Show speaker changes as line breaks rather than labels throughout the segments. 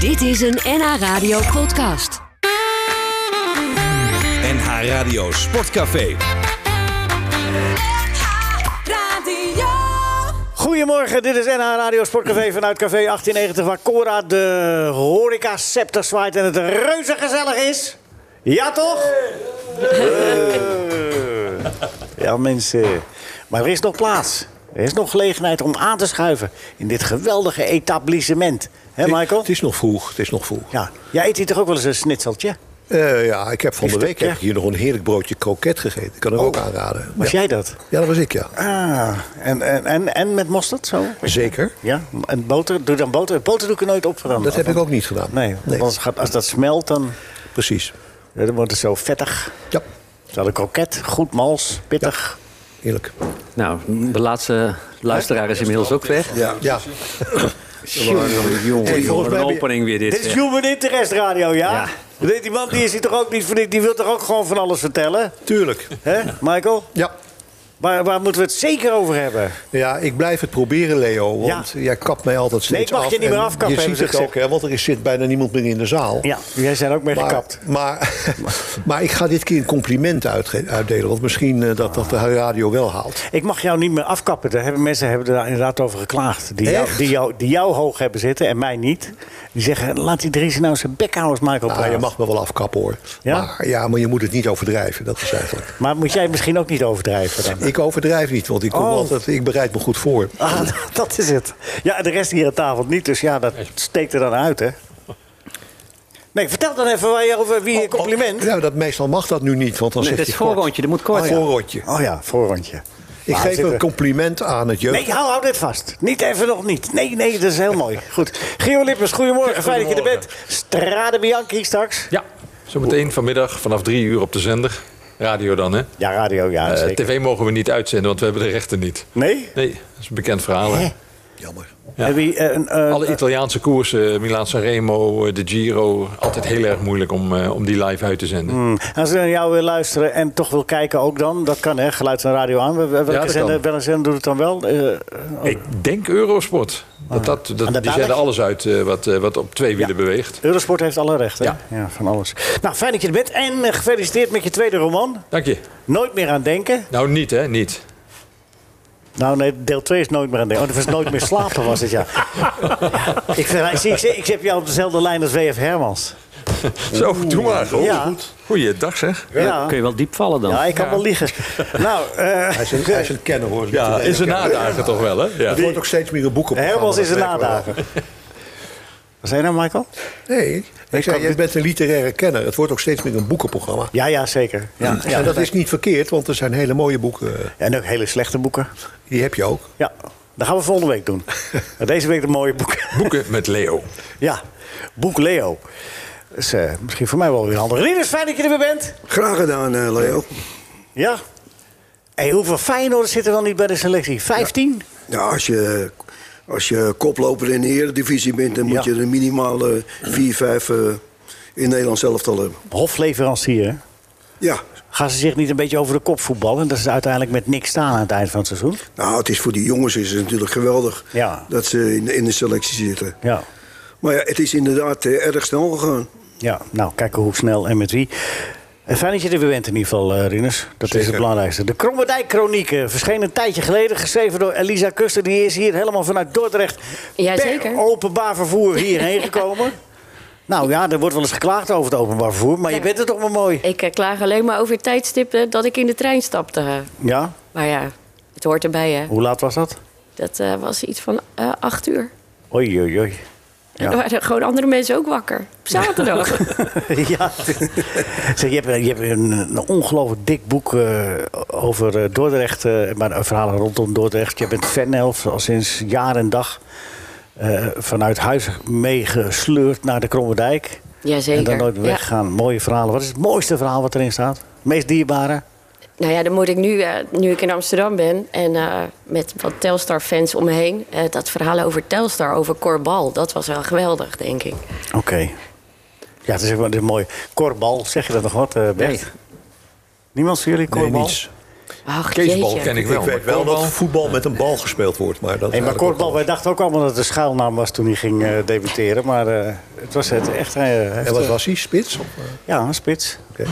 Dit is een NH Radio podcast.
NH Radio Sportcafé.
Radio.
Goedemorgen, dit is NH Radio Sportcafé vanuit Café 1890... waar Cora de horeca scepter zwaait en het reuze gezellig is. Ja, toch? Eh. Ja, mensen. Maar er is nog plaats. Er is nog gelegenheid om aan te schuiven in dit geweldige etablissement. Hè, Michael?
Het is nog vroeg, het is nog vroeg.
Ja. Jij eet hier toch ook wel eens een snitseltje?
Eh, ja, ik heb van de
Biefstuk,
week heb
ja.
ik hier nog een heerlijk broodje kroket gegeten. Ik kan er ook aanraden.
Oh. Was
ja.
jij dat?
Ja, dat was ik, ja.
Ah, en, en, en, en met mosterd zo?
Zeker.
Ja, en boter? Doe dan boter. Boter doe ik er nooit op veranderen.
Dat heb ik ook niet gedaan.
Nee, want anders gaat, als dat smelt, dan,
Precies.
ja, dan wordt het zo vettig.
Ja,
Zo de kroket, goed mals, pittig.
heerlijk.
Nou, de laatste luisteraar is inmiddels ook weg.
Ja. ja.
Jongen,
Hey,
jongen, wat
volgens mij
een
ben je-
opening weer dit.
Dit is
zeg.
Human Interest Radio, ja?
Ja.
Dit- Die man die is hier toch ook niet voor niks, Die wil toch ook gewoon van alles vertellen?
Tuurlijk.
Hè, Michael?
Ja.
Waar, waar moeten we het zeker over hebben?
Ja, ik blijf het proberen, Leo. Want
Ja.
jij kapt mij altijd steeds
ik mag
af.
je niet
En
meer afkappen,
Je
hebben
ziet
ze
het ook,
gezegd.
hè, want er is- zit bijna niemand meer in de zaal.
Ja, jij zijn ook mee gekapt.
Maar, maar ik ga dit keer een compliment uitge- uitdelen. Want misschien eh, dat dat de radio wel haalt.
Ik mag jou niet meer afkappen. Daar hebben, mensen hebben daar inderdaad over geklaagd. Die jou,
Echt?
die, jou, die jou hoog hebben zitten en mij niet. Die zeggen, laat die Dries nou zijn bek houden als Michael
Nou,
praat.
je mag me wel afkappen hoor.
Ja?
Maar, ja, maar je moet het niet overdrijven. Dat is eigenlijk.
Maar moet jij misschien ook niet overdrijven dan?
Ik overdrijf niet, want ik, kom
Oh.
altijd, ik bereid me goed voor.
Ah, dat is het. Ja, en de rest hier aan tafel niet, dus ja, dat steekt er dan uit, hè? Nee, vertel dan even waar je over wie je compliment.
Ja, Oh, nou, dat, meestal mag dat nu niet, want dan
Nee,
zegt
dit is
hij kort.
voorrondje, dit moet kort.
Oh,
zijn.
Voorrondje.
Oh ja, voorrondje.
Ik
Maar
geef
zitten-
een compliment aan het jeugd.
Nee, hou, hou dit vast. Niet even nog niet. Nee, nee, dat is heel mooi. Goed. Geo Lippers, goedemorgen. Fijn dat je er bent. Strade Bianchi straks.
Ja, zometeen vanmiddag vanaf drie uur op de zender. Radio dan, hè?
Ja, radio, ja,
Eh,
zeker.
TV mogen we niet uitzenden, want we hebben de rechten niet.
Nee?
Nee, dat is een bekend verhaal.
Hè?
Hè?
Jammer.
Heb je, eh, een, eh,
Alle Italiaanse koersen, Milaan Sanremo, eh, de Giro, altijd heel erg moeilijk om, eh, om die live uit te zenden.
Als je naar jou wil luisteren en toch wil kijken ook dan, dat kan hè, geluid en radio aan. Wel- Welke
dat
zender,
kan.
welke zender doet het dan wel? Eh, Ah.
Ik denk Eurosport. Dat, dat, dat, die
dadelijk?
zenden alles uit eh, wat, eh, wat op twee wielen beweegt.
Eurosport heeft alle rechten.
Ja.
ja, van alles. Nou, fijn dat je er bent en eh, gefeliciteerd met je tweede roman.
Dank je.
Nooit meer aan denken.
Nou, niet hè, niet.
Nou nee, deel 2 is nooit meer aan denken. Oh, dat was nooit meer slapen was het, ja. Ja, Ik, vergelijk- zie, ik, zie- ik heb jou op dezelfde lijn als W.F. Hermans.
Zo, doe maar.
Ja.
Goeiedag zeg.
Ja,
Kun je wel diep vallen dan?
ja ik kan wel liegen. Nou, eh,
Hij is een, hij is een kenner hoor.
Ja, is een
kenner.
nadager toch wel, hè? Ja.
Het wordt ook steeds meer een boek op.
Hermans is een nadager. Wat zei je nou, Michael?
Nee, ik
kan
zei, jij
dit-
bent een literaire kenner. Het wordt ook steeds meer een boekenprogramma.
Ja, ja, zeker. Ja, ja.
en dat is niet verkeerd, want er zijn hele mooie boeken.
En ook hele slechte boeken.
Die heb je ook.
Ja, dat gaan we volgende week doen. Maar Deze week de mooie boeken.
Boeken met Leo.
Ja, boek Leo. Dat is eh, misschien voor mij wel weer handig. Rinus, fijn dat je er weer bent.
Graag gedaan, eh, Leo.
Ja. Hey, hoeveel Feyenoorders zitten wel niet bij de selectie? 15?
Ja, als, je, als je koploper in de eredivisie bent, dan moet
Ja.
je er minimaal eh, vier, vijf eh, in Nederland zelf al hebben.
Hofleverancier. hè?
Ja,
Gaan ze zich niet een beetje over de kop voetballen? Dat ze uiteindelijk met niks staan aan het eind van het seizoen.
nou, het is voor die jongens is het natuurlijk geweldig
Ja.
dat ze in, in de selectie zitten.
Ja.
Maar ja, het is inderdaad eh, erg snel gegaan.
Ja, nou, kijken hoe snel en met wie. Eh, Fijn dat je er weer bent in ieder geval, eh, Rinus. Dat is het belangrijkste. De Kromme Dijk Chronieken verscheen een tijdje geleden. Geschreven door Elisa Kuster. Die is hier helemaal vanuit Dordrecht
Ja,
per
zeker.
openbaar vervoer hierheen gekomen. Nou ja, er wordt wel eens geklaagd over het openbaar vervoer. Maar je
Ja.
bent er toch maar mooi.
Ik eh, klaag alleen maar over het tijdstip eh, dat ik in de trein stapte.
Ja,
Maar ja, het hoort erbij, hè.
hoe laat was dat?
Dat eh, was iets van eh, acht uur.
Oei, oei, oei. Ja.
En er waren gewoon andere mensen ook wakker. Op zaterdag.
ja. zeg, je hebt, je hebt een, een ongelooflijk dik boek eh, over eh, Dordrecht. eh, maar eh, verhalen rondom Dordrecht. Je bent fan al al sinds jaar en dag. eh, vanuit huis meegesleurd naar de Kromme Dijk.
Jazeker.
En dan nooit meer
Ja.
weggaan. Mooie verhalen. Wat is het mooiste verhaal wat erin staat? Het meest dierbare?
Nou ja, dan moet ik nu, eh, nu ik in Amsterdam ben en eh, met wat Telstar-fans om me heen... eh, dat verhaal over Telstar, over Corbal, dat was wel geweldig, denk ik.
Oké. Ja, het is, wel- het is mooi. Korbal, zeg je dat nog wat, eh Bert?
Nee.
Niemand van jullie korbal?
niets.
Ach,
Keesbal
jeetje.
ken ik
Ik,
wel.
weet
maar
wel
Korbal-
dat voetbal met een bal gespeeld wordt. Maar dat
Hey, maar
eigenlijk
Kortbal,
ook
wij dachten ook allemaal dat het een schuilnaam was toen hij ging eh, debuteren. Maar eh, het was het echt. eh,
wel.
heeft,
En wat
eh,
was hij? Spits? Of, eh,
Ja, een spits.
oké.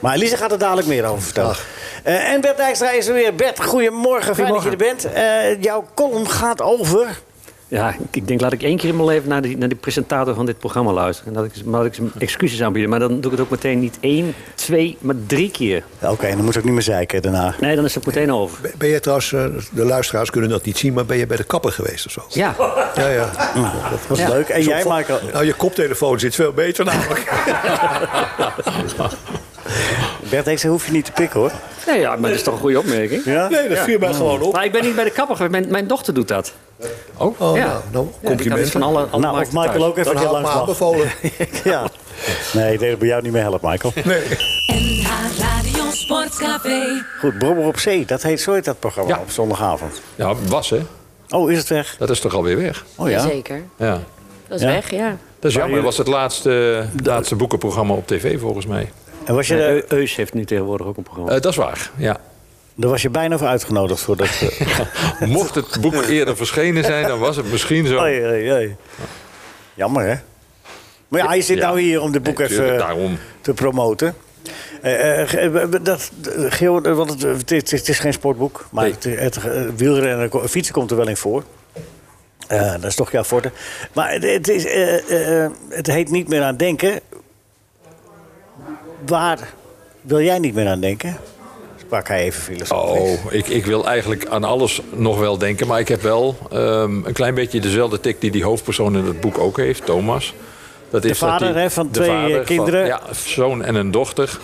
Maar Elise gaat er dadelijk meer over vertellen. Eh, en Bert Dijkstra is er weer. Bert, goedemorgen. Fijn dat je er bent. Eh, jouw column gaat over...
Ja, ik- ik denk, laat ik één keer in mijn leven naar die, naar die presentator van dit programma luisteren. En dat ik, maar dat ik ze excuses aanbieden. Maar dan doe ik het ook meteen niet één, twee, maar drie keer.
Oké, dan moet ik niet meer zeiken daarna.
Nee, dan is het meteen over.
Ben- Ben je trouwens, eh, de luisteraars kunnen dat niet zien, maar ben je bij de kapper geweest of zo?
Ja,
Ja, ja. Dat was
Ja. Oh, leuk. En jij, Michael?
Nou, je koptelefoon zit veel beter namelijk.
Bert Dijkstra hoef je niet te pikken, hoor.
nee, ja maar dat is toch een goede opmerking.
Ja?
Nee, dat viel mij gewoon op.
Maar ik ben niet bij de kapper geweest. Mijn, mijn dochter doet dat.
Oh, nou,
ja.
nou,
Ja, die kan dus
complimenten.
van alle, alle
Nou, of
markten
Michael
thuis.
ook even
Dan
dat je
had ik me
langs mag.
aanbevolen.
Ja. Nee, ik deed het bij jou niet meer helpen, Michael.
NH Radio
Nou,
Sportcafé.
Goed, Brommer op Zee, dat heet zo heet dat programma
Ja.
op zondagavond.
Ja, was hè?
Oh, is het weg?
Dat is toch alweer weg?
Oh ja.
Zeker.
Ja.
Dat is
Ja?
weg, ja.
Dat is
Maar
jammer.
jullie-
Dat was het laatste, laatste boekenprogramma op tv volgens mij.
En was je,
Eh,
er,
Eu- Eus heeft nu tegenwoordig ook een
Eh,
programma.
dat is waar, ja.
daar was je bijna voor uitgenodigd voor dat... eh,
Mocht het boek eerder verschenen zijn, dan was het misschien zo.
Oei, oei, oei. Jammer, hè? Maar ja, je zit
Ja.
nou hier om de boek
Nee,
even
tuurlijk,
eh,
daarom.
te promoten. Eh, eh, ge- eh, dat, eh, Geel, eh, want het, het, is- het is geen sportboek, maar
Nee.
het, het eh, wielrennen en ko- fietsen komt er wel in voor. Eh, dat is toch jouw forte. Maar het, het is, eh, eh, het heet niet meer aan denken. Waar wil jij niet meer aan denken? Sprak hij even filosofisch.
Oh, ik, ik wil eigenlijk aan alles nog wel denken. Maar ik heb wel ehm, een klein beetje dezelfde tik die die hoofdpersoon in het boek ook heeft, Thomas. Dat is
vader,
die-
hè, van
de
twee, eh,
van-
kinderen.
ja, zoon en een dochter.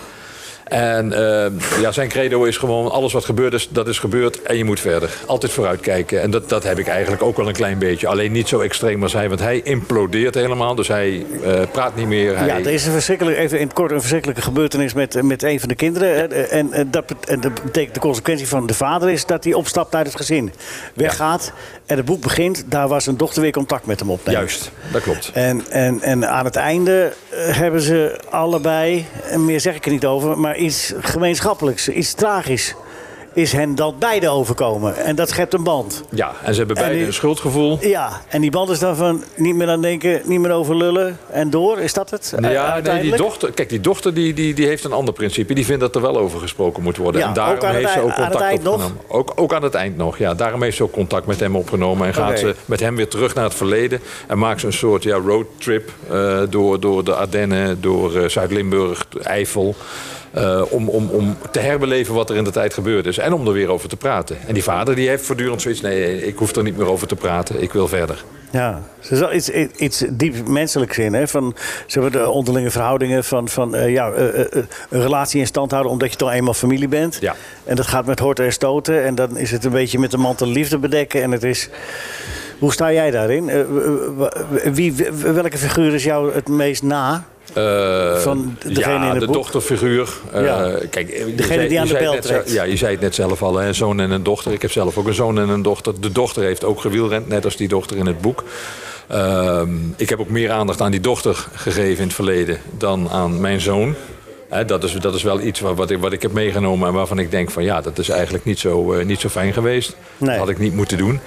En ehm, ja, zijn credo is gewoon: alles wat gebeurd is, dat is gebeurd. En je moet verder. Altijd vooruitkijken. En dat, dat heb ik eigenlijk ook wel een klein beetje. Alleen niet zo extreem als hij, want hij implodeert helemaal. Dus hij eh, praat niet meer. Hij,
Ja, er is een verschrikkelijk, even in het kort een verschrikkelijke gebeurtenis met, met een van de kinderen. En, en, en dat bet- en dat betekent de consequentie van de vader is dat hij opstapt uit het gezin. Weggaat en het boek begint. Daar was een dochter weer contact met hem opneemt.
Juist, dat klopt.
En, en, en aan het einde eh, hebben ze allebei, en meer zeg ik er niet over, maar iets gemeenschappelijks, iets tragisch. Is hen dat beide overkomen. En dat schept een band.
Ja, en ze hebben
En
beide
die-
een schuldgevoel.
Ja, en die band is dan van niet meer aan denken, niet meer over lullen en door. Is dat het? eh,
Ja, nee, die
uiteindelijk?
dochter, kijk, die dochter die, die, die heeft een ander principe. Die vindt dat er wel over gesproken moet worden.
Ja,
en daarom
ook aan het
heeft ze
ei-
ook
aan het
contact
eind nog?
opgenomen. Ook, ook aan het eind nog, ja. Daarom heeft ze ook contact met hem opgenomen. En gaat
Oké.
ze met hem weer terug naar het verleden. En maakt ze een soort ja, roadtrip eh, door, door de Ardennen, door eh, Zuid-Limburg, de Eifel. eh, om, om, om te herbeleven wat er in de tijd gebeurd is. En om er weer over te praten. En die vader die heeft voortdurend zoiets... nee, ik hoef er niet meer over te praten. Ik wil verder.
Ja, het is wel iets, iets diep menselijks in. Hè? Van, ze hebben de onderlinge verhoudingen van, van eh, ja, eh, eh, eh, een relatie in stand houden omdat je toch eenmaal familie bent.
Ja.
En dat gaat met horten en stoten. En dan is het een beetje met de mantel liefde bedekken. En het is. Hoe sta jij daarin? Eh, w- w- wie, w- welke figuur is jou het meest na?
Eh,
Van degene
ja,
in het
de
boek?
dochterfiguur. Eh,
Ja.
Kijk, eh, je
Degene
zei-
die aan
je
de
zei
bel
net zo-
trekt.
Ja, je zei het net zelf al, hè, een zoon en een dochter. Ik heb zelf ook een zoon en een dochter. De dochter heeft ook gewielrend, net als die dochter in het boek. Ehm, ik heb ook meer aandacht aan die dochter gegeven in het verleden dan aan mijn zoon. Hè, dat, is, dat is wel iets wat, wat, ik, wat ik heb meegenomen en waarvan ik denk van ja, dat is eigenlijk niet zo, eh, niet zo fijn geweest.
Nee.
Dat had ik niet moeten doen.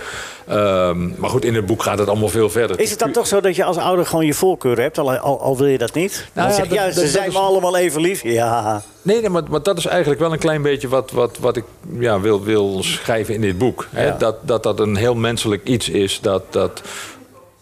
Ehm, maar goed, in het boek gaat het allemaal veel verder.
Is het dan toch zo dat je als ouder gewoon je voorkeur hebt, al, al, al wil je dat niet? Dan
Nou ja,
zeg je,
dat-
ja,
dat-
ze
dat
zijn
is-
me allemaal even lief. Ja,
Nee, nee maar, maar dat is eigenlijk wel een klein beetje wat, wat, wat ik ja, wil, wil schrijven in dit boek. Hè?
Ja.
Dat, dat dat een heel menselijk iets is. Dat, dat...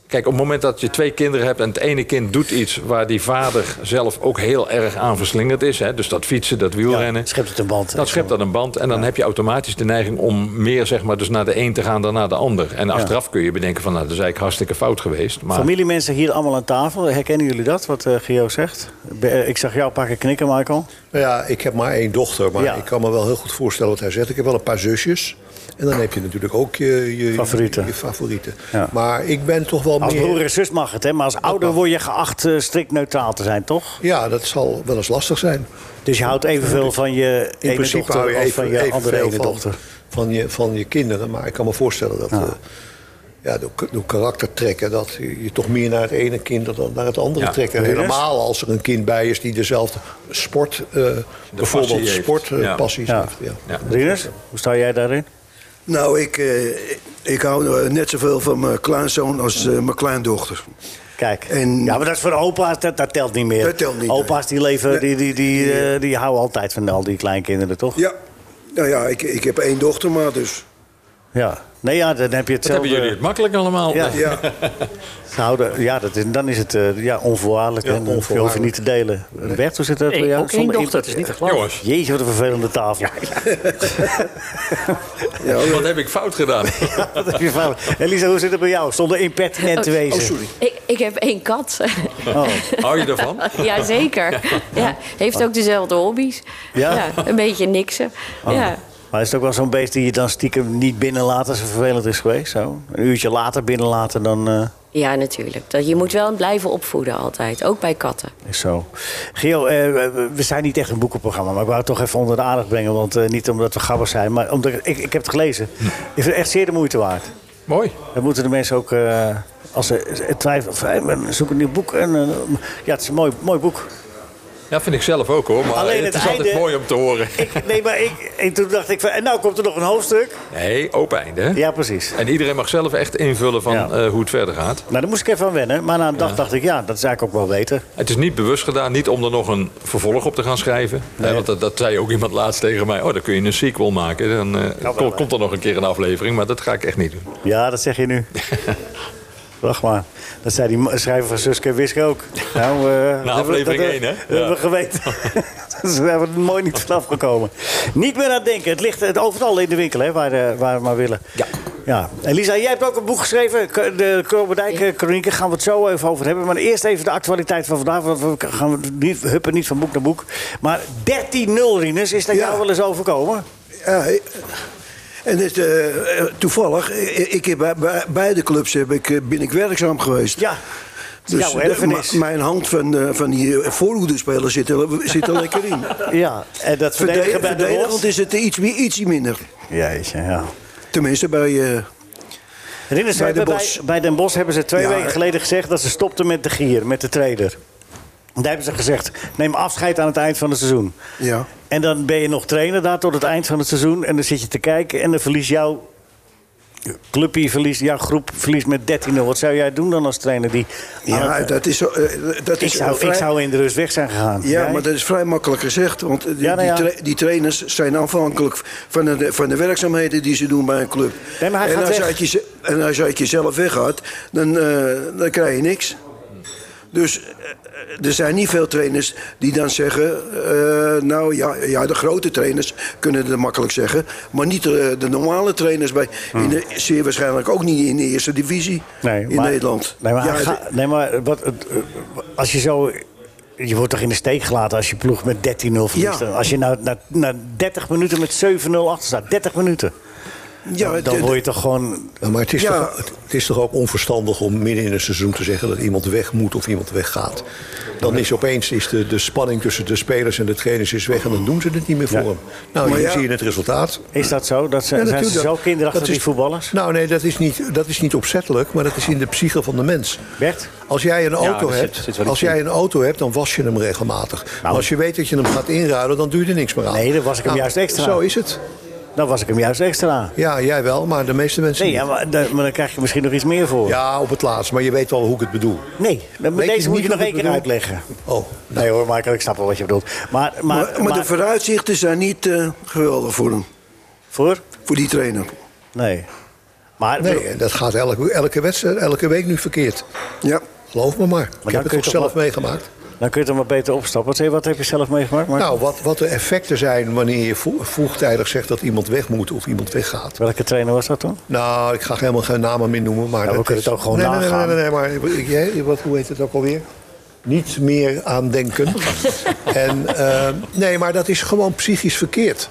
Kijk, op het moment dat je twee kinderen hebt en het ene kind doet iets waar die vader zelf ook heel erg aan verslingerd is. Hè? Dus dat fietsen, dat wielrennen.
ja schept het een band.
Dan schept dat een band en dan heb je automatisch de neiging om meer zeg maar, dus naar de een te gaan dan naar de ander. En achteraf kun je bedenken van nou, dat is eigenlijk hartstikke fout geweest. Maar
Familiemensen hier allemaal aan tafel. Herkennen jullie dat, wat eh Gio zegt? Be- eh, ik zag jou een paar keer knikken, Michael.
Nou ja, ik heb maar één dochter, maar
Ja.
ik kan me wel heel goed voorstellen wat hij zegt. Ik heb wel een paar zusjes. En dan heb je natuurlijk ook je, je
Favorieten.
Je, favorieten.
Ja.
Maar ik ben toch wel
Als
meer...
broer en zus mag het, hè? maar als ouder
mag.
word je geacht eh, strikt neutraal te zijn, toch?
Ja, dat zal wel eens lastig zijn.
Dus je houdt evenveel van je
In
ene
principe hou
dochter
je
als
even,
van je andere
evenveel
ene
van,
dochter.
van, je, van je kinderen. Maar ik kan me voorstellen dat, eh, ja, door, door karaktertrekken. Dat je toch meer naar het ene kind dan naar het andere
Ja.
trekt. En
Rest?
helemaal als er een kind bij is die dezelfde sport, eh, bijvoorbeeld
passie heeft. Ja.
sportpassies
Ja.
heeft. Ja.
Ja.
Rinus, hoe sta jij daarin?
Nou, ik, eh, ik hou eh, net zoveel van mijn kleinzoon als eh, mijn kleindochter.
Kijk.
En-
ja, maar dat is voor opa's, dat, dat telt niet meer.
Dat telt niet,
Opa's die leven,
Nee.
die, die, die, eh, die houden altijd van al die kleinkinderen, toch?
Ja, nou ja, ik, ik heb één dochter maar, dus...
Ja. Nee, ja, dan heb je
Dat hebben
hetzelfde.
jullie het makkelijk allemaal.
Ja.
Ja,
Nou, de- ja, dat is, dan is het eh, ja, onvoorwaardelijk.
Ja,
en Je hoeft het niet te delen. Bert, hoe zit dat bij
Nee,
jou?
ook één
Zonder
dochter, het
input?
is niet te geloven.
Jongens,
Jezus, wat een vervelende tafel.
wat heb ik fout gedaan?
Dat heb je fout. Elisa, hoe zit het bij jou? Zonder
Oh,
impertinent te wezen.
Oh, Ik, ik heb één kat.
Oh.
Hou je ervan?
Jazeker. Ja, heeft ook dezelfde hobby's.
Ja?
een beetje niksen. Ja.
Oh. Maar is het ook wel zo'n beest die je dan stiekem niet binnenlaat als het vervelend is geweest? Zo? Een uurtje later binnenlaten dan eh,
ja, natuurlijk. Dat, je moet wel blijven opvoeden altijd. Ook bij katten.
is zo. Gio, eh, we- we zijn niet echt een boekenprogramma, maar ik wou het toch even onder de aandacht brengen. Want eh, niet omdat we gabbers zijn, maar omdat ik, ik, ik heb het gelezen. Ik vind het echt zeer de moeite waard.
Mooi.
Dan moeten de mensen ook, eh, als ze twijfelen, of, eh, maar zoek een nieuw boek. En, eh, ja, het is een mooi, mooi boek.
Ja, vind ik zelf ook hoor. Maar
Alleen
het
het
is altijd
einde-
mooi om te horen.
Ik, nee, maar ik, en toen dacht ik van, en nou komt er nog een hoofdstuk.
Nee, open einde. hè?
Ja, precies.
En iedereen mag zelf echt invullen van
Ja.
eh, hoe het verder gaat.
Nou, daar moest ik even aan wennen. Maar na een dag dacht ik, ja, dat is eigenlijk ook wel beter.
Het is niet bewust gedaan, niet om er nog een vervolg op te gaan schrijven. Eh, want dat, dat zei ook iemand laatst tegen mij. Oh, dan kun je een sequel maken. Dan eh, kom- komt er nog een keer een aflevering. Maar dat ga ik echt niet doen.
Ja, dat zeg je nu. Wacht maar. Dat zei die ma- schrijver van Suske en Wiske ook. Nou, eh, dat hebben we-
aflevering
dat-
één, hè?
Dat hebben we geweten. Dus Daar hebben we er mooi niet vanaf gekomen. Niet meer aan het denken. Het ligt het overal in de winkel, hè, waar, eh, waar we maar willen.
Ja.
Ja. En Lisa, jij hebt ook een boek geschreven. K- De Kromendijk Chronieken. Gaan we het zo even over hebben. Maar eerst even de actualiteit van vandaag. Want we gaan niet, huppen niet van boek naar boek. Maar 13-0, Rinus. Is dat
Ja.
jou wel eens overkomen?
ja en het, eh, eh, toevallig, eh, ik heb bij, bij beide clubs heb ik, eh, ben ik werkzaam geweest.
Ja.
Dus
Jouw
de-
erfenis.
ma- mijn hand van, eh, van die eh, voorhoedenspelers zit er, zit er lekker in.
Ja. Ah, En dat verdedigen bij de
verdedigend
Wolves.
is het iets, mi- ietsje minder.
Jeetje, ja.
Tenminste, bij, eh,
Herinner
Bij
bij, Den bij,
Den Bosch.
bij Den Bosch hebben ze twee
Ja.
weken geleden gezegd dat ze stopten met de gier, met de trader. Daar hebben ze gezegd, neem afscheid aan het eind van het seizoen.
ja.
En dan ben je nog trainer daar tot het eind van het seizoen. En dan zit je te kijken en dan verliest jouw clubje, verliest, jouw groep verliest met 13-0. Wat zou jij doen dan als trainer? Die aan
ja
het-
dat is, zo- eh, dat
ik,
is
zou,
vrij-
ik zou in de rust weg zijn gegaan.
Ja,
Jij?
maar dat is vrij makkelijk gezegd. Want die,
Ja, nou ja.
Die, tra- die trainers zijn afhankelijk van de, van de werkzaamheden die ze doen bij een club.
Nee, maar hij
en,
gaat
als
weg.
uit je, en als je uit jezelf weggaat, dan, eh, dan krijg je niks. Dus eh, er zijn niet veel trainers die dan zeggen... eh, nou ja, ja, de grote trainers kunnen dat makkelijk zeggen. Maar niet de, de normale trainers. Bij, in de, zeer waarschijnlijk ook niet in de eerste divisie
Hm. Nee,
in
maar-
Nederland.
Nee, maar,
Ja,
ga- nee, maar wat, het- eh, als je zo. Je wordt toch in de steek gelaten als je ploeg met 13-0 verliest.
Ja.
Als je nou na, na 30 minuten met 7-0 achter staat, 30 minuten,
ja, het-
dan word je toch gewoon.
Ja, maar het is,
Ja.
toch, het is toch ook onverstandig om midden in een seizoen te zeggen dat iemand weg moet of iemand weggaat. Dan is opeens is de, de spanning tussen de spelers en de trainers is weg en dan doen ze het niet meer voor hem. Nou,
Maar
hier
ja.
zie je het resultaat.
Is dat zo? Dat ze,
Ja,
zijn ze
natuurlijk.
zo kinderachtig,
Dat is-
die voetballers?
Nou nee, dat is, niet, dat is niet opzettelijk, maar dat is in de psyche van de mens.
Bert?
Als jij een auto
er zit-
hebt,
zit wel iets
als jij een auto hebt, dan was je hem regelmatig. maar als je weet dat je hem gaat inruilen, dan duurt er niks meer aan. Nou,
Nee, dan was ik hem juist extra.
Zo is het.
Dan was ik hem juist extra.
Ja, jij wel, maar de meeste mensen
Nee,
niet.
ja, maar, dan, maar dan krijg je misschien nog iets meer voor.
Ja, op het laatst, maar je weet wel hoe ik het bedoel.
Nee, dan,
Weet je
deze moet
niet
je nog
wat
één
ik
keer
bedoel?
uitleggen.
Oh,
Nee hoor, Michael, ik snap wel wat je bedoelt. Maar, maar,
Maar, maar, de vooruitzichten zijn niet eh, geweldig voor hem.
voor?
Voor die trainer.
Nee. Maar,
nee, dat gaat elke, elke, wedstrijd, elke week nu verkeerd.
Ja.
Geloof me maar. ik
dan
heb het
kun je
toch
toch
zelf
wel-
meegemaakt.
dan kun je er maar beter opstappen. Wat- eh, Wat heb je zelf meegemaakt? Mark?
Nou, wat, wat de effecten zijn wanneer je vo- vroegtijdig zegt dat iemand weg moet of iemand weggaat.
Welke trainer was dat toen? Nou,
Nou, ik ga helemaal geen namen meer noemen. Maar
we
dat
kunnen
is-
het ook gewoon
nee, nee, nee,
nagaan.
Nee, nee, nee, maar ik- jij, wat, hoe heet het ook alweer? Niet meer aan denken. en, eh, nee, maar dat is gewoon psychisch verkeerd. Het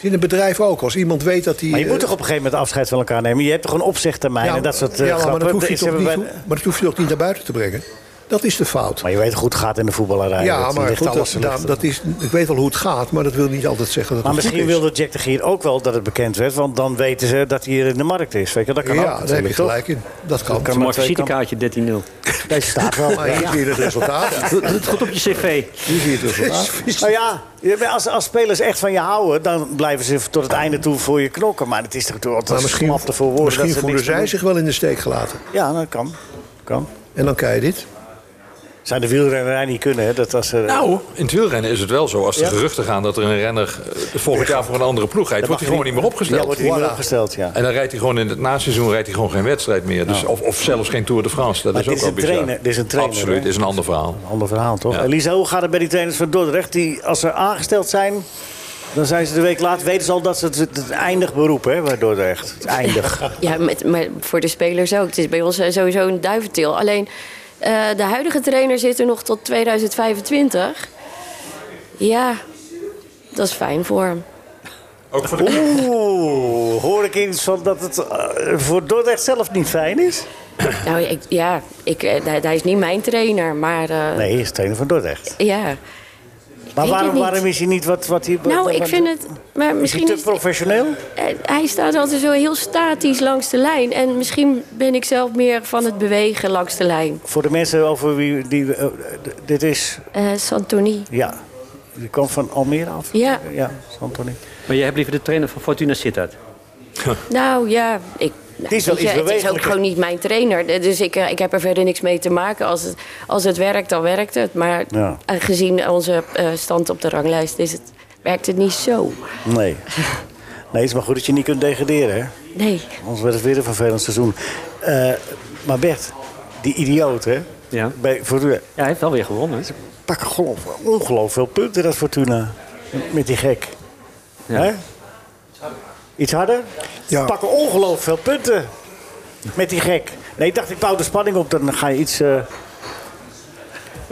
is In een bedrijf ook. Als iemand weet dat hij...
Maar je moet
eh,
toch op een gegeven moment afscheid van elkaar nemen? Je hebt toch een opzichttermijn en dat soort eh,
ja, maar,
grappen?
dat hoef je
Is
toch
er
niet,
bij-
maar dat hoef je toch niet naar buiten te brengen? Dat is de fout.
Maar je weet hoe het gaat in de voetballerij.
ja,
Dat
maar
ligt
goed,
alles-
dat,
ligt-
nou, dat is, ik weet wel hoe het gaat, maar dat wil niet altijd zeggen dat
Maar
het goed
misschien
is.
wilde Jack de Gier ook wel dat het bekend werd. Want dan weten ze dat hij hier in de markt is. Weet je, dat kan ook
Ja, daar heb je
natuurlijk, toch?
gelijk in. Dat kan.
Dat
Een
kan.
mooi
maar twee
visitekaartje, 13-0.
Deze staat wel.
Maar hier zie je het resultaat.
Doe doe het goed op je cv.
Hier zie je het resultaat.
Nou ja, je bent- als, als spelers echt van je houden, dan blijven ze tot het einde toe voor je knokken. Maar het is toch toch
Maar
altijd
misschien,
slap te verwoorden.
misschien
dat ze
voelen
niks
zij
doen.
zich wel in de steek gelaten.
Ja, dat kan. kan.
En dan kan je dit.
Zou de wielrennerij niet kunnen, hè? Dat was, eh,
Nou, in het wielrennen is het wel zo. Als de
Ja.
geruchten gaan dat er een renner eh, volgend jaar voor een andere ploeg rijdt,
dat
wordt
mag
hij gewoon niet meer
Ja,
opgesteld.
wordt hij niet meer
Voilà.
opgesteld, ja.
En dan rijdt hij gewoon in het naseizoen rijdt hij gewoon geen wedstrijd meer. Dus, of, of zelfs geen Tour de France. Dat
Maar
is
dit
ook
is
wel
een
bizar.
trainer- dit is een trainer,
Absoluut,
hè?
is een ander verhaal.
Een ander verhaal, toch?
Ja.
Elisa, hoe gaat het bij die trainers van Dordrecht? Die, als ze aangesteld zijn, dan zijn ze de week later... weten ze al dat ze het, het eindig beroep, hè, bij Dordrecht. Het eindig.
Ja, met, maar voor de spelers ook. Het is bij ons eh, sowieso een duiventil. Alleen eh, de huidige trainer zit er nog tot 2025. Ja, dat is fijn voor hem.
Ook voor de...
Oeh, hoor ik iets van dat het eh, voor Dordrecht zelf niet fijn is?
Nou ik, ja, ik, eh, hij, hij is niet mijn trainer, maar eh,
Nee, hij is trainer van Dordrecht.
ja.
Maar
Weet ik
waarom,
niet.
waarom is hij niet wat, wat hij... wat-
Nou, ik
wat-
vind het. Maar
Is hij
misschien
te
is,
professioneel?
eh, hij staat altijd zo heel statisch langs de lijn. En misschien ben ik zelf meer van het bewegen langs de lijn.
Voor de mensen over wie die, eh, d- dit is...
Eh Santoni.
Ja, die kwam van Almere af.
Ja.
Ja, Santoni.
Maar jij hebt liever de trainer van Fortuna Sittard.
Nou ja, ik. nou,
is wel
weet je, het
iets
is ook
bewegelijker.
gewoon niet mijn trainer. Dus ik, eh, ik heb er verder niks mee te maken. Als het, als het werkt, dan werkt het. Maar
Ja.
gezien onze eh, stand op de ranglijst is het, werkt het niet zo.
Nee. Nee, het is maar goed dat je niet kunt degraderen, hè?
Nee.
Anders werd het weer een vervelend seizoen. Eh, maar Bert, die idioot, hè?
Ja.
Bij Fortuna.
Ja, hij heeft wel weer gewonnen.
Pak gewoon ongelooflijk veel punten, dat Fortuna. Met die gek. Hè? Iets harder?
Ja.
Pakken ongelooflijk veel punten. Met die gek. Nee, ik dacht, ik bouw de spanning op. Dan ga je iets, eh,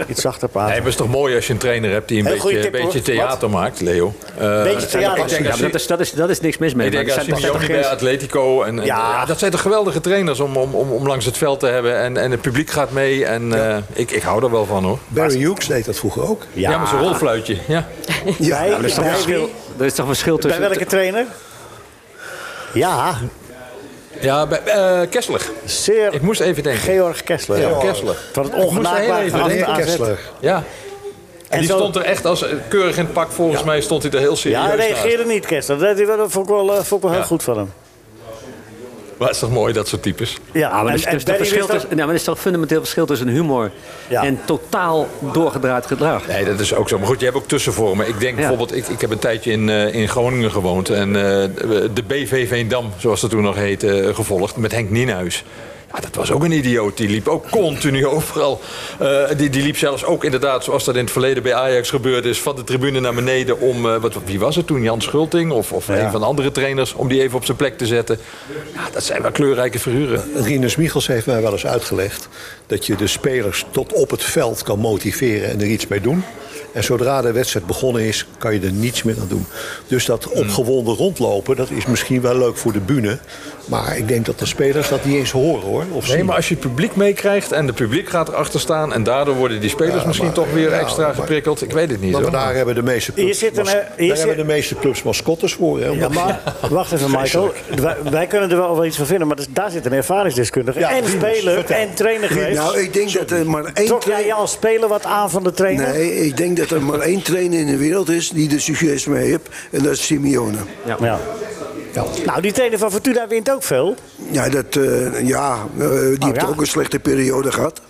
iets zachter praten.
Nee, maar het is toch mooi als je een trainer hebt die een
Heel goede
beetje,
tip,
beetje
hoor.
theater maakt, Leo. Eh,
Beetje theater.
Ik denk
Ja,
dat
maar Dus dat is, dat, is, dat is niks mis mee.
Ik
maar
denk
dat
aan
zijn- dat
Simeone
zijn
bij
toch
Atletico. En, en,
Ja.
ja, dat zijn toch geweldige trainers om, om, om, om langs het veld te hebben. En, en het publiek gaat mee. En eh, ik, ik hou er wel van hoor.
Barry Hughes deed dat vroeger ook.
Ja, maar zo'n rolfluitje. Ja.
Bij- bij
geen
wie?
verschil. Er is toch een verschil
Bij
tussen...
welke trainer? Ja,
Ja, bij, eh, Kessler.
zeer
Ik moest even denken.
Georg Kessler.
Ja, Kessler.
Van het
Ik moest er heel
ongenaakbare
even
van
denken.
AZ.
Kessler.
Ja. En die
zo-
stond er echt als eh, keurig in het pak. Volgens mij stond hij er heel serieus
Ja, hij
naast.
reageerde niet, Kessler. Dat, dat, dat vond ik wel, eh, vond ik wel heel
Ja.
goed van hem.
Maar het is toch mooi dat soort types.
Ja,
Ja, Ah, maar dus- er is, er is toch
Barry
verschil
wist
tussen, ja, maar er is toch fundamenteel verschil tussen humor
Ja.
en totaal doorgedraaid gedrag.
Nee, dat is ook zo. Maar goed, je hebt ook tussenvormen. Ik denk
Ja.
bijvoorbeeld, ik, ik heb een tijdje in, eh, in Groningen gewoond. En eh, de BV Veendam, zoals dat toen nog heette, eh, gevolgd. Met Henk Nienhuis. Ja, dat was ook een idioot. Die liep ook continu overal. Eh, die, die liep zelfs ook inderdaad, zoals dat in het verleden bij Ajax gebeurd is... van de tribune naar beneden om... eh, wat, wie was het toen? Jan Schulting? Of, of een van de andere trainers? Om die even op zijn plek te zetten. Ja, dat zijn wel kleurrijke figuren.
Rinus Eh, Michels heeft mij wel eens uitgelegd dat je de spelers tot op het veld kan motiveren en er iets mee doen. En zodra de wedstrijd begonnen is, kan je er niets meer aan doen. Dus dat
Hmm.
opgewonden rondlopen, dat is misschien wel leuk voor de bühne. Maar ik denk dat de spelers dat niet eens horen hoor. Of
Nee,
zien.
maar als je het publiek meekrijgt en de publiek gaat erachter staan... en daardoor worden die spelers
Ja,
misschien
maar-
toch weer
ja,
extra
maar-
geprikkeld. Ik weet het niet.
Want
hoor.
daar hebben de meeste clubs,
zit een,
mas-
eh, hier
daar
zit-
hebben de meeste clubs mascottes voor. Hè,
Ja,
omdat-
maar wacht even, Michael. Wij, wij kunnen er wel wel iets van vinden, maar dat- daar zit een ervaringsdeskundige.
Ja,
en
Rinus,
speler
vertel.
en trainer geweest.
Nou, ik denk dat er maar één
Trok jij je als speler wat aan van de trainer?
Nee, ik denk dat er maar één trainer in de wereld is die er succes mee heeft. En dat is Simeone.
Ja. Nou, die trainer van Fortuna wint ook veel. Oh,
Ja, dat, eh, ja eh, die heeft
ja.
ook een slechte periode gehad.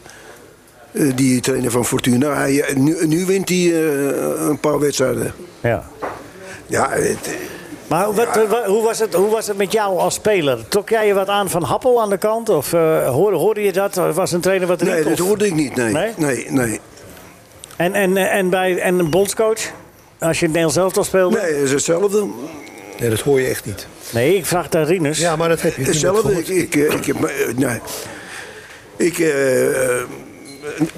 Eh, die trainer van Fortuna. Hij, eh, nu, nu wint hij eh, een paar wedstrijden.
Ja.
Ja, het,
Maar wat, wa- hoe, was het, hoe was het met jou als speler? Trok jij je wat aan van Happel aan de kant? Of eh, hoorde, hoorde je dat? Of Was een trainer wat
nee,
riep?
dat
Of-
hoorde ik niet. Nee,
Nee?
nee, nee. nee.
En, en, en, bij, en een bondscoach? Als je in Nederland zelf al speelde?
het is hetzelfde.
Nee, dat hoor je echt niet.
Nee, ik vraag daar Rinus.
Ja, maar dat heb je niet
Hetzelfde. Ik,
gehoord.
ik, eh, ik, heb, eh, nee. ik, eh, eh,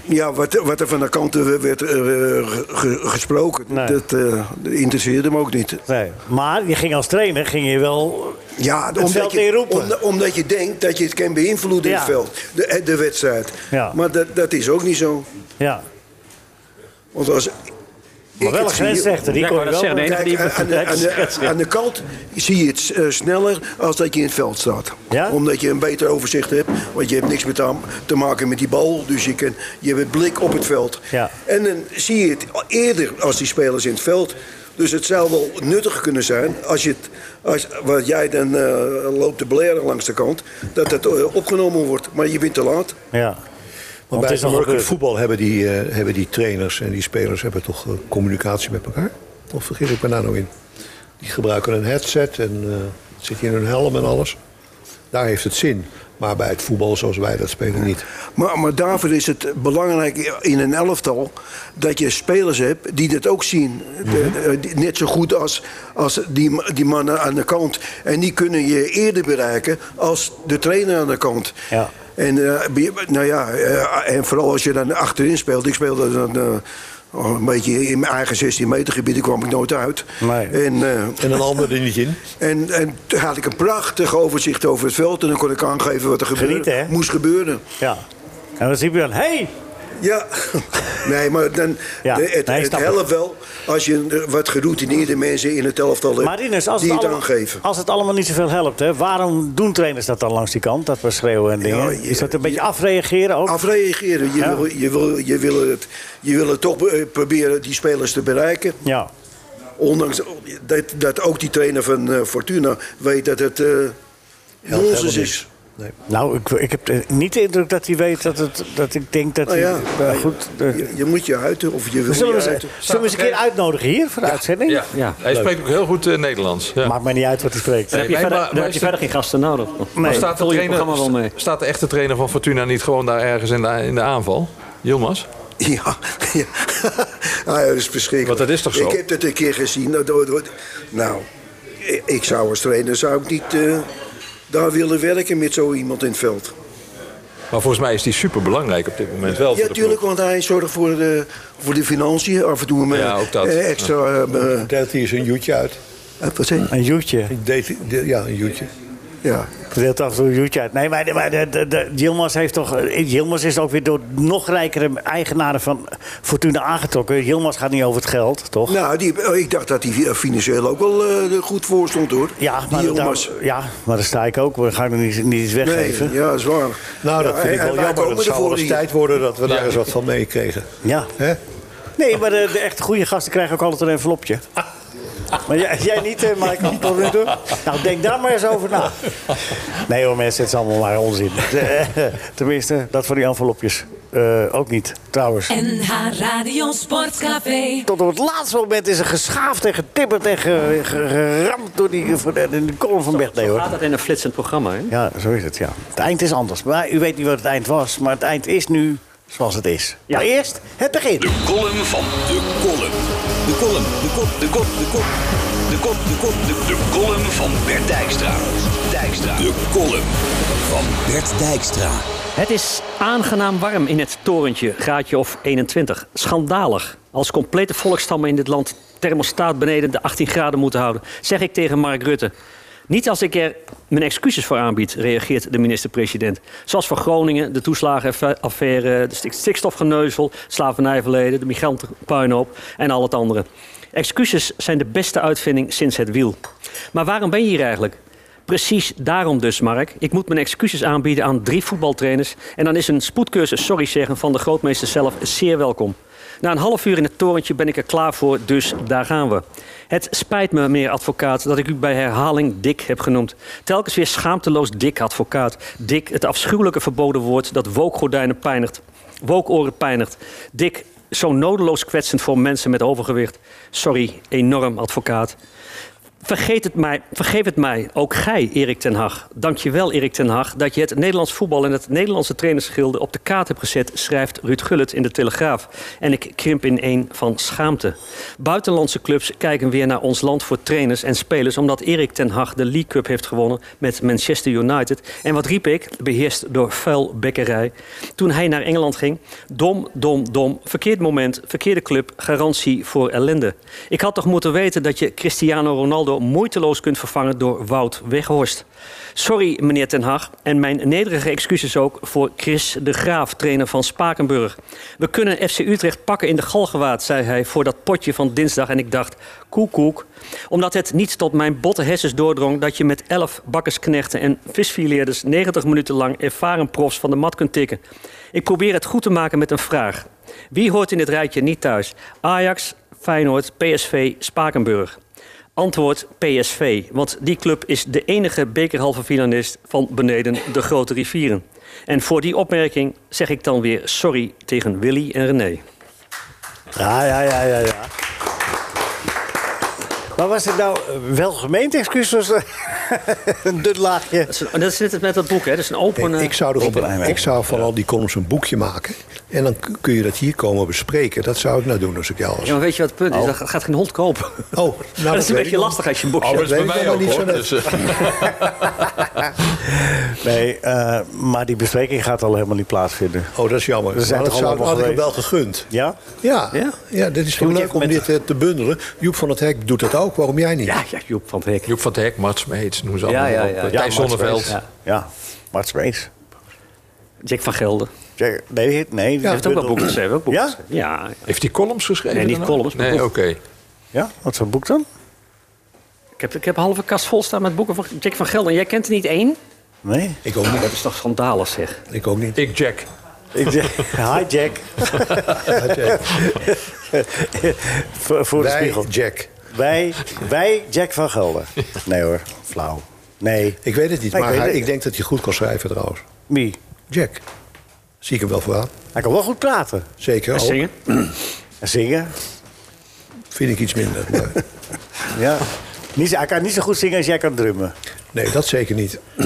Ja, wat, wat er van de kanten werd eh, ge- ge- gesproken,
Nee.
dat eh, interesseerde me ook niet.
Nee. Maar je ging als trainer ging je wel
Ja,
veld
Ah, omdat je,
inroepen.
om- omdat je denkt dat je het kan beïnvloeden in
Ja.
het veld, de, eh, de wedstrijd.
Ja.
Maar dat, dat is ook niet zo.
Ja,
Want als
maar wel een grensrechter. Die
Ja, ik
kon je
wou
wel...
dat zeggen, nee.
Kijk, aan, aan de, aan, de, aan de kant zie je het eh, sneller als dat je in het veld staat.
Ja?
Omdat je een beter overzicht hebt. Want je hebt niks met aan- te maken met die bal. Dus je, kan, je hebt het blik op het veld.
Ja.
En dan zie je het eerder als die spelers in het veld. Dus het zou wel nuttig kunnen zijn als, je het, als wat jij dan eh, loopt te blaren langs de kant, dat dat eh, opgenomen wordt. Maar je bent te laat.
Ja.
Maar
het
bij
is
het
nog gebeurd.
voetbal hebben die, eh, hebben die trainers en die spelers hebben toch eh, communicatie met elkaar? Of vergis ik me daar nou in? Die gebruiken een headset en eh, het zit in hun helm en alles. Daar heeft het zin. Maar bij het voetbal zoals wij dat spelen niet.
Maar, maar daarvoor is het belangrijk in een elftal dat je spelers hebt die dat ook zien.
Mhm.
De- eh, die- net zo goed als, als die, ma- die mannen aan de kant. En die kunnen je eerder bereiken als de trainer aan de kant.
Ja.
En, eh, bij- nou ja, eh, en vooral als je dan achterin speelt. Ik speelde dan eh, oh, een beetje in mijn eigen 16 meter gebied, daar kwam ik nooit uit.
Nee.
En, eh,
En een ander er niet in.
en, en toen had ik een prachtig overzicht over het veld. En dan kon ik aangeven wat er
Genieten, hè?
gebeurde, moest gebeuren.
Ja. En dan zie je dan, hey!
Ja, nee, maar dan,
Ja,
de- het,
nee,
het
snap ik.
helpt wel als je eh, wat geroutineerde mensen in het elftal hebt
Maar Rinus, als,
die
het
het
allemaal,
aangeven.
als het allemaal niet zoveel helpt, hè, waarom doen trainers dat dan langs die kant? Dat we schreeuwen en dingen.
Ja, je-
is dat een beetje
je-
afreageren ook?
Afreageren. Je,
Ja.
wil, je, wil, je, wil het, je wil het toch eh, proberen die spelers te bereiken.
Ja.
Ondanks dat, dat ook die trainer van eh, Fortuna weet dat het eh nonsens
helemaal
is.
Nou, ik, ik heb eh, niet de indruk dat hij weet dat, het, dat ik denk dat
Nou
hij...
ja,
Maar goed, eh,
je, je moet je uiten of je wil
zullen, we,
je
ze-
uiten.
zullen we eens een keer uitnodigen hier voor de uitzending?
Ja.
Ja,
Hij spreekt ook heel goed eh, Nederlands. Ja.
Maakt mij niet uit wat hij spreekt.
Dan heb je,
Nee,
verder,
maar-
dan
maar
heb je
is het-
verder geen gasten nodig.
Maar
Dan
staat, de
vul je het
trainer,
programma wel mee.
staat de echte trainer van Fortuna niet gewoon daar ergens in de, in de aanval? Yilmaz?
Ja, ja. Ah, ja, dat is verschrikkelijk.
Want dat is toch zo?
Ik heb dat een keer gezien. Nou, dat- dat- nou, ik- ik zou als trainer zou ik niet eh, daar willen werken met zo iemand in het veld.
Maar volgens mij is die superbelangrijk op dit moment wel. voor
Ja,
de
tuurlijk,
ploeg.
want hij zorgt voor de, voor de financiën. Af en toe een
Ja, ook dat.
eh, extra... eh, eh,
Deelt hij eens een joetje uit.
wat zeg je?
Een joetje.
Deed, de- ja, een joetje.
Ja.
Ik deelt af en toe een joetje uit. Nee, maar, maar de, de, de- Yilmaz heeft toch... eh, Yilmaz is ook weer door nog rijkere eigenaren van Fortuna aangetrokken. Yilmaz gaat niet over het geld, toch?
Nou, die, oh, ik dacht dat hij eh, financieel ook wel eh, er goed voor stond, hoor.
Ja, maar,
die
daar-
Yilmaz.
ja, maar daar sta ik ook. We gaan er niet, niet iets weggeven.
Nee, ja, dat is waar.
Nou, dat
Ja,
vind ik
en-
wel
en wij
jammer.
komen
Het zou
ervoor
wel eens
hier.
tijd worden dat we daar eens wat van meekregen.
Ja.
Hè?
Nee, maar de, de echt goede gasten krijgen ook altijd een envelopje. Maar jij, jij niet, eh, Michael, tot nu toe? Nou, denk daar maar eens over na. Nee hoor, mensen, het is allemaal maar onzin. eh, Tenminste, dat voor die envelopjes. Eh, ook niet, trouwens.
NH Radio Sportcafé.
Tot op het laatste moment is er geschaafd en getipperd en ge- ge- geramd door die, in de kolom van Bert. Nee hoor.
Gaat dat in een flitsend programma, hè?
Ja, zo is het, ja. Het eind is anders. Maar u weet niet wat het eind was, maar het eind is nu zoals het is.
Ja.
Maar eerst het begin.
De column van de column. De column, de kop, de kop, de kop. De kop, de kop, de De column van Bert Dijkstra. Dijkstra. De column van Bert Dijkstra.
Het is aangenaam warm in het torentje, graadje of 21. Schandalig. Als complete volkstammen in dit land thermostaat beneden de 18 graden moeten houden, zeg ik tegen Mark Rutte. Niet als ik er mijn excuses voor aanbied, reageert de minister-president. Zoals voor Groningen, de toeslagenaffaire, de stik- stikstofgeneuzel, het slavernijverleden, de migrantenpuinhoop en al het andere. Excuses zijn de beste uitvinding sinds het wiel. Maar waarom ben je hier eigenlijk? Precies daarom dus, Mark. Ik moet mijn excuses aanbieden aan drie voetbaltrainers. En dan is een spoedcursus sorry zeggen van de grootmeester zelf zeer welkom. Na een half uur in het torentje ben ik er klaar voor, dus daar gaan we. Het spijt me, meneer advocaat, dat ik u bij herhaling dik heb genoemd. Telkens weer schaamteloos dik advocaat. Dik, het afschuwelijke verboden woord dat wookgordijnen pijnigt. Wookoren pijnigt. Dik, zo nodeloos kwetsend voor mensen met overgewicht. Sorry, enorm advocaat. Vergeet het mij, vergeef het mij, ook gij, Erik ten Hag. Dank je wel, Erik ten Hag, dat je het Nederlands voetbal en het Nederlandse trainersgilde op de kaart hebt gezet, schrijft Ruud Gullit in de Telegraaf. En ik krimp in één van schaamte. Buitenlandse clubs kijken weer naar ons land voor trainers en spelers, omdat Erik ten Hag de League Cup heeft gewonnen met Manchester United. En wat riep ik, beheerst door vuilbekkerij, toen hij naar Engeland ging? Dom, dom, dom, verkeerd moment, verkeerde club, garantie voor ellende. Ik had toch moeten weten dat je Cristiano Ronaldo moeiteloos kunt vervangen door Wout Weghorst. Sorry, meneer Ten Hag, en mijn nederige excuses ook voor Chris de Graaf, trainer van Spakenburg. We kunnen FC Utrecht pakken in de galgenwaard, zei hij voor dat potje van dinsdag. En ik dacht, koek, koek. Omdat het niet tot mijn botte hersens doordrong dat je met elf bakkersknechten en visfileerders 90 minuten lang ervaren profs van de mat kunt tikken. Ik probeer het goed te maken met een vraag. Wie hoort in dit rijtje niet thuis? Ajax, Feyenoord, PSV, Spakenburg. Antwoord PSV, want die club is de enige bekerhalve finalist van beneden de grote rivieren. En voor die opmerking zeg ik dan weer sorry tegen Willy en René.
Ja, ja, ja, ja, ja. Maar was het nou wel gemeend excuus? Was eh, een dun laagje.
Dat is, een- dat is net met dat boek, hè? Dat is een open... eh,
Ik zou, er
Open
op,
eindwerk.
ik zou van al die columns een boekje maken. En dan k- kun je dat hier komen bespreken. Dat zou ik nou doen als ik jou was.
Ja, maar weet je wat het punt is? Dat gaat geen hond kopen.
nou,
dat is een
weet
beetje
ik nog.
lastig als je een boekje
Oh, dat
hebt.
is bij
weet ik
mij
nog
ook hoor.
niet zo net.
Dus, eh,
Nee, eh, maar die bespreking gaat al helemaal niet plaatsvinden.
Oh, dat is jammer.
We zijn
Maar dat
toch
zou,
allemaal
had ik hem wel
geweest.
gegund.
Ja?
Ja,
Ja?
ja? dit is gewoon
moet
leuk
even
om
met-
dit eh, te bundelen. Joep van het Hek doet dat ook. Waarom jij niet?
Ja, ja, Joep van het Hek.
Joep van het Hek, Mart Smeets, noem ze
Ja,
allemaal
ja,
op.
ja.
Eh,
Ja,
Thijs
Mart
Zonneveld.
Smeets. Ja, Mart Smeets.
Jack van Gelder.
Zeg, Nee, nee. die
Heeft ook wel
bundel-
boeken geschreven. Ook boeken
Ja?
geschreven. ja?
Heeft hij columns geschreven?
Nee, niet
dan ook?
columns, maar
Nee, oké.
boeken.
Ja, wat voor boek dan?
Ik heb, ik heb een halve kast vol staan met boeken van Jack van Gelder. Jij kent er niet één?
Nee.
Ik ook niet.
Dat is toch schandalig, zeg.
Ik ook niet.
Ik Jack.
Ik zeg, hi Jack. voor, voor de
Wij,
spiegel.
Jack.
Wij, wij Jack van Gelder. Nee hoor, flauw. Nee.
Ik weet het niet,
Ik
maar
weet
hij-
het.
ik denk dat hij goed kan schrijven trouwens.
Wie?
Jack. Zie ik hem wel voor aan.
Hij kan wel goed praten.
Zeker
En
ook.
zingen?
En zingen.
Vind ik iets minder. maar-
Ja. Niet, zo- hij kan niet zo goed zingen als jij kan drummen.
nee, dat zeker niet.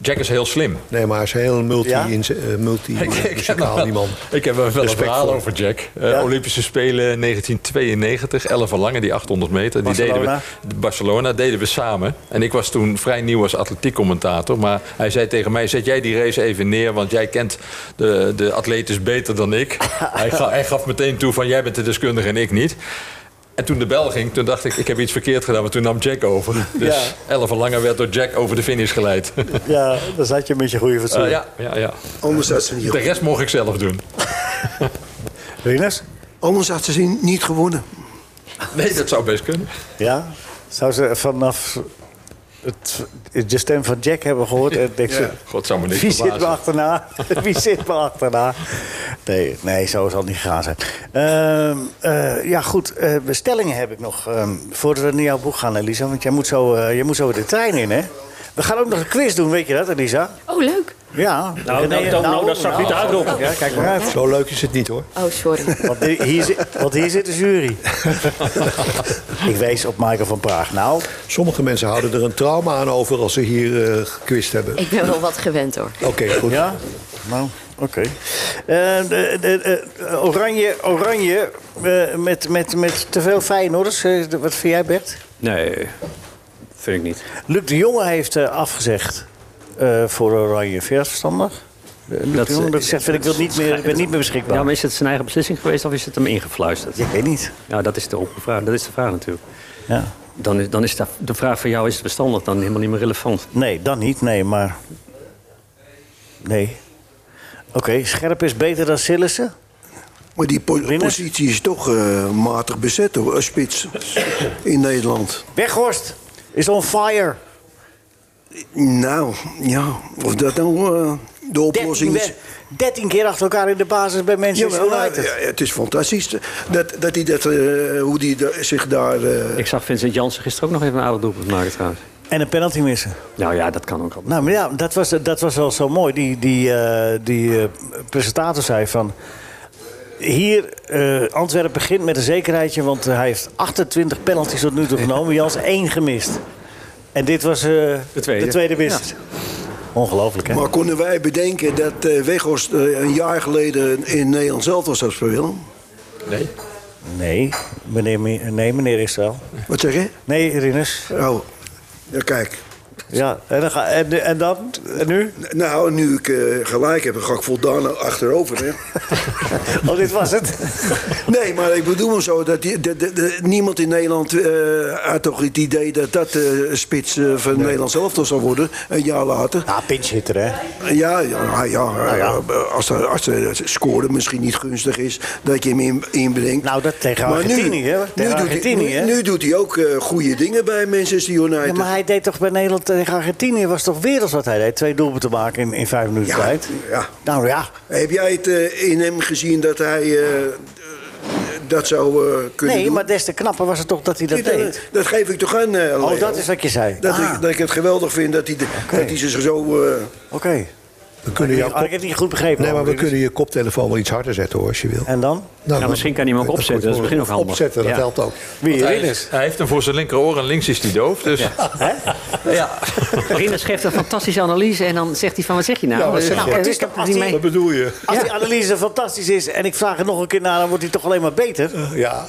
Jack is heel slim.
Nee, maar hij is heel multi,
Ja?
in- eh, multi-muzikaal, die man.
Ik heb wel een
Respect
verhaal
voor.
over Jack. Eh,
Ja.
Olympische Spelen 1992, Ellen van Lange, die 800 meter. Die
Barcelona.
deden we, Barcelona deden we samen. En ik was toen vrij nieuw als atletiekcommentator. Maar hij zei tegen mij, zet jij die race even neer... want jij kent de, de atletes beter dan ik. hij, ga- hij gaf meteen toe van, jij bent de deskundige en ik niet. En toen de bel ging, toen dacht ik, ik heb iets verkeerd gedaan. Maar toen nam Jack over. Dus
Ja.
Ellen van Lange werd door Jack over de finish geleid.
Ja, dan zat je met je goede fatsoen.
Eh, ja, ja, ja.
Anders had ze niet,
De rest mocht ik zelf doen.
Rinus?
anders had ze niet gewonnen.
Nee, dat zou best kunnen.
Ja? Zou ze vanaf het, de stem van Jack hebben gehoord? En denkt ze,
God, zou me niks
Wie zit me
verbazen.
achterna? Wie zit me achterna? Nee, nee, zo zal het niet gegaan zijn. Ehm, eh, ja, goed. eh, bestellingen heb ik nog. ehm, voordat we naar jouw boek gaan, Elisa. Want jij moet, zo, eh, jij moet zo de trein in, hè? We gaan ook nog een quiz doen, weet je dat, Elisa?
Oh, leuk.
Ja.
nou, nou, nou, dat zag niet uit, Rob.
Ja, kijk maar uit.
Zo leuk is het niet hoor.
Oh, sorry.
Want di- hier, zit- want hier zit de jury. ik wees op Michael van Praag. Nou,
Sommige mensen houden er een trauma aan over als ze hier eh gekwist hebben.
Ik ben wel wat gewend, hoor.
Oké, goed.
ja. Nou, oké. Eh, de- de- de- oranje, oranje eh, met, met, met te veel Feyenoorders. Eh, de- wat vind jij, Bert?
Nee, vind ik niet.
Luc de Jonge heeft eh, afgezegd eh, voor Oranje. Vind je dat verstandig? Eh, Luc
Dat,
de Jonge
eh,
dat zegt, vind ik wil niet meer, ik ben niet meer beschikbaar.
Ja, maar is het zijn eigen beslissing geweest of is het hem ingefluisterd?
Ik weet niet.
Ja, dat is de open vraag. Dat is de vraag natuurlijk.
Ja.
Dan is, dan is de, de vraag van jou, is het verstandig dan helemaal niet meer relevant?
Nee, dan niet. Nee, maar... Nee. Oké, Scherp is beter dan Sillissen?
Maar die po-
Winnen?
positie is toch eh, matig bezet, hoor, als spits in Nederland.
Weghorst is on fire.
Nou, ja, of dat nou eh, de
13,
oplossing is.
we- 13 keer achter elkaar in de basis bij Manchester
Jawel, nou,
United.
ja, het is fantastisch dat, dat hij dat, eh, hoe hij da- zich daar... eh,
Ik zag Vincent Jansen gisteren ook nog even een aardig doelpunt maken trouwens.
En een penalty missen.
Nou ja, dat kan ook al.
Nou, maar ja, dat was, dat was wel zo mooi. Die, die, eh, die eh, presentator zei van... hier, eh, Antwerpen begint met een zekerheidje, want hij heeft 28 penalties tot nu toe genomen. Jans één gemist. En dit was eh, de
tweede.
mist. Ongelooflijk, hè?
Maar konden wij bedenken dat eh Weghorst eh, een jaar geleden in Nederland zelf was als Willem?
Nee.
Nee, meneer, eh, nee, meneer Israël.
Wat zeg je?
Nee, Rinus.
Oh, ja, kijk.
Ja, en dan, ga- en, en dan? En nu?
Nou, nu ik eh, gelijk heb, dan ga ik voldaan achterover. Hè.
Oh, dit was het.
Nee, maar ik bedoel maar zo dat die, de- de- de- niemand in Nederland eh, had toch het idee dat dat de spits eh, van Nederland zelf zou worden een jaar later.
Ja, Ah, pinchhitter, hè? Nou
Ja, ja, ja, ja, Als, de, als de score misschien niet gunstig is, dat je hem in, inbrengt.
Nou, dat tegen
Maar nu-
Argentinië, hè?
nu
Tegen
doet hij-
Argentinië, hè?
nu, nu doet hij ook eh, goede dingen bij Manchester United.
Ja, maar hij deed toch bij Nederland tegen Argentinië, was toch werelds wat hij deed? Twee doelpunten maken in, in vijf minuten
Ja,
tijd.
ja.
Nou ja,
Heb jij het eh, in hem gezien dat hij eh, dat zou eh, kunnen
nee,
doen?
maar des te knapper was het toch dat hij dat
dat,
deed.
dat geef ik toch aan, eh, Leo.
Oh, dat is wat je zei.
Dat,
Ah,
ik, dat ik het geweldig vind dat hij, de- dat hij zich zo... eh,
Oké.
We kunnen jouw
Ah, ik
kop...
heb het niet goed begrepen.
Nee, maar we
hoor.
kunnen je koptelefoon wel iets harder zetten hoor, als je wil.
En dan?
Nou,
Ja, misschien kan hij hem ook
dat
opzetten, dat is misschien nog handig.
Opzetten, dat
Ja.
helpt ook.
Wie?
Hij,
Rinus?
is- hij heeft hem voor zijn linkeroor en links is hij doof. Dus ja.
Rinus geeft een fantastische analyse en dan zegt hij van, wat zeg je nou?
Ja, wat zeg je?
eh,
Het is
ik heb
toch
het niet
als
mee.
Wat bedoel je?
Als die analyse fantastisch is en ik vraag er nog een keer naar, dan wordt hij toch alleen maar beter?
Eh, Ja,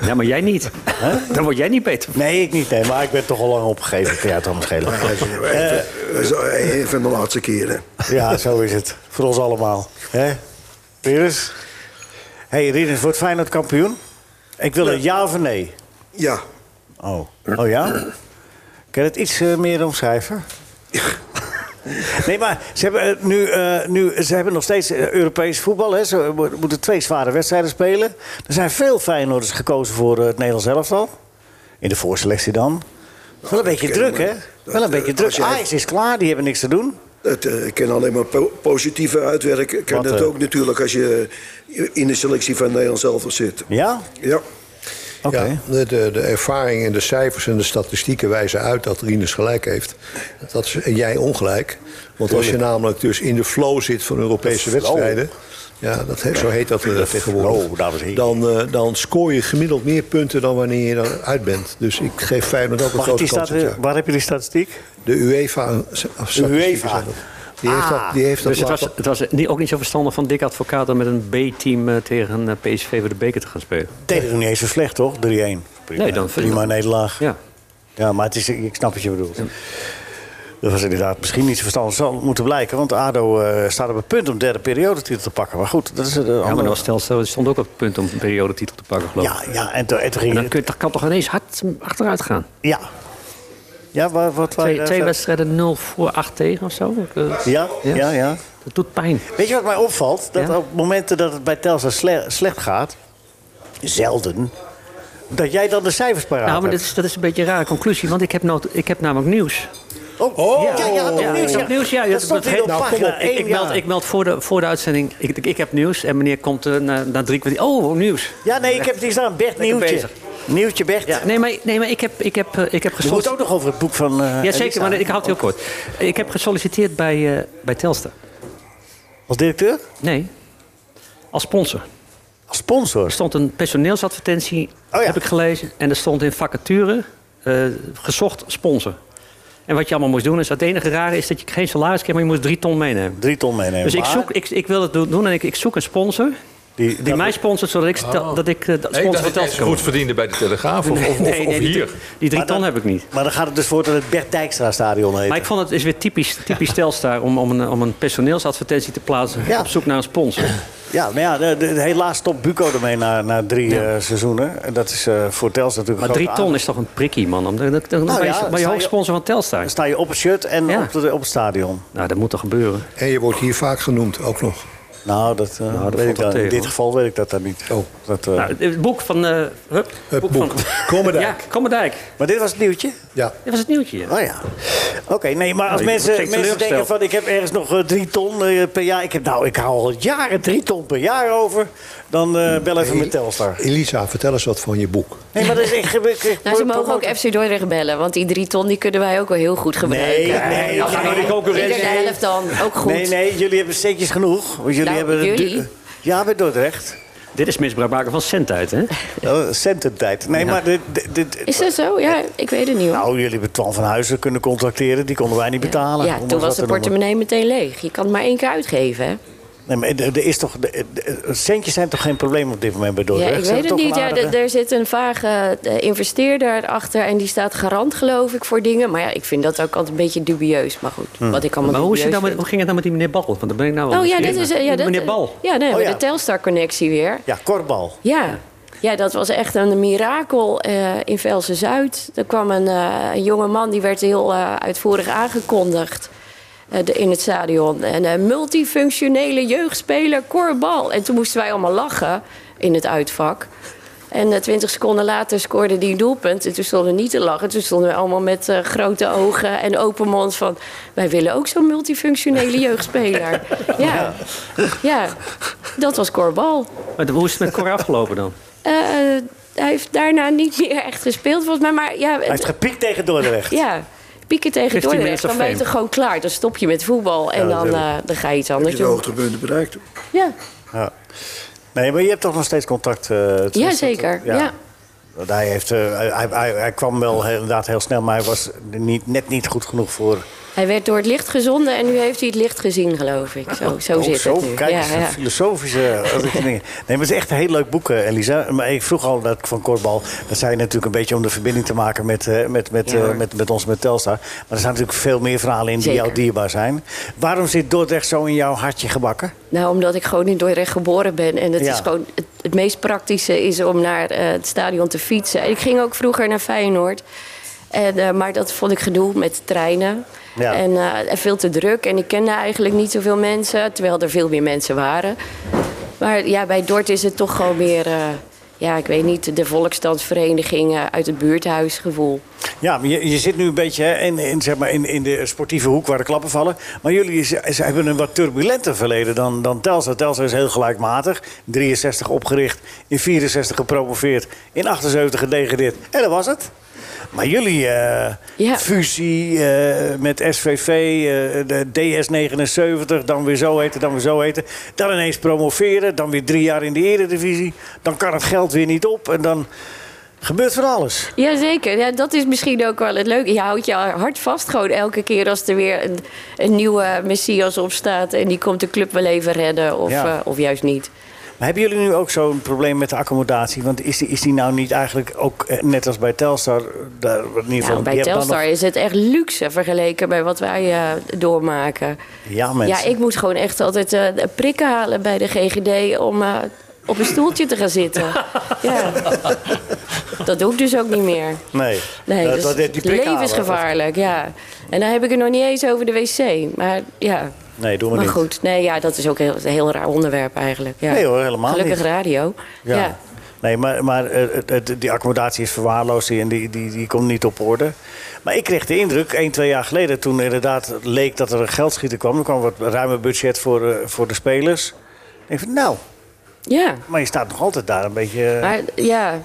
Ja, maar jij niet. Dan word jij niet beter.
Nee, ik niet. Nee, maar ik ben toch al lang opgegeven. Ik kan jou het allemaal schelen. Eh.
even, zo, een van de laatste keren.
Ja, zo is het. Voor ons allemaal. Hè? Rinus? Hé, hey, Rinus, wordt Feyenoord kampioen? Ik wil een ja of een nee.
Ja.
Oh, oh ja? Kan je het iets eh, meer omschrijven? Nee, maar ze hebben, eh, nu, eh, nu, ze hebben nog steeds eh, Europees voetbal. Hè. Ze mo- moeten twee zware wedstrijden spelen. Er zijn veel Feyenoorders gekozen voor eh, het Nederlands elftal. In de voorselectie dan. Wel een beetje
ken
druk,
ik,
hè?
Oh, dat,
Wel een
eh,
beetje druk.
als jij-
Ajax is klaar, die hebben niks te doen.
Het eh, kan alleen maar po- positieve uitwerken. Kan
Wat,
dat
eh?
ook natuurlijk als je in de selectie van Nederland zelf zit.
Ja?
Ja.
Oké.
Ja, de, de, de ervaring en de cijfers en de statistieken wijzen uit dat Rinus gelijk heeft. Dat is, en jij ongelijk. Want als je namelijk dus in de flow zit van Europese wedstrijden... Ja, dat, he- zo heet dat eh,
flow, dames en
tegenwoordig.
heren.
Dan, eh, dan scoor je gemiddeld meer punten dan wanneer je eruit bent. Dus ik geef Feyenoord ook een
Mag ik
grote
die
kans.
stati-
dit jaar.
eh, Waar heb je die statistiek?
De UEFA... of statistieken
UEFA.
zijn dat. Die heeft
Ah,
dat, die heeft dat
Dus het was,
laten-
het was niet- ook niet zo verstandig van Dick Advocaat om met een B-team eh, tegen eh, PSV voor de beker te gaan spelen.
Deed het nog niet eens zo slecht, toch? 3-1. Prima.
Nee, dan-
Prima nederlaag.
Ja.
Ja, maar het is, ik snap wat je bedoelt. Dat was inderdaad misschien niet zo verstandig. zal moeten blijken, want ADO eh, staat op het punt om derde periode titel te pakken. Maar goed, dat is het
Ja, maar dat was stelsel, het stond ook op het punt om een periodetitel te pakken, geloof ik.
ja, ja, en, toen- en toen
En
ging
dan
het...
kun, dat kan toch ineens hard achteruit gaan?
Ja. Ja, wat... wat
Twee,
waar-
twee
eh,
wedstrijden 0 voor 8 tegen of zo. Ik, eh,
Ja,
Ja.
ja, ja.
Dat doet pijn.
Weet je wat mij opvalt? Dat
Ja.
op momenten dat het bij Telstra sle- slecht gaat... Zelden. Dat jij dan de cijfers paraat
Nou, maar dat
hebt.
is, dat is een beetje een rare conclusie, want ik heb, nou, ik heb namelijk nieuws.
Oh, ja, je had nog
Ja,
nieuws.
ik heb nieuws, ja.
dat stond
dat-
hier op
nou, kom
pagina
op.
één,
Ik, ik, meld,
ja.
ik meld voor de, voor de uitzending, ik, ik, ik heb nieuws. En meneer komt eh, na, na drie kwartier, oh, nieuws.
Ja, nee, ik heb het hier staan. Bert
Lekker
Nieuwtje.
bezig.
Nieuwtje Bert.
Ja, nee, maar, nee, maar ik heb, ik heb, eh, ik heb
We moeten
gesolliciteerd.
ook nog over het boek van... eh,
Ja, zeker,
Elisa.
maar ik houd het heel kort. Ik heb gesolliciteerd bij, eh, bij Telstar.
Als directeur?
Nee, als sponsor.
Als sponsor.
Er stond een personeelsadvertentie,
Oh ja.
heb ik gelezen. En er stond in vacature eh, gezocht sponsor. En wat je allemaal moest doen is, het enige rare is dat je geen salaris kreeg, maar je moest drie ton meenemen.
Drie ton meenemen.
Dus ik,
Maar
zoek, ik, ik wil het doen en ik, ik zoek een sponsor
Die,
die mij sponsort, zodat ik, stel- dat ik eh, dat
Oh. Nee, ik
sponsor van
dacht dat hij
Telstar
ze
kan
goed
worden.
verdiende bij de Telegraaf of, of, of,
Nee,
of
nee, die-
hier.
Die drie ton
dat-
heb ik niet.
Maar dan gaat het dus voor dat het Bert Dijkstra Stadion heet.
Maar ik vond het is weer typisch, typisch Telstar om, om, een, om een personeelsadvertentie te plaatsen
Ja.
op zoek naar een sponsor.
Ja, maar ja, de, de- helaas stopt Buco ermee na, na drie eh, seizoenen. En dat is eh, voor Tels natuurlijk
Maar
een
drie
grote
ton
aan-
is toch een prikkie, man. Dan, dan, dan
Nou
ben je,
ja,
ben je
sta je-
hoofdsponsor van Telstar.
Dan sta je op het shirt en
Ja.
op, de, op het stadion.
Nou, dat moet toch gebeuren.
En je wordt hier vaak genoemd, ook nog.
Nou, dat,
dat
eh, weet
valt
ik
wel
dan. In
tegen,
dit
hoor.
geval weet ik dat dan niet.
Oh.
Dat, eh,
Nou, het boek van... eh hup,
Het boek. Kommerdijk.
Ja, Kommerdijk.
maar dit was het nieuwtje?
Ja.
Dit was het nieuwtje. ja.
Oh ja. Oké, nee, maar als
Nou, je
mensen,
wordt steeds
mensen denken
teleurgesteld.
van ik heb ergens nog eh, drie ton eh, per jaar. Ik heb nou, ik hou al jaren drie ton per jaar over. Dan eh, bel even met Telstar.
Nou, Elisa, vertel eens wat van je boek.
Nee, maar dat is echt... ik- ik-
Nou, ze mogen ook
promoten.
FC Dordrecht bellen, want die drie ton die kunnen wij ook wel heel goed
Nee,
gebruiken.
nee,
Ieder de
nee.
helft dan, ook goed.
Nee, nee, jullie hebben steekjes genoeg. Want jullie
Nou,
hebben
jullie.
du- Ja, bij Dordrecht.
Dit is misbruik maken van centheid, hè?
Eh, Cententijd. Nee, maar dit, dit- dit-
Is dat zo? Ja, ik weet het niet hoor.
nou, jullie hebben Twan van Huizen kunnen contracteren. Die konden wij niet betalen.
ja,
om
toen
ons
was
dat
de
te noemen.
portemonnee meteen leeg. Je kan het maar één keer uitgeven, hè?
Nee, maar er er is toch, de- de- centjes zijn toch geen probleem op dit moment bij
Ja,
Dordrecht?
ik
Ze
weet
hebben
het
toch
niet.
een
Ja,
aardige-
d- er zit een vage eh, investeerder achter en die staat garant, geloof ik, voor dingen. Maar ja, ik vind dat ook altijd een beetje dubieus. Maar goed, Hm.
Hmm.
wat ik allemaal
Maar hoe, is het
dubieus
dan met- hoe
vind.
ging het dan met die meneer Bal? Want dan ben ik nou wel
Oh ja, dit
nieuwsgierig
is...
naar.
eh, Ja, dat,
meneer Bal.
Ja, nee,
Oh,
maar
ja.
de Telstar-connectie weer.
Ja, kortbal.
Ja. ja, dat was echt een mirakel eh, in Velsen-Zuid. Er kwam een, eh, een jonge man, die werd heel eh, uitvoerig aangekondigd eh, de- in het stadion. En een multifunctionele jeugdspeler, korbal. En toen moesten wij allemaal lachen in het uitvak. En eh, twintig seconden later scoorde die een doelpunt. En toen stonden we niet te lachen. Toen stonden we allemaal met eh, grote ogen en open mond van... wij willen ook zo'n multifunctionele jeugdspeler. ja. ja, dat was korbal.
Maar de- hoe is het met Cor afgelopen dan?
Eh, eh, hij heeft daarna niet meer echt gespeeld, volgens mij. Maar ja,
Hij heeft gepiekt tegen Dordrecht.
ja pieken tegen
15 minutes
Dordrecht,
of
dan ben je
fame.
toch gewoon klaar. Dan stop je met voetbal en dan, eh, dan ga je iets
Heb
anders
je de
doen.
hoogtepunten bereikt?
Ja,
Ja. Nee, maar je hebt toch nog steeds contact? eh, tenminste,
ja
dat-
zeker. Ja.
Want Hij, heeft, eh, hij, hij, hij kwam wel heel- inderdaad heel snel, maar hij was niet, net niet goed genoeg voor.
Hij werd door het licht gezonden en nu heeft hij het licht gezien, geloof ik. Zo, zo
Oh,
zit
zo,
het nu.
kijk,
ja,
eens, een
ja.
filosofische dingen. Nee, maar het is echt een heel leuk boek, eh, Elisa. Maar ik vroeg al dat van Kortbal. Dat zei je natuurlijk een beetje om de verbinding te maken met, eh, met, met,
Ja,
eh,
hoor.
met, met ons, met Telstar. Maar er staan natuurlijk veel meer verhalen in die
Zeker.
jou dierbaar zijn. Waarom zit Dordrecht zo in jouw hartje gebakken?
Nou, omdat ik gewoon in Dordrecht geboren ben. En het
Ja.
is gewoon het, het meest praktische is om naar eh, het stadion te fietsen. En ik ging ook vroeger naar Feyenoord. En, eh, maar dat vond ik gedoe met treinen.
Ja.
En eh, en veel te druk. En ik kende eigenlijk niet zoveel mensen. Terwijl er veel meer mensen waren. Maar ja, bij Dort is het toch gewoon meer... eh, ja, ik weet niet, de volksdansvereniging eh, uit het buurthuisgevoel.
Ja, maar je, je zit nu een beetje hè, in, in, zeg maar, in, in de sportieve hoek waar de klappen vallen. Maar jullie ze, ze hebben een wat turbulenter verleden dan, dan Telstar. Telstar is heel gelijkmatig. 63 opgericht, in 64 gepromoveerd, in 78 gedegradeerd. En dat was het. Maar jullie eh,
Ja.
fusie eh, met SVV, eh, de DS79, dan weer zo heten, dan weer zo heten. Dan ineens promoveren, dan weer drie jaar in de eredivisie. Dan kan het geld weer niet op en dan gebeurt van alles.
Jazeker, ja, dat is misschien ook wel het leuke. Je houdt je hart vast gewoon elke keer als er weer een, een nieuwe Messias opstaat... en die komt de club wel even redden of,
Ja.
eh, of juist niet.
Maar hebben jullie nu ook zo'n probleem met de accommodatie? Want is die, is die nou niet eigenlijk ook, eh, net als bij Telstar, eh, daar, in ieder geval...
Nou,
je
bij
hebt dan
Telstar is het echt luxe vergeleken bij wat wij eh, doormaken.
nog- Ja, mensen.
Ja, ik moet gewoon echt altijd eh, prikken halen bij de GGD om eh, op een stoeltje te gaan zitten. ja. Dat doe ik dus ook niet meer.
Nee.
Nee,
Eh,
dus
dat- die
het
prikken
leven is
halen, dat-
gevaarlijk, ja. En dan heb ik het nog niet eens over de wc. Maar ja,
Nee, doen we
maar
niet.
goed. Nee, ja, dat is ook heel, een heel raar onderwerp eigenlijk. Ja.
Nee hoor, helemaal
Gelukkig
niet.
radio. Ja.
Nee, maar, maar eh, het- het- die accommodatie is verwaarloosd en die, die, die komt niet op orde. Maar ik kreeg de indruk, één, twee jaar geleden, toen inderdaad leek dat er een geldschieter kwam. Er kwam wat ruimer budget voor, eh, voor de spelers. Ik denk van, nou,
ja.
maar je staat nog altijd daar een beetje... eh,
Maar ja.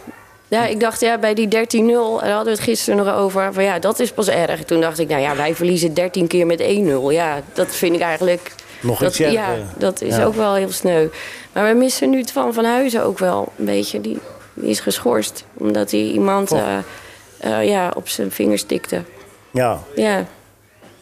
ja, ik dacht ja, bij die 13-0, daar hadden we het gisteren nog over. Van ja, dat is pas erg. Toen dacht ik, nou ja, wij verliezen 13 keer met 1-0. Ja, dat vind ik eigenlijk.
Nog
dat,
iets erger.
Ja, dat is
Ja.
ook wel heel sneu. Maar we missen nu Twan van Huizen ook wel een beetje. Die, die is geschorst omdat hij iemand
Oh.
eh, eh, ja, op zijn vingers tikte.
Ja,
Ja, en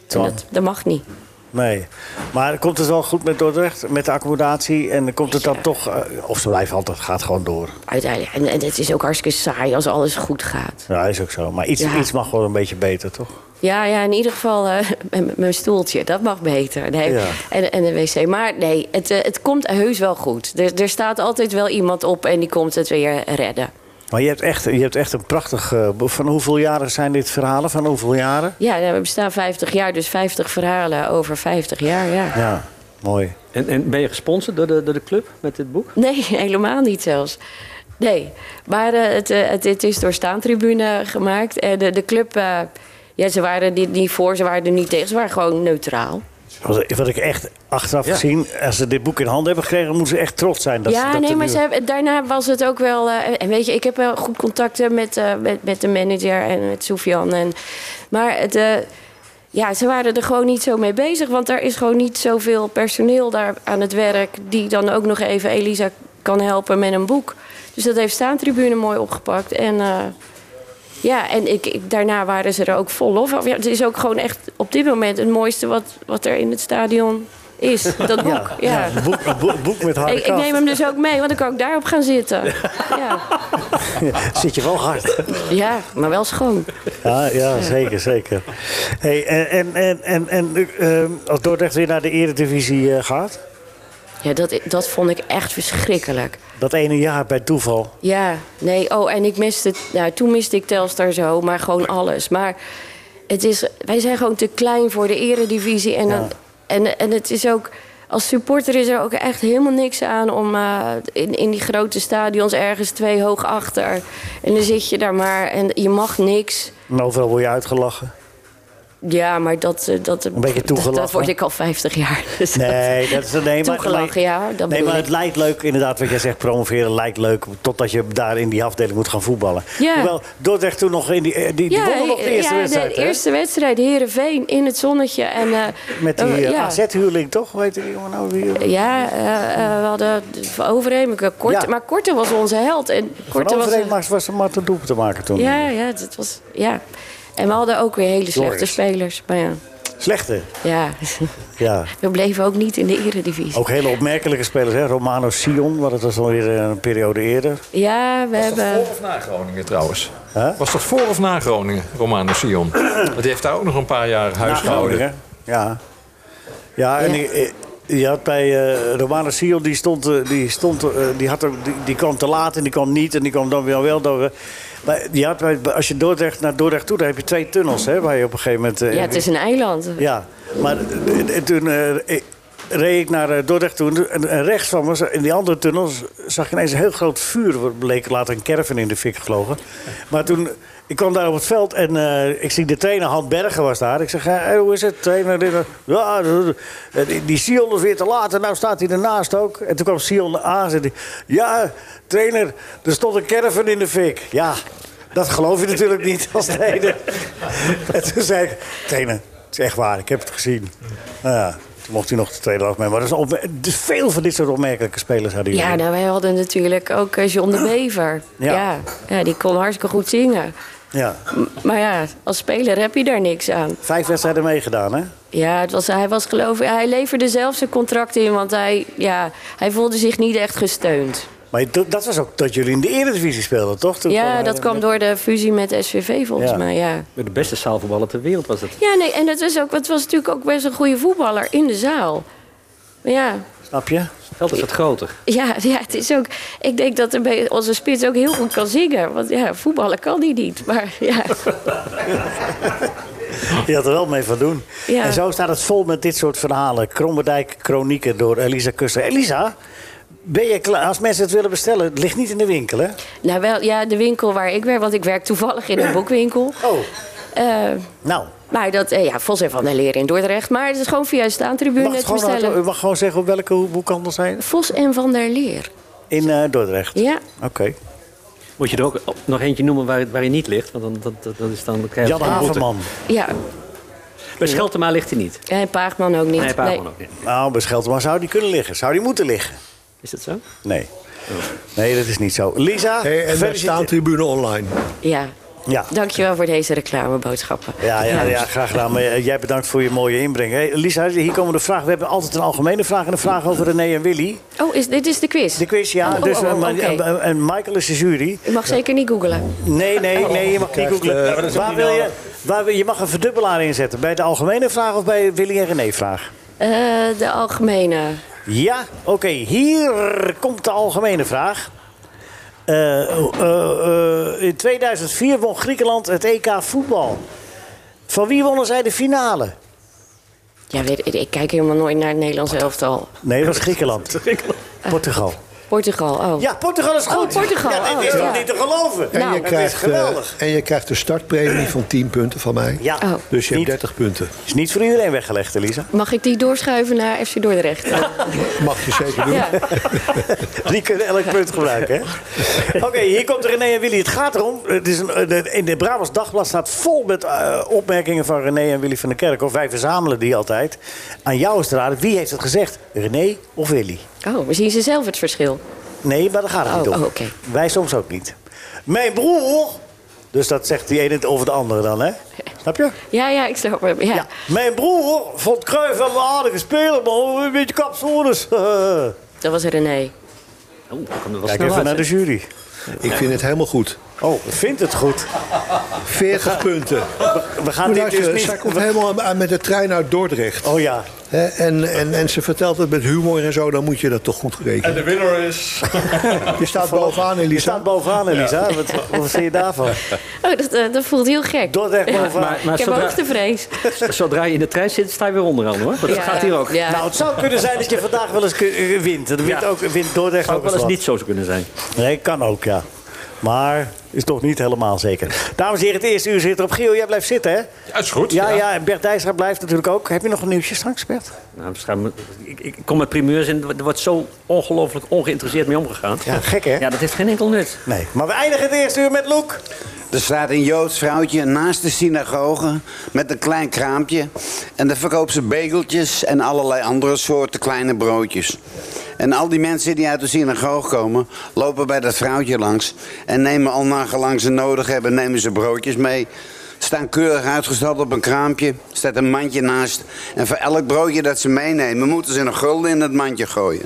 Twan.
dat, dat mag niet.
Nee. Maar komt het wel goed met Dordrecht, met de accommodatie? En komt het dan
Ja.
toch... eh, of ze blijven altijd, gaat gewoon door.
Uiteindelijk. En, en het is ook hartstikke saai als alles goed gaat.
Ja, is ook zo. Maar iets,
Ja.
iets mag wel een beetje beter, toch?
Ja, ja, in ieder geval eh, m- m- mijn stoeltje. Dat mag beter. Nee.
Ja.
En, en de wc. Maar nee, het, eh, het komt heus wel goed. Er, er staat altijd wel iemand op en die komt het weer redden.
Maar je hebt echt, je hebt echt een prachtig... eh, boek. van hoeveel jaren zijn dit verhalen? Van hoeveel jaren?
Ja, nou, we bestaan 50 jaar, dus 50 verhalen over 50 jaar. Ja.
Ja, mooi.
En, en ben je gesponsord door de, door de club met dit boek?
Nee, helemaal niet zelfs. Nee, maar eh, het, eh, het, het is door staantribune gemaakt. En de, de club, eh, ja, ze waren dit niet voor, ze waren er niet tegen. Ze waren gewoon neutraal.
Wat, wat ik echt achteraf gezien... Als ze dit boek in handen hebben gekregen... moeten ze echt trots zijn. Dat, ze-
ja,
dat
nee,
er
maar
nu-
ze hebben- daarna was het ook wel. eh, en weet je, ik heb wel goed contacten met, eh, met, met de manager en met Sofian. En, maar het, eh, ja, ze waren er gewoon niet zo mee bezig. Want er is gewoon niet zoveel personeel daar aan het werk. die dan ook nog even Elisa kan helpen met een boek. Dus dat heeft Staantribune mooi opgepakt. En eh, ja, en ik, ik- daarna waren ze er ook vol lof over. Ja, het is ook gewoon echt op dit moment het mooiste wat, wat er in het stadion is. Dat boek. Ja,
een boek, een boek, een boek met harde
Ik, ik neem hem dus ook mee, want dan kan ik daarop gaan zitten. Ja,
kaft. Zit je wel hard.
ja maar wel schoon.
Ja, ja zeker, zeker. Hey, en en, en, en, en eh, als Dordrecht weer naar de eredivisie eh, gaat?
Ja, dat, dat vond ik echt verschrikkelijk.
Dat ene jaar bij toeval.
Ja, nee, oh, en ik miste... Nou, toen miste ik Telstar zo, maar gewoon alles. Maar het is, wij zijn gewoon te klein voor de eredivisie. En, dan- en, en het is ook... Als supporter is er ook echt helemaal niks aan om eh, in, in die grote stadions ergens twee hoog achter. En dan zit je daar maar en je mag niks.
En overal word je uitgelachen.
Ja, maar dat... eh, dat een
beetje toegelachen.
Dat, word ik al 50 jaar. Dus dat-
Nee, dat is nee, maar,
Toegelachen, ja, dat
nee,
bedoel
maar
ik.
het lijkt leuk, inderdaad, wat jij zegt, promoveren lijkt leuk. Totdat je daar in die afdeling moet gaan voetballen.
Ja.
Hoewel, Dordrecht toen nog in die, eh, die, die wonnen nog de eerste
ja,
wedstrijd.
de
hè?
eerste wedstrijd, Herenveen in het zonnetje. En, eh,
Met die
eh,
eh,
ja.
AZ-huurling, toch? Weet je jongen nou wie?
Ja, eh, eh, we hadden van Overheem. ik- Korte,
Ja.
Maar Korte was onze held. En
Van
Korte was
overeen
een-
was, was er maar te doel te maken toen.
ja, ja, dat was, ja. En we hadden ook weer hele slechte
Joris.
spelers. Maar ja,
Slechte,
ja,
ja.
we bleven ook niet in de eredivisie.
Ook hele opmerkelijke spelers, hè? Romano Sion, maar dat was alweer eh, een periode eerder.
Ja, we
Was dat
hebben...
voor of na Groningen trouwens?
Huh?
Was dat voor of na Groningen, Romano Sion? Want die heeft daar ook nog een paar jaar huis gehouden.
Groningen. Ja. Nou, Ja, en
Ja.
die- eh, je had bij eh, Romano Sion, die, stond, eh, die, stond, eh, die, had ook, die, die kwam te laat en die kwam niet en die kwam dan weer wel. Dan, weer- maar die had bij, bij- als je Dordrecht naar Dordrecht toe, dan heb je twee tunnels, hè, waar je op een gegeven moment... eh,
Ja, het is een eiland.
Ja, maar eh, eh, toen eh, ik- reed ik naar eh, Dordrecht toe. En en rechts van me, in die andere tunnels, zag ik ineens een heel groot vuur. Er bleek later een caravan in de fik gevlogen. Maar toen, ik kwam daar op het veld en eh, ik zie de trainer, Han Bergen was daar. Ik zeg, "Hé, hoe is het, trainer? Dit, eh, Ja, eh, die, die Sion is weer te laat en nou staat hij ernaast ook. En toen kwam Sion aan en zei, die, ja, trainer, er stond een caravan in de fik. Ja. Dat geloof je natuurlijk niet als trainer. En toen zei ik, trainer, het is echt waar, ik heb het gezien. Nou ja, toen mocht hij nog de tweede dag mee. Maar dat is opmer- dus veel van dit soort opmerkelijke spelers hadden jullie.
Ja, nou, wij hadden natuurlijk ook eh, John de Bever.
Ja.
Ja. Ja. die kon hartstikke goed zingen.
ja.
M- Maar ja, als speler heb je daar niks aan.
Vijf wedstrijden meegedaan, hè?
Ja, het was, hij was geloof ik... Hij leverde zelf zijn contract in, want hij, ja, hij voelde zich niet echt gesteund.
Maar je- dat- dat was ook dat jullie in de Eredivisie speelden, toch? Toen
Ja, dat kwam door de fusie met SVV volgens
Ja.
mij, ja.
De beste zaalvoetballer ter wereld was het.
Ja, nee, en het was, ook, het was natuurlijk ook best een goede voetballer in de zaal. Maar Ja,
Snap je?
Het veld is wat groter.
ja, ja, het is ook... Ik denk dat een be- onze spits ook heel goed kan zingen. Want ja, voetballen kan hij niet. Maar ja,
Je had er wel mee van doen.
Ja.
En zo staat het vol met dit soort verhalen. Krommerdijk Chronieken door Elisa Kuster. Elisa, ben je klaar? als mensen het willen bestellen, het ligt niet in de winkel, hè?
nou, wel, ja de winkel waar ik werk... Want ik werk toevallig in een boekwinkel.
Oh,
Eh,
nou.
maar dat, eh, ja, Vos en Van der Leer in Dordrecht. Maar het is gewoon via de staantribune
Mag het
te
gewoon, hardop- u
bestellen.
mag gewoon zeggen op welke ho- boekhandel zijn?
Vos en Van der Leer.
In eh, Dordrecht.
Ja,
Oké.
Moet je er ook nog eentje noemen waar, waar hij niet ligt? Want dan, dat, dat, dat is dan, dan krijg je
Jan
een boete.
Haverman.
ja.
Bij Scheltema ligt hij niet.
En Paagman ook niet.
Nee, Paarman
Nee.
ook niet.
Nou, bij Scheltema zou die kunnen liggen. Zou die moeten liggen?
Is dat zo?
Nee. Nee, dat is niet zo. Lisa,
Hey, en de
gefeliciteerd.
staantribune online.
Ja,
Ja.
dankjewel voor deze reclameboodschappen.
Ja, ja, ja, graag gedaan. Maar eh, jij bedankt voor je mooie inbreng. Hey, Lisa, hier komen de vragen. We hebben altijd een algemene vraag en een vraag over René en Willy.
Oh, is, dit is de quiz.
De quiz, ja.
Oh, oh,
dus,
oh,
eh, maar-
oké.
en, en Michael is de jury.
Ik mag zeker niet googelen.
Nee,
Oh,
nee, nee, je mag niet
eh,
googlen. waar wil je, waar, wil- je mag een verdubbelaar inzetten. Bij de algemene vraag of bij Willy en René vraag?
Eh, de algemene.
Ja, oké. Hier komt de algemene vraag. Eh, eh, eh, in 2004 won Griekenland het EK voetbal. Van wie wonnen zij de finale?
Ja, weet, ik- ik kijk helemaal nooit naar het Nederlands elftal.
Nee, dat was Griekenland. Portugal.
Portugal, oh.
Ja, Portugal is goed.
Oh, Portugal,
Ja, dit is
oh,
toch
ja.
niet te geloven?
En Nou.
het is
eh,
geweldig.
en je krijgt de startpremie van 10 punten van mij.
ja,
Oh.
Dus je hebt
Niet.
30 punten.
is niet voor iedereen weggelegd, Elisa.
Mag ik die doorschuiven naar FC Dordrecht?
Mag je zeker doen.
Ja.
Die kunnen elk punt gebruiken, hè? Oké, hier komt René en Willy. Het gaat erom. Het is een, eh, de- in de Brabants Dagblad staat vol met eh, opmerkingen van René en Willy van der Kerk. Of wij verzamelen die altijd. Aan jou is te raden, wie heeft het gezegd? René of Willy?
Oh, maar zien ze zelf het verschil?
Nee, maar daar gaat het
Oh,
niet om.
oh, oké.
Wij soms ook niet. Mijn broer... Dus dat zegt die ene over de andere dan, hè? Snap je?
Ja, ja, ik snap hem. Ja.
Ja. Mijn broer vond Cruijff wel een aardige speler, maar een beetje kapsones.
Dat was René.
Kijk even naar de jury.
Ik vind het helemaal goed.
Oh, vindt het goed.
40 punten.
We gaan
Moet
dit dus
luisteren,
niet...
zij komt helemaal aan met de trein uit Dordrecht.
Oh ja.
Hè, en, en, en ze vertelt het met humor en zo, dan moet je dat toch goed rekenen.
En de winnaar is...
Je staat bovenaan,
Je
Elisa.
staat bovenaan, Elisa. Wat, wat vind je daarvan?
Oh, dat, eh, dat voelt heel gek.
Dordrecht bovenaan.
maar- maar
ik heb
zodra-
hoogtevrees.
Zodra je in de trein zit, sta je weer onderaan hoor. Want dat
Ja.
gaat hier ook.
Ja.
Nou, het zou kunnen zijn dat je vandaag wel eens kun- eh, wint. Dat wint, ook, wint Dordrecht
Zou ook
ook,
wel eens
wat.
niet zo zou kunnen zijn.
Nee, kan ook, ja. Maar is toch niet helemaal zeker. Dames en heren, het eerste uur zit erop. Giel, jij blijft zitten, hè?
Ja, is goed.
Ja, ja. En Bert Dijsra blijft natuurlijk ook. Heb je nog een nieuwtje straks, Bert?
Nou, waarschijnlijk- ik, ik kom met primeurs en er wordt zo ongelooflijk ongeïnteresseerd mee omgegaan.
Ja, gek, hè?
Ja, dat heeft geen enkel nut.
Nee. Maar we eindigen het eerste uur met Loek.
Er staat een Joods vrouwtje naast de synagoge met een klein kraampje. En daar verkoopt ze bageltjes en allerlei andere soorten kleine broodjes. En al die mensen die uit de synagoge komen, lopen bij dat vrouwtje langs. En nemen al nagelang ze nodig hebben, nemen ze broodjes mee. Staan keurig uitgestald op een kraampje, staat een mandje naast. En voor elk broodje dat ze meenemen, moeten ze een gulden in het mandje gooien.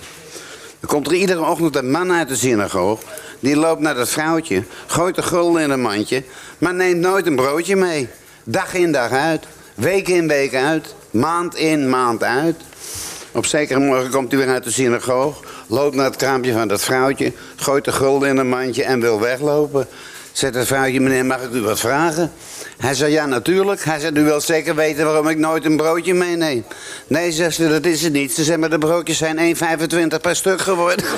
Er komt er iedere ochtend een man uit de synagoog. Die loopt naar dat vrouwtje, gooit de gulden in een mandje, maar neemt nooit een broodje mee. Dag in dag uit, week in week uit, maand in maand uit. Op zekere morgen komt hij weer uit de synagoog, loopt naar het kraampje van dat vrouwtje, gooit de gulden in een mandje en wil weglopen. Zegt het vrouwtje, meneer, mag ik u wat vragen? Hij zei, ja, natuurlijk. Hij zei, u wilt zeker weten waarom ik nooit een broodje meeneem. Nee, zegt ze, dat is het niet. Ze zei, maar de broodjes zijn 1,25 per stuk geworden.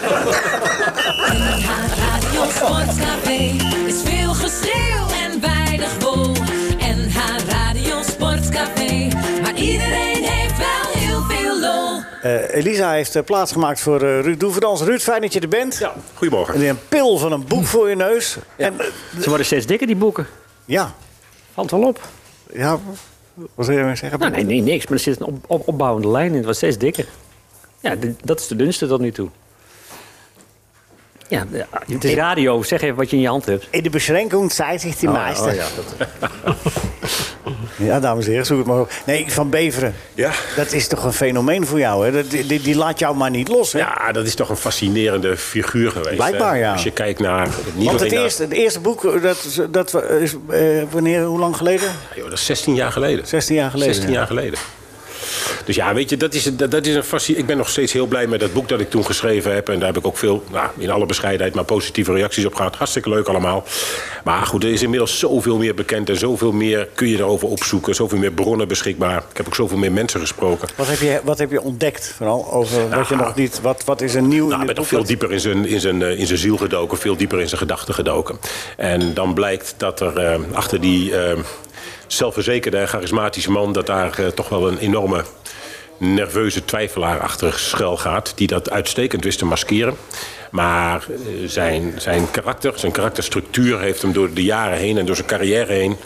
NH Radio Sportcafé is veel geschreeuw en weinig wol. NH Radio Sportcafé, maar iedereen heeft wel heel veel lol.
Eh, Elisa heeft eh, plaatsgemaakt voor eh Ruud Doeverdans. Ruud, fijn dat je er bent. Ja.
Goedemorgen.
Een pil van een boek voor je neus. En, eh,
Ze worden steeds dikker, die boeken.
ja.
Valt wel op.
ja, wat wil je maar zeggen?
Nou, nee, nee, niks. Maar er zit een op, op- opbouwende lijn in. Het wordt steeds dikker. Ja, d- dat is de dunste tot nu toe. Ja, ja, het is radio. Zeg even wat je in je hand hebt.
In de beschränking zei zich die meester.
oh
ja, dames en heren, zoek het maar op. Nee, Van Beveren,
Ja.
dat is toch een fenomeen voor jou, hè? Dat, die, die- die laat jou maar niet los, hè?
Ja, dat is toch een fascinerende figuur geweest.
Blijkbaar,
hè?
ja.
Als je kijkt naar... niet
Want het
alleen
eerste, het eerste boek, eh, dat, is- dat we- is eh, wanneer, hoe lang geleden?
naar- joh, dat is 16 jaar geleden.
16 jaar geleden.
16 jaar geleden. Dus ja, weet je, dat is, dat, dat is een fasci- Ik ben nog steeds heel blij met dat boek dat ik toen geschreven heb. En daar heb ik ook veel, nou, in alle bescheidenheid, maar positieve reacties op gehad. Hartstikke leuk allemaal. Maar goed, er is inmiddels zoveel meer bekend en zoveel meer kun je erover opzoeken. Zoveel meer bronnen beschikbaar. Ik heb ook zoveel meer mensen gesproken.
Wat heb, je, wat heb je ontdekt vooral over wat je
Nou,
nog niet... Wat, wat is er nieuw
Nou, ik
in
ben nog
dit boek?
veel
Wat-
dieper in zijn, in, zijn, eh, in zijn ziel gedoken, veel dieper in zijn gedachten gedoken. En dan blijkt dat er eh, achter die eh, zelfverzekerde en charismatische man... dat daar eh, toch wel een enorme nerveuze twijfelaar achter schuil gaat... die dat uitstekend wist te maskeren. Maar eh, zijn, zijn karakter, zijn karakterstructuur heeft hem door de jaren heen... en door zijn carrière heen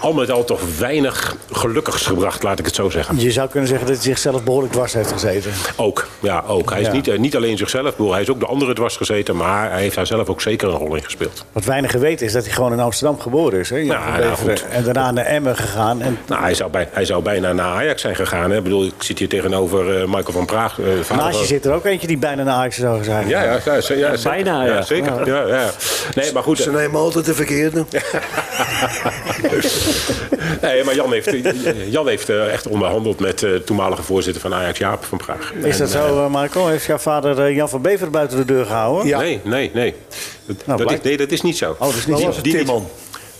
al met al toch weinig gelukkigs gebracht, laat ik het zo zeggen.
Je zou kunnen zeggen dat hij zichzelf behoorlijk dwars heeft gezeten.
Ook, ja, ook. Hij is
Ja.
niet, eh, niet alleen zichzelf, ik bedoel, hij is ook de andere dwars gezeten, maar hij heeft daar zelf ook zeker een rol in gespeeld.
Wat weinig geweten is dat hij gewoon in Amsterdam geboren is. Hè? Jan
Nou,
van
nou,
Beveren.
goed.
en daarna naar Emmen gegaan. En
Nou, hij, zou bij, hij zou bijna naar Ajax zijn gegaan. Hè? Ik bedoel, ik zit hier tegenover eh, Michael van Praag. eh, vader
naast je
van-
zit er ook eentje die bijna naar Ajax zou zijn.
Ja, ja, ja, ze- ja, zeker.
Bijna, ja.
zeker. Ja, ja. Nee, maar goed.
Ze
eh,
nemen altijd de verkeerde.
nee, maar Jan heeft, Jan heeft eh, echt onderhandeld met de toenmalige voorzitter van Ajax, Jaap van Praag.
Is dat zo, eh, Marco? Heeft jouw vader eh, Jan van Beveren buiten de deur gehouden?
Nee, nee, nee. Dat, dat
blijkt-
is, nee, dat is niet zo.
dat is niet
Die-
zo.
die-
Timon.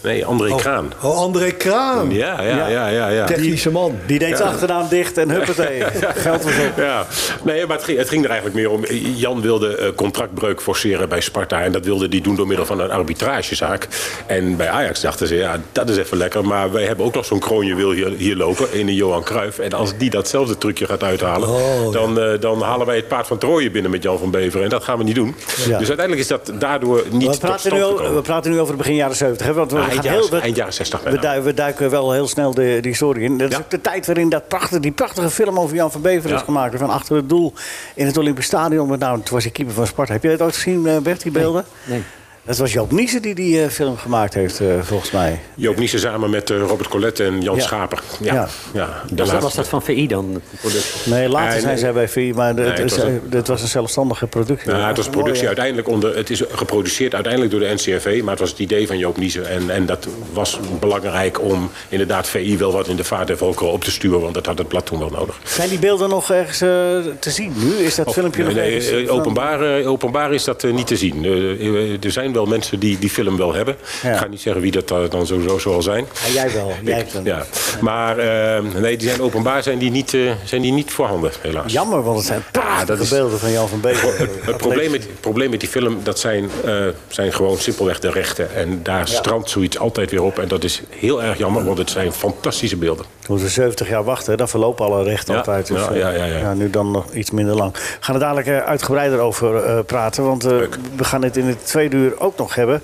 Nee, André Kraan.
Oh, André Kraan.
Ja, ja, ja, ja. ja.
Technische man.
Die deed zijn achternaam dicht en huppatee. Geld was op.
Ja, nee, maar het ging, het ging er eigenlijk meer om. Jan wilde eh, contractbreuk forceren bij Sparta. En dat wilde hij doen door middel van een arbitragezaak. En bij Ajax dachten ze, ja, dat is even lekker. Maar wij hebben ook nog zo'n kroonjewil hier, hier lopen. In de Johan Cruijff. En als die datzelfde trucje gaat uithalen.
Oh,
dan, eh, dan halen wij het paard van Trooien binnen met Jan van Beveren. En dat gaan we niet doen. Dus uiteindelijk is dat daardoor niet
We
tot
praten,
stand
nu, o-
gekomen.
we praten nu over het begin jaren 70. Hè? Want we
Ah,
gaan
eind
heel,
jaren-
we,
eind jaren 60
we,
bijna.
du- we duiken wel heel snel de, die historie in. Dat is
Ja.
ook de tijd waarin dat prachtige, die prachtige film over Jan van Beveren is
Ja.
gemaakt. Van achter het doel in het Olympisch Stadion. Met name, toen was hij keeper van Sparta. Heb je dat ooit gezien, eh, Bert, die beelden?
nee.
Dat was Joop Niezen die die eh, film gemaakt heeft, eh, volgens mij.
Joop Niezen samen met eh, Robert Colette en Jan
Ja.
Schaper. Ja,
Ja.
ja. de
Was dat, was
laatste.
dat van VI dan? het product?
Nee, later
Nee,
zijn
nee.
zij bij VI, maar
Nee,
het,
het was
het-
een-
het was een zelfstandige productie.
Nou, het was
Mooi,
productie
hè?
uiteindelijk onder. Het is geproduceerd uiteindelijk door de NCRV, maar het was het idee van Joop Niezen. En, en dat was belangrijk om inderdaad VI wel wat in de vaart en volkeren op te sturen, want dat had het blad toen wel nodig.
Zijn die beelden nog ergens eh, te zien nu? Is dat
Of-
filmpje
Oh, nee,
nog
nee,
ergens?
eh, openbaar, eh, openbaar is dat eh, niet te zien. Eh, eh, er zijn wel mensen die die film wel hebben.
Ja.
Ik ga niet zeggen wie dat eh, dan sowieso zal zijn.
Ja, jij wel. Jij
Ik-
hebt hem.
ja. Maar eh, nee, die zijn openbaar zijn die niet, eh, zijn die niet voorhanden, helaas.
Jammer, want het zijn prachtige
dat is-
beelden van Jan van Beveren.
Het probleem, met, het probleem met die film, dat zijn, eh, zijn gewoon simpelweg de rechten. En daar strandt zoiets altijd weer op. En dat is heel erg jammer, want het zijn fantastische beelden.
We moeten 70 jaar wachten, hè, dan verlopen alle rechten
Ja,
altijd. Dus,
ja,
eh,
ja, ja, ja.
nu dan nog iets minder lang. We gaan er dadelijk eh, uitgebreider over eh, praten. Want eh, we gaan het in het tweede uur ook nog hebben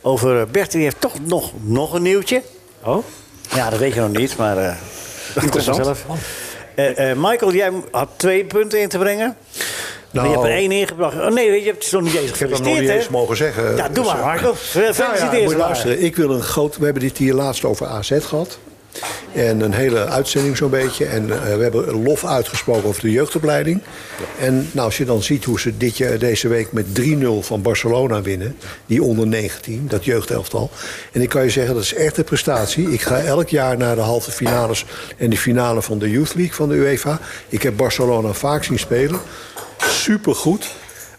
over eh, Bert. Die heeft toch nog, nog een nieuwtje.
Oh?
Ja, dat weet je nog niet, maar eh dat komt vanzelf. Eh, eh, Michael, jij had twee punten in te brengen.
Nou,
maar je hebt er één ingebracht. Oh nee, je hebt het nog niet eens
Ik heb dat nog niet
gefeliciteerd,
eens
hè?
mogen zeggen.
Ja, doe
Dus,
maar, Michael.
Nou ja,
Gefeliciteerd.
moet je
maar.
luisteren. Ik wil een groot. We hebben dit hier laatst over AZ gehad. En een hele uitzending zo'n beetje. En eh, we hebben lof uitgesproken over de jeugdopleiding. En nou, als je dan ziet hoe ze dit, jaar- deze week met 3-0 van Barcelona winnen. Die onder 19, dat jeugdelftal. En ik kan je zeggen, dat is echt een prestatie. Ik ga elk jaar naar de halve finales en de finale van de Youth League van de UEFA. Ik heb Barcelona vaak zien spelen. Supergoed.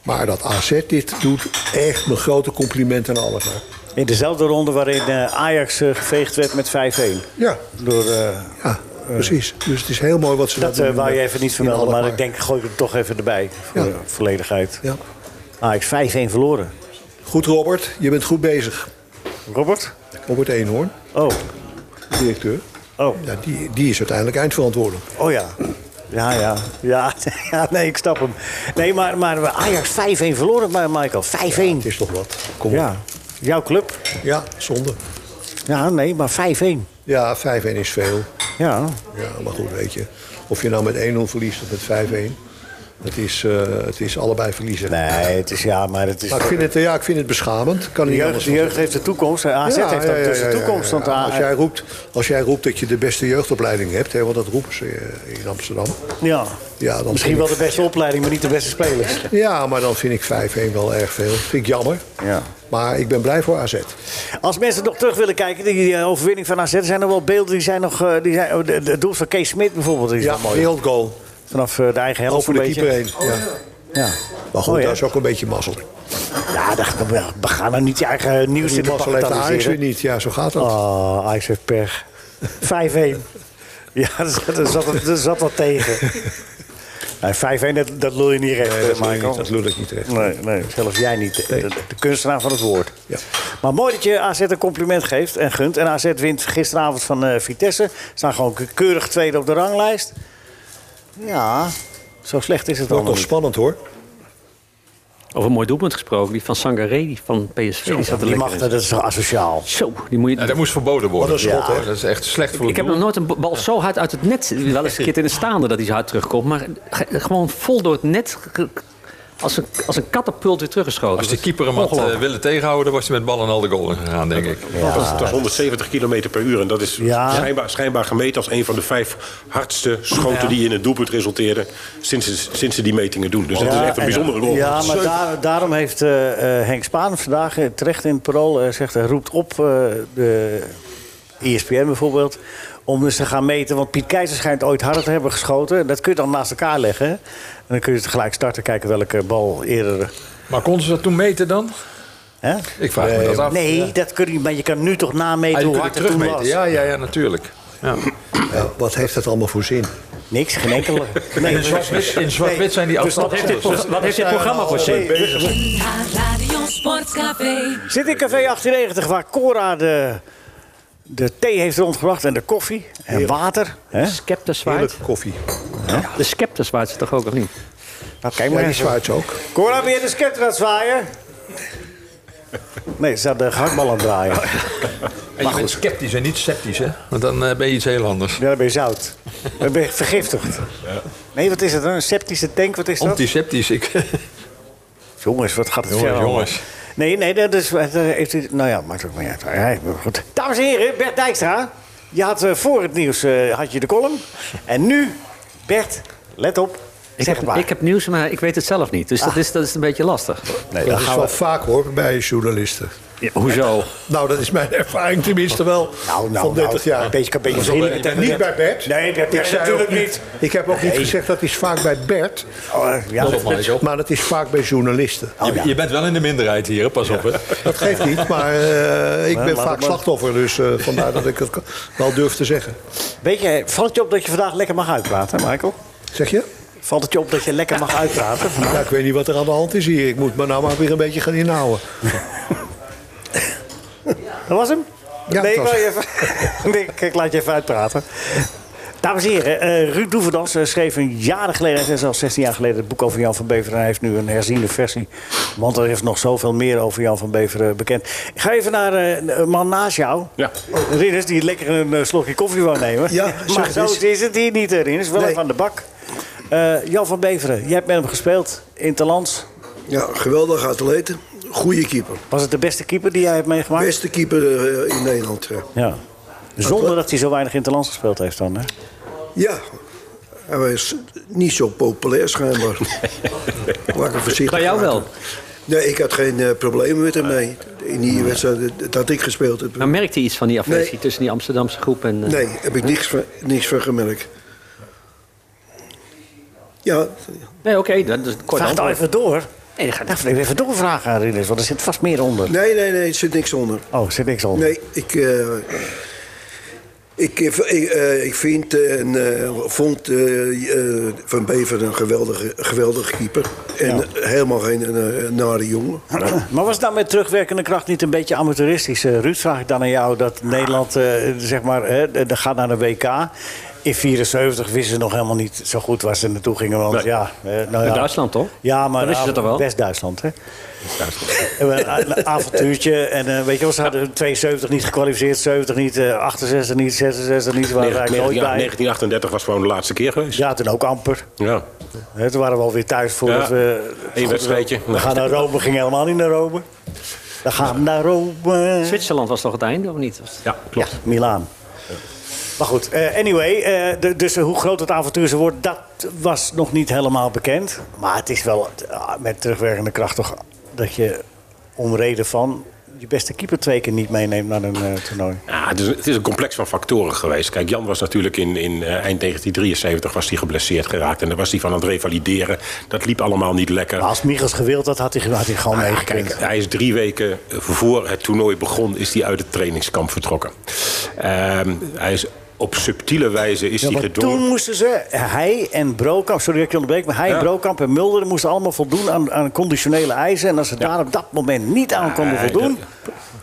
Maar dat AZ dit doet, echt mijn grote complimenten aan alles.
In dezelfde ronde waarin eh, Ajax eh, geveegd werd met 5-1.
Ja,
Door, eh,
ja precies. Dus het is heel mooi wat ze
dat
daar
eh
doen
wou je
met-
even niet
in
vermelden, maar
Alkmaar.
ik denk gooi ik het toch even erbij. Voor
Ja.
de volledigheid.
Ja.
Ajax 5-1 verloren.
Goed, Robert. Je bent goed bezig.
Robert?
Robert Eenhoorn,
Oh,
directeur.
oh,
Ja, die, die is uiteindelijk eindverantwoordelijk.
oh ja. Ja, ja. Ja, ja, nee, ik snap hem. Nee, maar, maar Ajax 5-1 verloren, maar Michael. 5-1.
Het
Ja,
is toch wat. Kom op.
Jouw club?
Ja, zonde.
Ja, nee, maar 5-1.
Ja, 5-1 is veel.
Ja.
Ja, maar goed, weet je. Of je nou met 1-0 verliest of met 5-1. Het is, eh, het is allebei verliezen.
Nee, het is ja, maar het is...
Maar ik vind het, ja, ik vind het beschamend. Kan
De
niet
jeugd,
anders
de
dan
jeugd heeft de toekomst. en AZ
Ja,
heeft
ja,
ook
ja,
dus
ja,
de
ja,
toekomst.
ja.
want de A-
Als jij, roept, als jij roept dat je de beste jeugdopleiding hebt, hè, want dat roepen ze eh, in Amsterdam.
ja.
Ja, dan
Misschien wel
vind
de beste opleiding, maar niet de beste spelers.
ik- ja, maar dan vind ik 5-1 wel erg veel. Vind ik jammer.
Ja.
Maar ik ben blij voor AZ.
Als mensen nog terug willen kijken, die eh, overwinning van AZ, zijn er wel beelden die zijn nog... eh, Die zijn, oh, de- de- het doel van Kees Smit bijvoorbeeld is
Ja,
wel mooi.
wereldgoal.
Vanaf eh, de eigen helft
Over
een beetje.
de
Oh,
keeper heen. Ja.
Ja.
Maar goed,
Mooi, hè?
dat is ook een beetje mazzel.
Ja, dat, we- we gaan nou niet je eigen nieuws
Die
in de
mazzel
pakken
heeft Ajax weer
analyseren.
niet. Ja, zo gaat dat.
Oh, Ajax heeft pech. 5-1. Ja, er zat, er, zat, er zat wat tegen. Nee, 5-1, dat, dat lul je niet recht,
Nee, dat
eh,
lul je
Michael.
niet, dat lul ik niet recht.
Nee, nee, zelfs jij niet. eh, De, de kunstenaar van het woord.
Ja.
Maar mooi dat je AZ een compliment geeft en gunt. En AZ wint gisteravond van eh, Vitesse. Staan gewoon ke- keurig tweede op de ranglijst. Ja, zo slecht is het
Wordt
allemaal
nog
niet.
spannend hoor.
Over een mooi doelpunt gesproken. Die van Sangaré, die van PSV. die zat er
Die
lekker
mag,
in.
dat is toch asociaal.
Zo, die moet je...
Ja, dat moest verboden worden.
Wat een Oh, schot, hè?
Dat is echt slecht voor
ik
het
heb
doel.
nog nooit een bal zo hard uit het net... Wel eens een keer in de staande dat hij zo hard terugkomt. Maar ge- gewoon vol door het net... ge- Als een, als een katapult weer teruggeschoten.
Als de keeper hem had eh, willen tegenhouden, dan was hij met ballen al de goal gegaan, denk ik.
Dat, is, dat is 170 km per uur. En dat is
Ja.
schijnbaar, schijnbaar gemeten als een van de vijf hardste schoten die in het doelpunt resulteerden. Sinds, ze- sinds ze die metingen doen. Dus dat is echt een
en-
bijzondere goal.
Ja, maar daar- daarom heeft eh, eh, Henk Spaan vandaag eh, terecht in het parool eh, zegt, hij roept op eh, de E ESPN bijvoorbeeld om dus te gaan meten. Want Piet Keizer schijnt ooit harder te hebben geschoten. Dat kun je dan naast elkaar leggen. hè. En dan kun je het gelijk starten, kijken welke bal eerder.
Maar konden ze dat toen meten dan?
Hè?
Ik vraag me dat af.
Nee, dat kun je, maar je kan nu toch nameten
Ah, je
hoe
kunt
hard
het
het toen was.
terugmeten. Ja, ja, ja, natuurlijk. Ja.
Ja, wat heeft dat allemaal voor zin?
Niks, geen enkele. Nee,
In zwart-wit in zwart-wit zijn die
Dus wat
afstanden
heeft dit
anders.
voor- wat heeft dit programma voor zin?
NH Radio Sportcafé.
Zit in café 1890 waar Cora de, de thee heeft rondgebracht en de koffie en water. Hè?
Scepterswaard.
Heerlijke koffie.
De scepterswaard is toch ook, of niet?
Nou, kijk maar
Ja, die
eens.
zwaait ze ook.
Cora, ben je de scepter aan het zwaaien? Nee, ze had de gehaktbal aan het draaien.
En je bent sceptisch en niet sceptisch, hè? Want dan eh, ben je iets heel anders.
Ja, dan ben je zout. Dan ben je vergiftigd. Nee, wat is het dan? Een septische tank, wat is dat?
Antiseptisch. Ik,
Jongens, wat gaat het
Jongens,
ver allemaal.
jongens.
Nee, nee, dat is... dat heeft u, nou ja, maakt ook niet uit. Ja, goed. Dames en heren, Bert Dijkstra. Je had eh, voor het nieuws eh, had je de column. En nu, Bert, let op.
Ik
zeg
heb,
het maar. Ah.
ik heb nieuws, maar ik weet het zelf niet. Dus dat, is, dat is een beetje lastig.
nee,
Dat
dan
is
gaan we...
wel vaak hoor, bij journalisten.
hoezo?
Nou, dat is mijn ervaring tenminste wel
Nou, nou,
van 30
nou,
jaar.
Een beetje, een beetje vriendelijk. tegen-
niet bij Bert.
Nee, Bert,
Ik zei
natuurlijk
ook
niet.
Ik heb ook niet
Nee.
gezegd dat is vaak bij Bert,
Oh, ja.
maar dat is vaak bij journalisten.
Oh, ja.
Je bent wel in de minderheid hier, hè? pas op. Hè?
Dat geeft niet, maar eh, ik
Maar
ben
laat het
vaak
maar.
slachtoffer, dus eh, vandaar dat ik het wel durf te zeggen.
Weet je, valt je op dat je vandaag lekker mag uitpraten, hè, Michael?
Zeg je?
Valt het je op dat je lekker mag uitpraten? vandaag?
Ja, ik weet niet wat er aan de hand is hier. Ik moet me nou maar weer een beetje gaan inhouden.
Dat was hem?
Ja,
nee, ik,
dat was
wou je even- nee, ik- ik laat je even uitpraten. Dames en heren, eh, Ruud Doeverdans eh, schreef een jaren geleden, hij zei zelfs 16 jaar geleden, het boek over Jan van Beveren. Hij heeft nu een herziende versie, want er is nog zoveel meer over Jan van Beveren bekend. Ik ga even naar eh, een man naast jou,
Ja.
Rinus, die lekker een eh, slokje koffie wou nemen.
Ja, zeg
maar
het
zo
eens.
is het hier niet, eh, Rinus. Wel
Nee.
even aan de bak. Eh, Jan van Beveren, jij hebt met hem gespeeld in Talans.
Ja, geweldig atleten. Goede keeper.
Was het de beste keeper die jij hebt meegemaakt?
Beste keeper eh, in Nederland. ja.
Ja. Zonder dat hij zo weinig in het land gespeeld heeft dan, hè?
Ja, hij was niet zo populair schijnbaar. Laat ik hem voorzichtig
Bij jou wel.
maken. Nee, ik had geen eh, problemen met hem mee. In die wedstrijd eh, dat- dat ik gespeeld heb.
Maar merkte je iets van die affectie
Nee.
tussen die Amsterdamse groep en... eh,
Nee, heb ik niks van, niks van gemerkt. Ja,
Nee, oké, dat is een kort
Vraag het al
antwoord.
even door.
Nee, dat gaat
Dacht ik even doorvragen aan Rinus, want er zit vast meer onder.
nee, nee, nee, er zit niks onder.
Oh, er zit niks onder.
Nee, ik, eh, ik, eh, ik, eh, ik vind eh, en eh, vond eh, eh, Van Bever een geweldige, geweldige keeper. En helemaal geen eh, nare jongen.
Maar was het dan met terugwerkende kracht niet een beetje amateuristisch? Eh, Ruud, vraag ik dan aan jou dat Nederland, eh, zeg maar, hè, de- de gaat naar de WK. In 74 wisten ze nog helemaal niet zo goed waar ze naartoe gingen. Want ja, eh, nou ja.
Duitsland, toch?
Ja, maar
Dan wisten ze dat wel.
West-Duitsland, hè? Eh, Een a- avontuurtje. En eh, weet je wel, ze hadden 72 niet gekwalificeerd, 70 niet, eh, 68 niet, 66 niet. Ze waren er eigenlijk nooit bij.
1938 was gewoon de laatste keer geweest.
Ja, toen ook amper.
Ja.
Hè, toen waren we alweer thuis voordat
Ja,
we...
één
goed,
wedstrijdje.
We gaan naar Rome, gingen helemaal niet naar Rome. We gaan naar Rome.
Zwitserland was toch het einde, of niet? Was-
Ja, klopt.
Milaan. Maar goed, eh, anyway, eh, de- dus eh, hoe groot het avontuur ze wordt, dat was nog niet helemaal bekend. Maar het is wel ah, met terugwerkende kracht toch dat je om reden van je beste keeper twee keer niet meeneemt naar een eh, toernooi.
Ja, het, is, het is een complex van factoren geweest. Kijk, Jan was natuurlijk in, in eh, eind 1973 was hij geblesseerd geraakt. En daar was hij van aan het revalideren. Dat liep allemaal niet lekker.
Maar Nou, als Michels gewild had, had hij, had hij gewoon
Nou ja,
meegekund.
kijk, hij is drie weken voor het toernooi begon, is hij uit het trainingskamp vertrokken. Ehm, hij is op subtiele wijze is
Ja,
hij
maar
gedwongen.
toen moesten ze, hij en Brokamp, sorry dat ik je onderbreek, maar hij en Brokamp en Mulder moesten allemaal voldoen aan, aan conditionele eisen. En als ze daar op dat moment niet aan konden
Nee,
voldoen,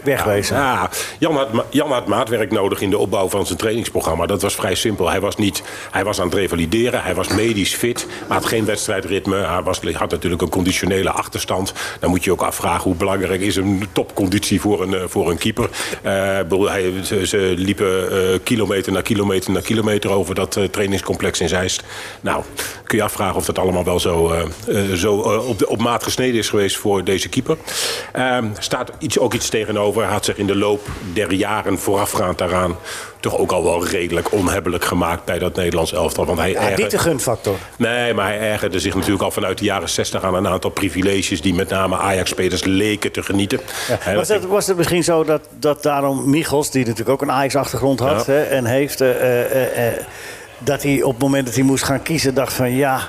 wegwezen.
Ja, Jan, had, ma- Jan had maatwerk nodig in de opbouw van zijn trainingsprogramma. Dat was vrij simpel. Hij was, niet, hij was aan het revalideren, hij was medisch fit, maar had geen wedstrijdritme. Hij was, had natuurlijk een conditionele achterstand. Dan moet je je ook afvragen hoe belangrijk is een topconditie voor een, eh, voor een keeper. Eh, ik bedoel, hij, ze, ze liepen eh, kilometer na kilometer na kilometer over dat eh, trainingscomplex in Zeist. Nou, kun je afvragen of dat allemaal wel zo, eh, eh, zo eh, op, de, op maat gesneden is geweest voor deze keeper. Ehm, staat iets, ook iets tegenover. Hij had zich in de loop der jaren voorafgaand daaraan toch ook al wel redelijk onhebbelijk gemaakt bij dat Nederlands elftal. Want hij
Ja,
ergerde-
niet de gunfactor.
Nee, maar hij ergerde zich natuurlijk al vanuit de jaren 60 aan een aantal privileges die met name Ajax-spelers leken te genieten. Hè,
was, dat, was het misschien zo dat, dat daarom Michels, die natuurlijk ook een Ajax-achtergrond had hè, en heeft, eh, eh, eh, eh, dat hij op het moment dat hij moest gaan kiezen dacht van ja,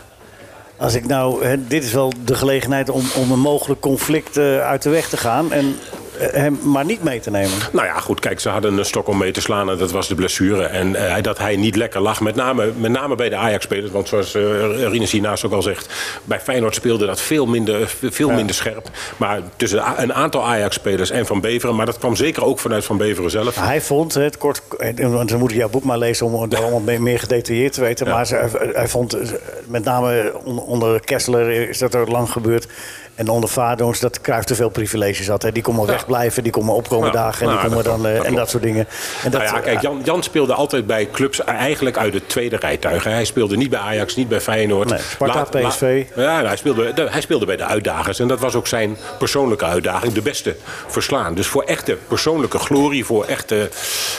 Als ik nou, hè, dit is wel de gelegenheid om, om een mogelijk conflict eh, uit de weg te gaan. En eh, hem maar niet mee te nemen.
Nou ja, goed, kijk, ze hadden een stok om mee te slaan en dat was de blessure. En eh, dat hij niet lekker lag, met name, met name bij de Ajax-spelers. Want zoals eh Rinus hiernaast ook al zegt, bij Feyenoord speelde dat veel minder, eh, veel minder scherp. Maar tussen a- een aantal Ajax-spelers en Van Beveren, maar dat kwam zeker ook vanuit Van Beveren zelf.
Hij vond het kort, eh, want dan moet ik jouw boek maar lezen om het allemaal mee- meer gedetailleerd te weten. Maar ze- hij- hij vond, eh, met name on- onder Kessler is dat er lang gebeurd. En onder Vadoens dat Cruijff te veel privileges had. Hè. Die kon maar wegblijven, die kon maar opkomen
Ja.
dagen en,
Nou,
die kon maar
dat
dan,
klopt, dat
eh, en
klopt.
dat soort dingen. En dat, eh,
nou ja, kijk, Jan, Jan speelde altijd bij clubs eigenlijk uit het tweede rijtuig. hè. Hij speelde niet bij Ajax, niet bij Feyenoord.
Nee, Sparta, PSV.
ja, nou, hij speelde, de- hij speelde bij de uitdagers. En dat was ook zijn persoonlijke uitdaging. De beste verslaan. Dus voor echte persoonlijke glorie, voor echte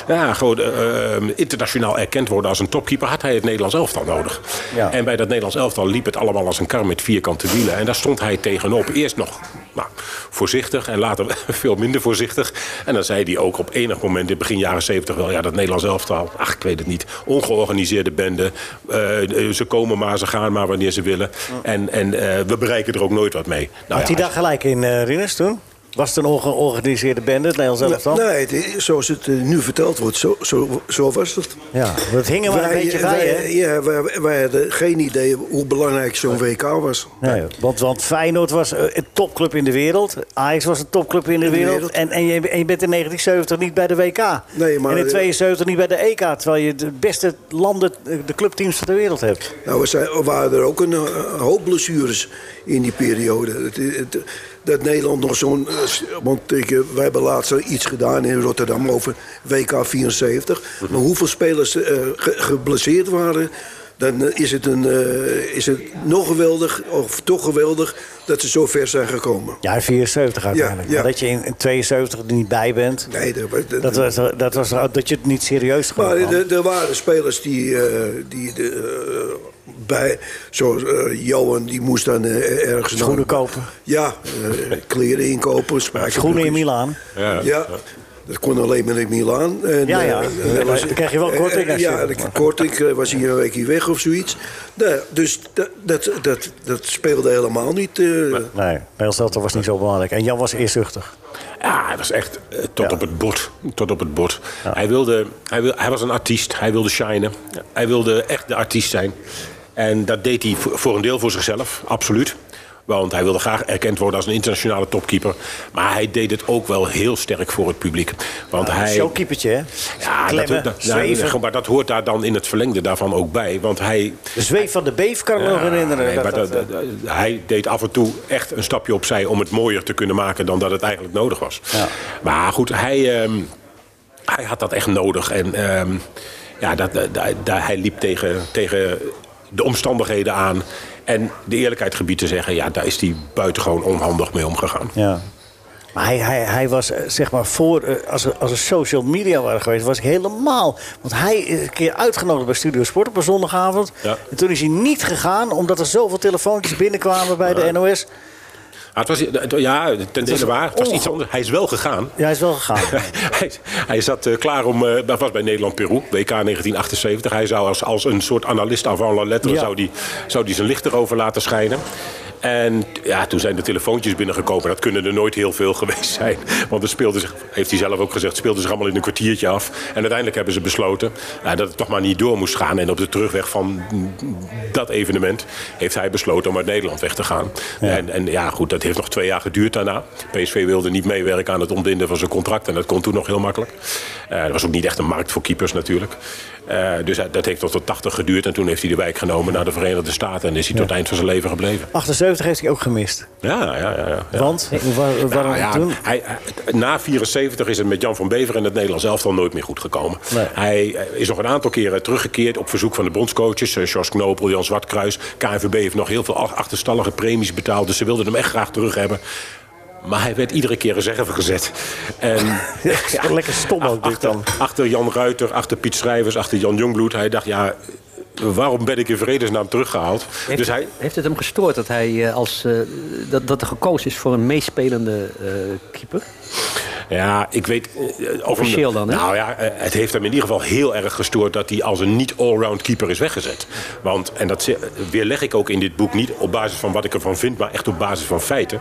ja, gewoon, eh, eh, internationaal erkend worden als een topkeeper, had hij het Nederlands elftal nodig.
Ja.
En bij dat Nederlands elftal liep het allemaal als een kar met vierkante wielen. En daar stond hij tegenop. Eerst nog nou, voorzichtig en later veel minder voorzichtig. En dan zei hij ook op enig moment in begin jaren 70 wel... ja, dat Nederlands elftal, ach, ik weet het niet. Ongeorganiseerde bende. Eh, ze komen maar, ze gaan maar wanneer ze willen. En, en eh, we bereiken er ook nooit wat mee. Nou,
had hij
ja,
daar gelijk in, eh Rinus, toen? Was het een ongeorganiseerde bende, het Nederlands elftal?
Nee, het is- zoals het eh, nu verteld wordt, zo, zo, zo was het.
Ja, dat hing er wel een beetje bij, hè?
wij, ja, wij, wij hadden geen idee hoe belangrijk zo'n WK was.
Nee, want, want Feyenoord was eh, een topclub in de wereld. Ajax was een topclub in de
de
wereld.
wereld.
En, en, je, en je bent in 1970 niet bij de WK.
Nee, maar- eh,
en in 72 niet bij de EK. Terwijl je de beste landen, eh, de clubteams van de wereld hebt.
Nou, er zijn, er waren er ook een eh, hoop blessures in die periode. Het, het- dat Nederland nog zo'n... eh, s- Want ik, eh, wij hebben laatst iets gedaan in Rotterdam over WK 74. Maar hoeveel spelers eh, ge- geblesseerd waren... dan eh, is het, een, eh, is het nog geweldig, of toch geweldig... dat ze zo ver zijn gekomen.
Ja, 74 uiteindelijk.
ja.
Maar Dat je in, in 72 er niet bij bent.
Nee, dat, dat-
Dat, was, dat, was, dat je het niet serieus
Maar eh,
genomen had.
er, er waren spelers die, eh, die de, eh, bij, zoals eh, Johan, die moest dan eh, ergens... naar-
Schoenen kopen.
Ja, eh, kleren inkopen, spijkerbroekjes.
Schoenen in Milaan.
Ja. Dat kon alleen maar in Milaan. En,
Ja, ja.
eh,
Ja, maar
was-
dan krijg je wel
eh,
korting als je-
ja, dan- korting. eh, was hier een weekje weg of zoiets. Nou, dus dat, dat, dat, dat speelde helemaal niet. eh.
Nee, bij ons elftal was niet zo belangrijk. En Jan was eerzuchtig.
Ja, hij was echt eh, tot,
Ja.
op het bot, tot op het bot. Hij, wilde, hij, wil, hij was een artiest, hij wilde shinen. Hij wilde echt de artiest zijn. En dat deed hij voor, voor een deel voor zichzelf, absoluut. Want hij wilde graag erkend worden als een internationale topkeeper. Maar hij deed het ook wel heel sterk voor het publiek. Want hij,
Showkeepertje, hè?
ja, dat,
Klemmen,
dat- ja,
zweven.
maar dat hoort daar dan in het verlengde daarvan ook bij. Want hij,
De zweef van de beef kan ik me nog
ja,
herinneren.
nee,
Dat-
maar
dat,
dat-
eh,
dat- hij deed af en toe echt een stapje opzij om het mooier te kunnen maken dan dat het eigenlijk nodig was. Maar goed, hij, ehm, hij had dat echt nodig. En ehm, ja, dat, dat- dat- dat- hij liep tegen, tegen de omstandigheden aan. En de eerlijkheid gebied te zeggen, ja, daar is hij buitengewoon onhandig mee omgegaan.
Ja. Maar hij, hij, hij was eh, zeg maar voor, eh, als er, als er social media waren geweest, was ik helemaal. Want hij is een keer uitgenodigd bij Studio Sport op een zondagavond.
Ja.
En toen is hij niet gegaan, omdat er zoveel telefoontjes binnenkwamen bij de NOS.
Ah, het was, het- ja, ten dele waar. Het was iets
onge-
anders. Hij is wel gegaan.
Ja, hij is wel gegaan.
hij, hij zat eh, klaar om. eh, dat was bij Nederland-Peru, WK 1978. Hij zou als, als een soort analist avant la lettre.
Ja.
Zou, die, zou die zijn licht erover laten schijnen. En ja, toen zijn de telefoontjes binnengekomen. Dat kunnen er nooit heel veel geweest zijn. Want het speelde zich, heeft hij zelf ook gezegd, speelde zich allemaal in een kwartiertje af. En uiteindelijk hebben ze besloten nou, dat het toch maar niet door moest gaan. En op de terugweg van mm, dat evenement heeft hij besloten om uit Nederland weg te gaan. En, en ja, goed, dat heeft nog twee jaar geduurd daarna. PSV wilde niet meewerken aan het ontbinden van zijn contract. En dat kon toen nog heel makkelijk. Eh, er was ook niet echt een markt voor keepers natuurlijk. Eh, dus hij- dat heeft nog tot 80 geduurd. En toen heeft hij de wijk genomen naar de Verenigde Staten. En is hij tot het eind van zijn leven gebleven.
78 heeft hij ook gemist.
Ja, ja, ja. ja.
Want, waar, waarom
Nou ja,
toen?
hij, na 74 is het met Jan van Bever en het Nederlands elftal nooit meer goed gekomen.
Nee.
Hij eh, is nog een aantal keren teruggekeerd op verzoek van de bondscoaches. eh, Jos Knopel, Jan Zwartkruis. KNVB heeft nog heel veel ach- achterstallige premies betaald. Dus ze wilden hem echt graag terug hebben. Maar hij werd iedere keer reserve gezet. En,
Ja, lekker stom ook dit
achter,
dan.
achter Jan Ruiter, achter Piet Schrijvers, achter Jan Jongbloed. Hij dacht, ja, waarom ben ik in vredesnaam teruggehaald?
Heeft,
dus hij,
heeft het hem gestoord dat, hij, eh, als, eh, dat, dat er gekozen is voor een meespelende eh, keeper?
Ja, ik weet... eh, Over
Officieel dan, hè?
Nou ja, eh, het heeft hem in ieder geval heel erg gestoord... dat hij als een niet-allround keeper is weggezet. Want, en dat ze- weerleg ik ook in dit boek niet op basis van wat ik ervan vind... maar echt op basis van feiten.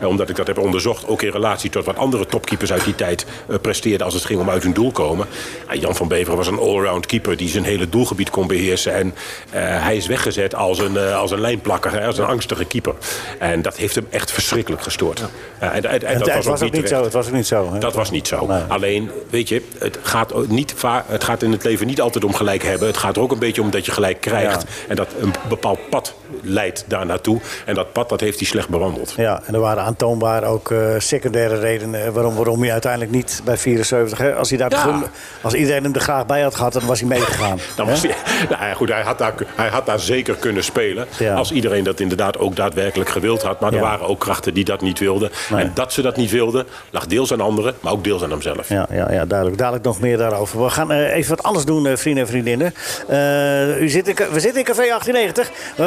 Eh, Omdat ik dat heb onderzocht, ook in relatie tot wat andere topkeepers uit die tijd... eh, presteerden als het ging om uit hun doel komen. Ah, Jan van Beveren was een allround keeper die zijn hele doelgebied kon beheersen. En eh, hij is weggezet als een, eh, als een lijnplakker, hè, als een angstige keeper. En dat heeft hem echt verschrikkelijk gestoord. Eh, en, en- en
Het,
dat
het was ook niet
terecht.
zo. Het was ook niet zo. hè?
Dat was niet zo.
Nee.
Alleen, weet je, het gaat, ook niet va- het gaat in het leven niet altijd om gelijk hebben. Het gaat er ook een beetje om dat je gelijk krijgt. En dat een bepaald pad leidt daar naartoe. En dat pad, dat heeft hij slecht bewandeld.
Ja, en er waren aantoonbaar ook eh, secundaire redenen eh, waarom, waarom hij uiteindelijk niet bij 74. Hè? Als, hij daar
Ja.
begon, als iedereen hem er graag bij had gehad, dan was hij meegegaan.
Dan
hè?
was hij- nou ja, goed, hij, had daar, hij had daar zeker kunnen spelen.
Ja.
Als iedereen dat inderdaad ook daadwerkelijk gewild had. Maar er
Ja.
waren ook krachten die dat niet wilden. En dat ze dat niet wilden, lag deels aan anderen, maar ook deels aan hemzelf.
Ja, ja, ja, duidelijk. Dadelijk nog meer daarover. We gaan eh, even wat anders doen, eh, vrienden en vriendinnen. Eh, u zit in, we zitten in Café 1890. We,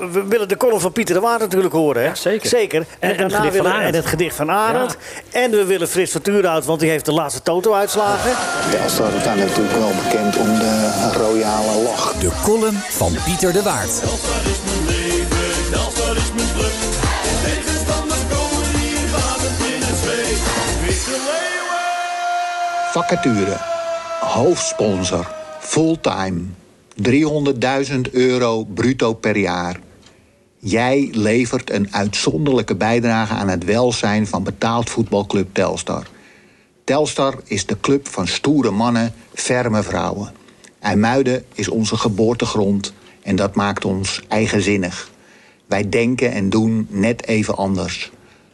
we- we willen de column van Pieter de Waard natuurlijk horen. Hè?
zeker.
En,
En- en het
daarna
gedicht van
willen,
Arend.
en het gedicht van Arend. En we willen Frits van Tuurhout, want die heeft de laatste toto-uitslagen.
Telstra staat natuurlijk wel bekend om de royale lach.
De column van Pieter de Waard.
Vacature. Hoofdsponsor. Fulltime. 300.000 euro bruto per jaar. Jij levert een uitzonderlijke bijdrage aan het welzijn van betaald voetbalclub Telstar. Telstar is de club van stoere mannen, ferme vrouwen. IJmuiden is onze geboortegrond en dat maakt ons eigenzinnig. Wij denken en doen net even anders.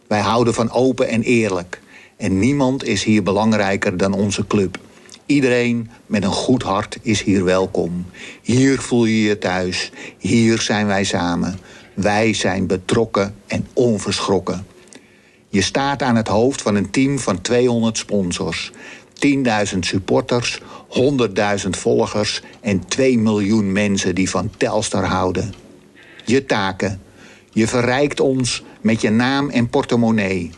Wij houden van open en eerlijk. En niemand is hier belangrijker dan onze club. Iedereen met een goed hart is hier welkom. Hier voel je je thuis. Hier zijn wij samen. Wij zijn betrokken en onverschrokken. Je staat aan het hoofd van een team van 200 sponsors, 10.000 supporters, 100.000 volgers en 2 miljoen mensen die van Telstar houden. Je taken. Je verrijkt ons met je naam en portemonnee.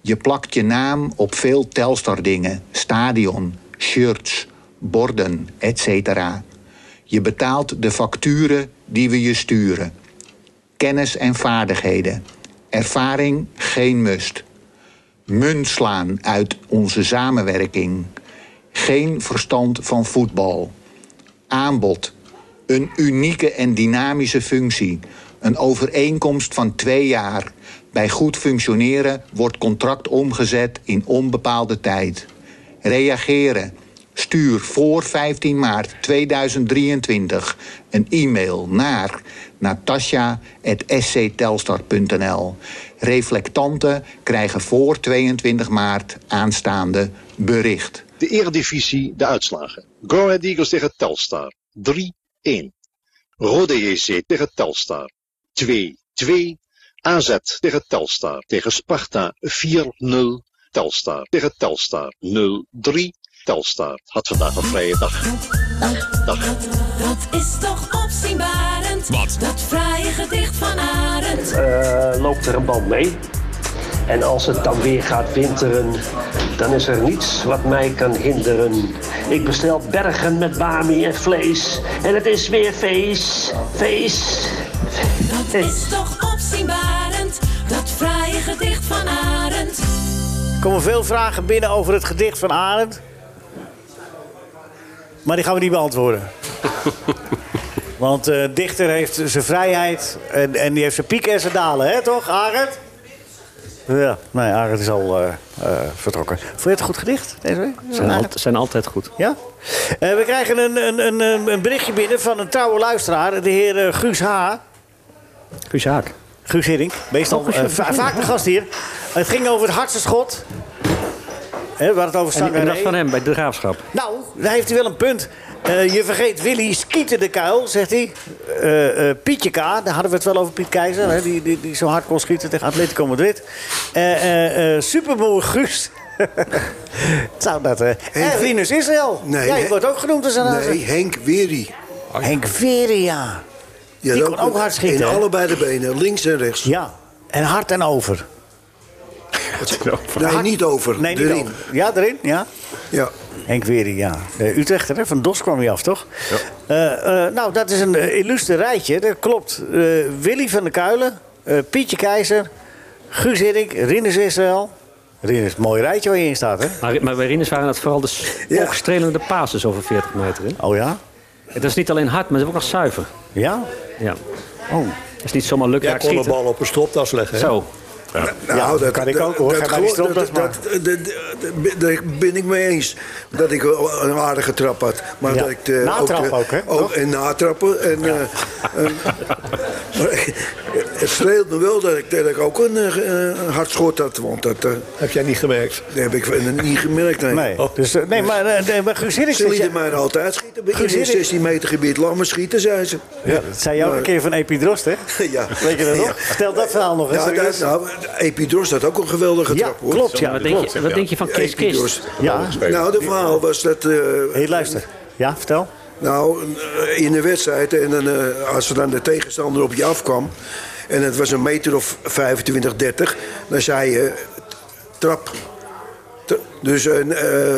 Je plakt je naam op veel Telstar dingen, stadion, shirts, borden, etc. Je betaalt de facturen die we je sturen kennis en vaardigheden. Ervaring geen must. Munt slaan uit onze samenwerking. Geen verstand van voetbal. Aanbod. Een unieke en dynamische functie. Een overeenkomst van twee jaar. Bij goed functioneren wordt contract omgezet in onbepaalde tijd. Reageren. Stuur voor 15 maart 2023 een e-mail naar natasja.sctelstar.nl. Reflectanten krijgen voor 22 maart aanstaande bericht.
De Eredivisie, de uitslagen. Go Ahead Eagles tegen Telstar, 3-1. Rode JC tegen Telstar, 2-2. AZ tegen Telstar, tegen Sparta, 4-0. Telstar tegen Telstar, 0-3. Telstar had vandaag een vrije dag. dag.
Dat is toch opzienbarend.
Wat?
Dat fraaie gedicht van Arend.
eh, loopt er een band mee. En als het dan weer gaat winteren, dan is er niets wat mij kan hinderen. Ik bestel bergen met bami en vlees. En het is weer feest, feest.
Dat is toch opzienbarend. Dat fraaie gedicht van Arend.
Er komen veel vragen binnen over het gedicht van Arend. Maar die gaan we niet beantwoorden. Want de dichter heeft zijn vrijheid en, en die heeft zijn pieken en zijn dalen, hè, toch, Arend? Ja, nee, Arend is al eh, eh, vertrokken. Vond je het een goed gedicht deze week?
Zijn, al-
Arend?
zijn altijd goed.
Ja? Eh, we krijgen een, een, een, een- een berichtje binnen van een trouwe luisteraar, de heer eh, Guus H.
Guus Haak.
Guus Hiddink, meestal eh, va- vaak de gast hier. Het ging over het hardste schot. Hè, waar het over
En, en dat
Sangaré.
van hem bij de graafschap.
Nou, daar heeft hij wel een punt. Eh, je vergeet Willy Skieten de Kuil, zegt hij. Eh, eh, Pietje K, daar hadden we het wel over Piet Keizer. Hè, die, die, die zo hard kon schieten tegen Atletico Madrid. Eh eh eh Superboer Guus. Zou dat... eh en Rinus Israël.
Nee,
Jij
hè?
wordt ook genoemd als een
Nee, Henk Wery.
Henk Veria.
Ja,
Die kon ook hard schieten,
In
hè?
allebei de benen, links en rechts.
Ja, en hard en over.
nou?
Nee, niet over.
Nee, niet
erin.
over. Ja, erin, ja.
Ja.
Henk Wering, ja. Eh, Utrechter, hè? van DOS kwam hij af, toch? Eh, eh, nou, dat is een eh, illustre rijtje, dat klopt. Eh, Willy van der Kuilen, eh, Pietje Keizer, Guus Hiddink, Rinus Israël. Rinus, mooi rijtje waar je in staat, hè?
Maar, maar bij Rinus waren dat vooral de ja. oogstrelende pases over 40 meter. Hè?
Oh ja?
Het is niet alleen hard, maar het is ook nog zuiver.
Ja?
Ja.
Oh.
Het is niet zomaar lukken.
Jij kon de bal op een stropdas leggen. hè?
Zo.
Nou, dat
kan ik ook, hoor. Ga maar die
dat-
stropdas
dat- dat- dat- dat- Daar ben ik mee eens. Dat ik wel een aardige trap had. Maar
Ja.
dat ik eh, de,
Natrap
de-
ook, hè? Toch?
en natrappen. En, eh, eh, maar ik- het streelt me wel dat ik, dat ik ook een, eh, een hard schot had. Want dat, eh,
Heb jij niet gemerkt? Oh.
dat heb ik verder niet gemerkt. Nee.
Nee, dus, eh, nee maar, eh, nee, maar Guus Hiddink...
Ze
zit
lieten
je-
mij altijd schieten binnen in
Gezinnen-
het 16 meter gebied. Laat me schieten, zei ze.
Ja, dat zei jou ook een keer van Epidrost, hè?
Ja.
Weet je dat nog?
Ja.
Vertel dat verhaal nog eens.
Ja, dat,
serieus.
nou, Epidors had ook een geweldige
Ja,
trap, hoor.
klopt, ja.
Wat denk,
klopt.
je, wat denk je van Kees
Epidors.
Kist?
Ja,
Nou, de verhaal was dat... eh,
hey, luister. Ja, vertel.
Nou, eh, in de wedstrijd, en dan, eh, als er dan de tegenstander op je afkwam... en het was een meter of 25, 30... dan zei je, trap. Tra- Dus eh,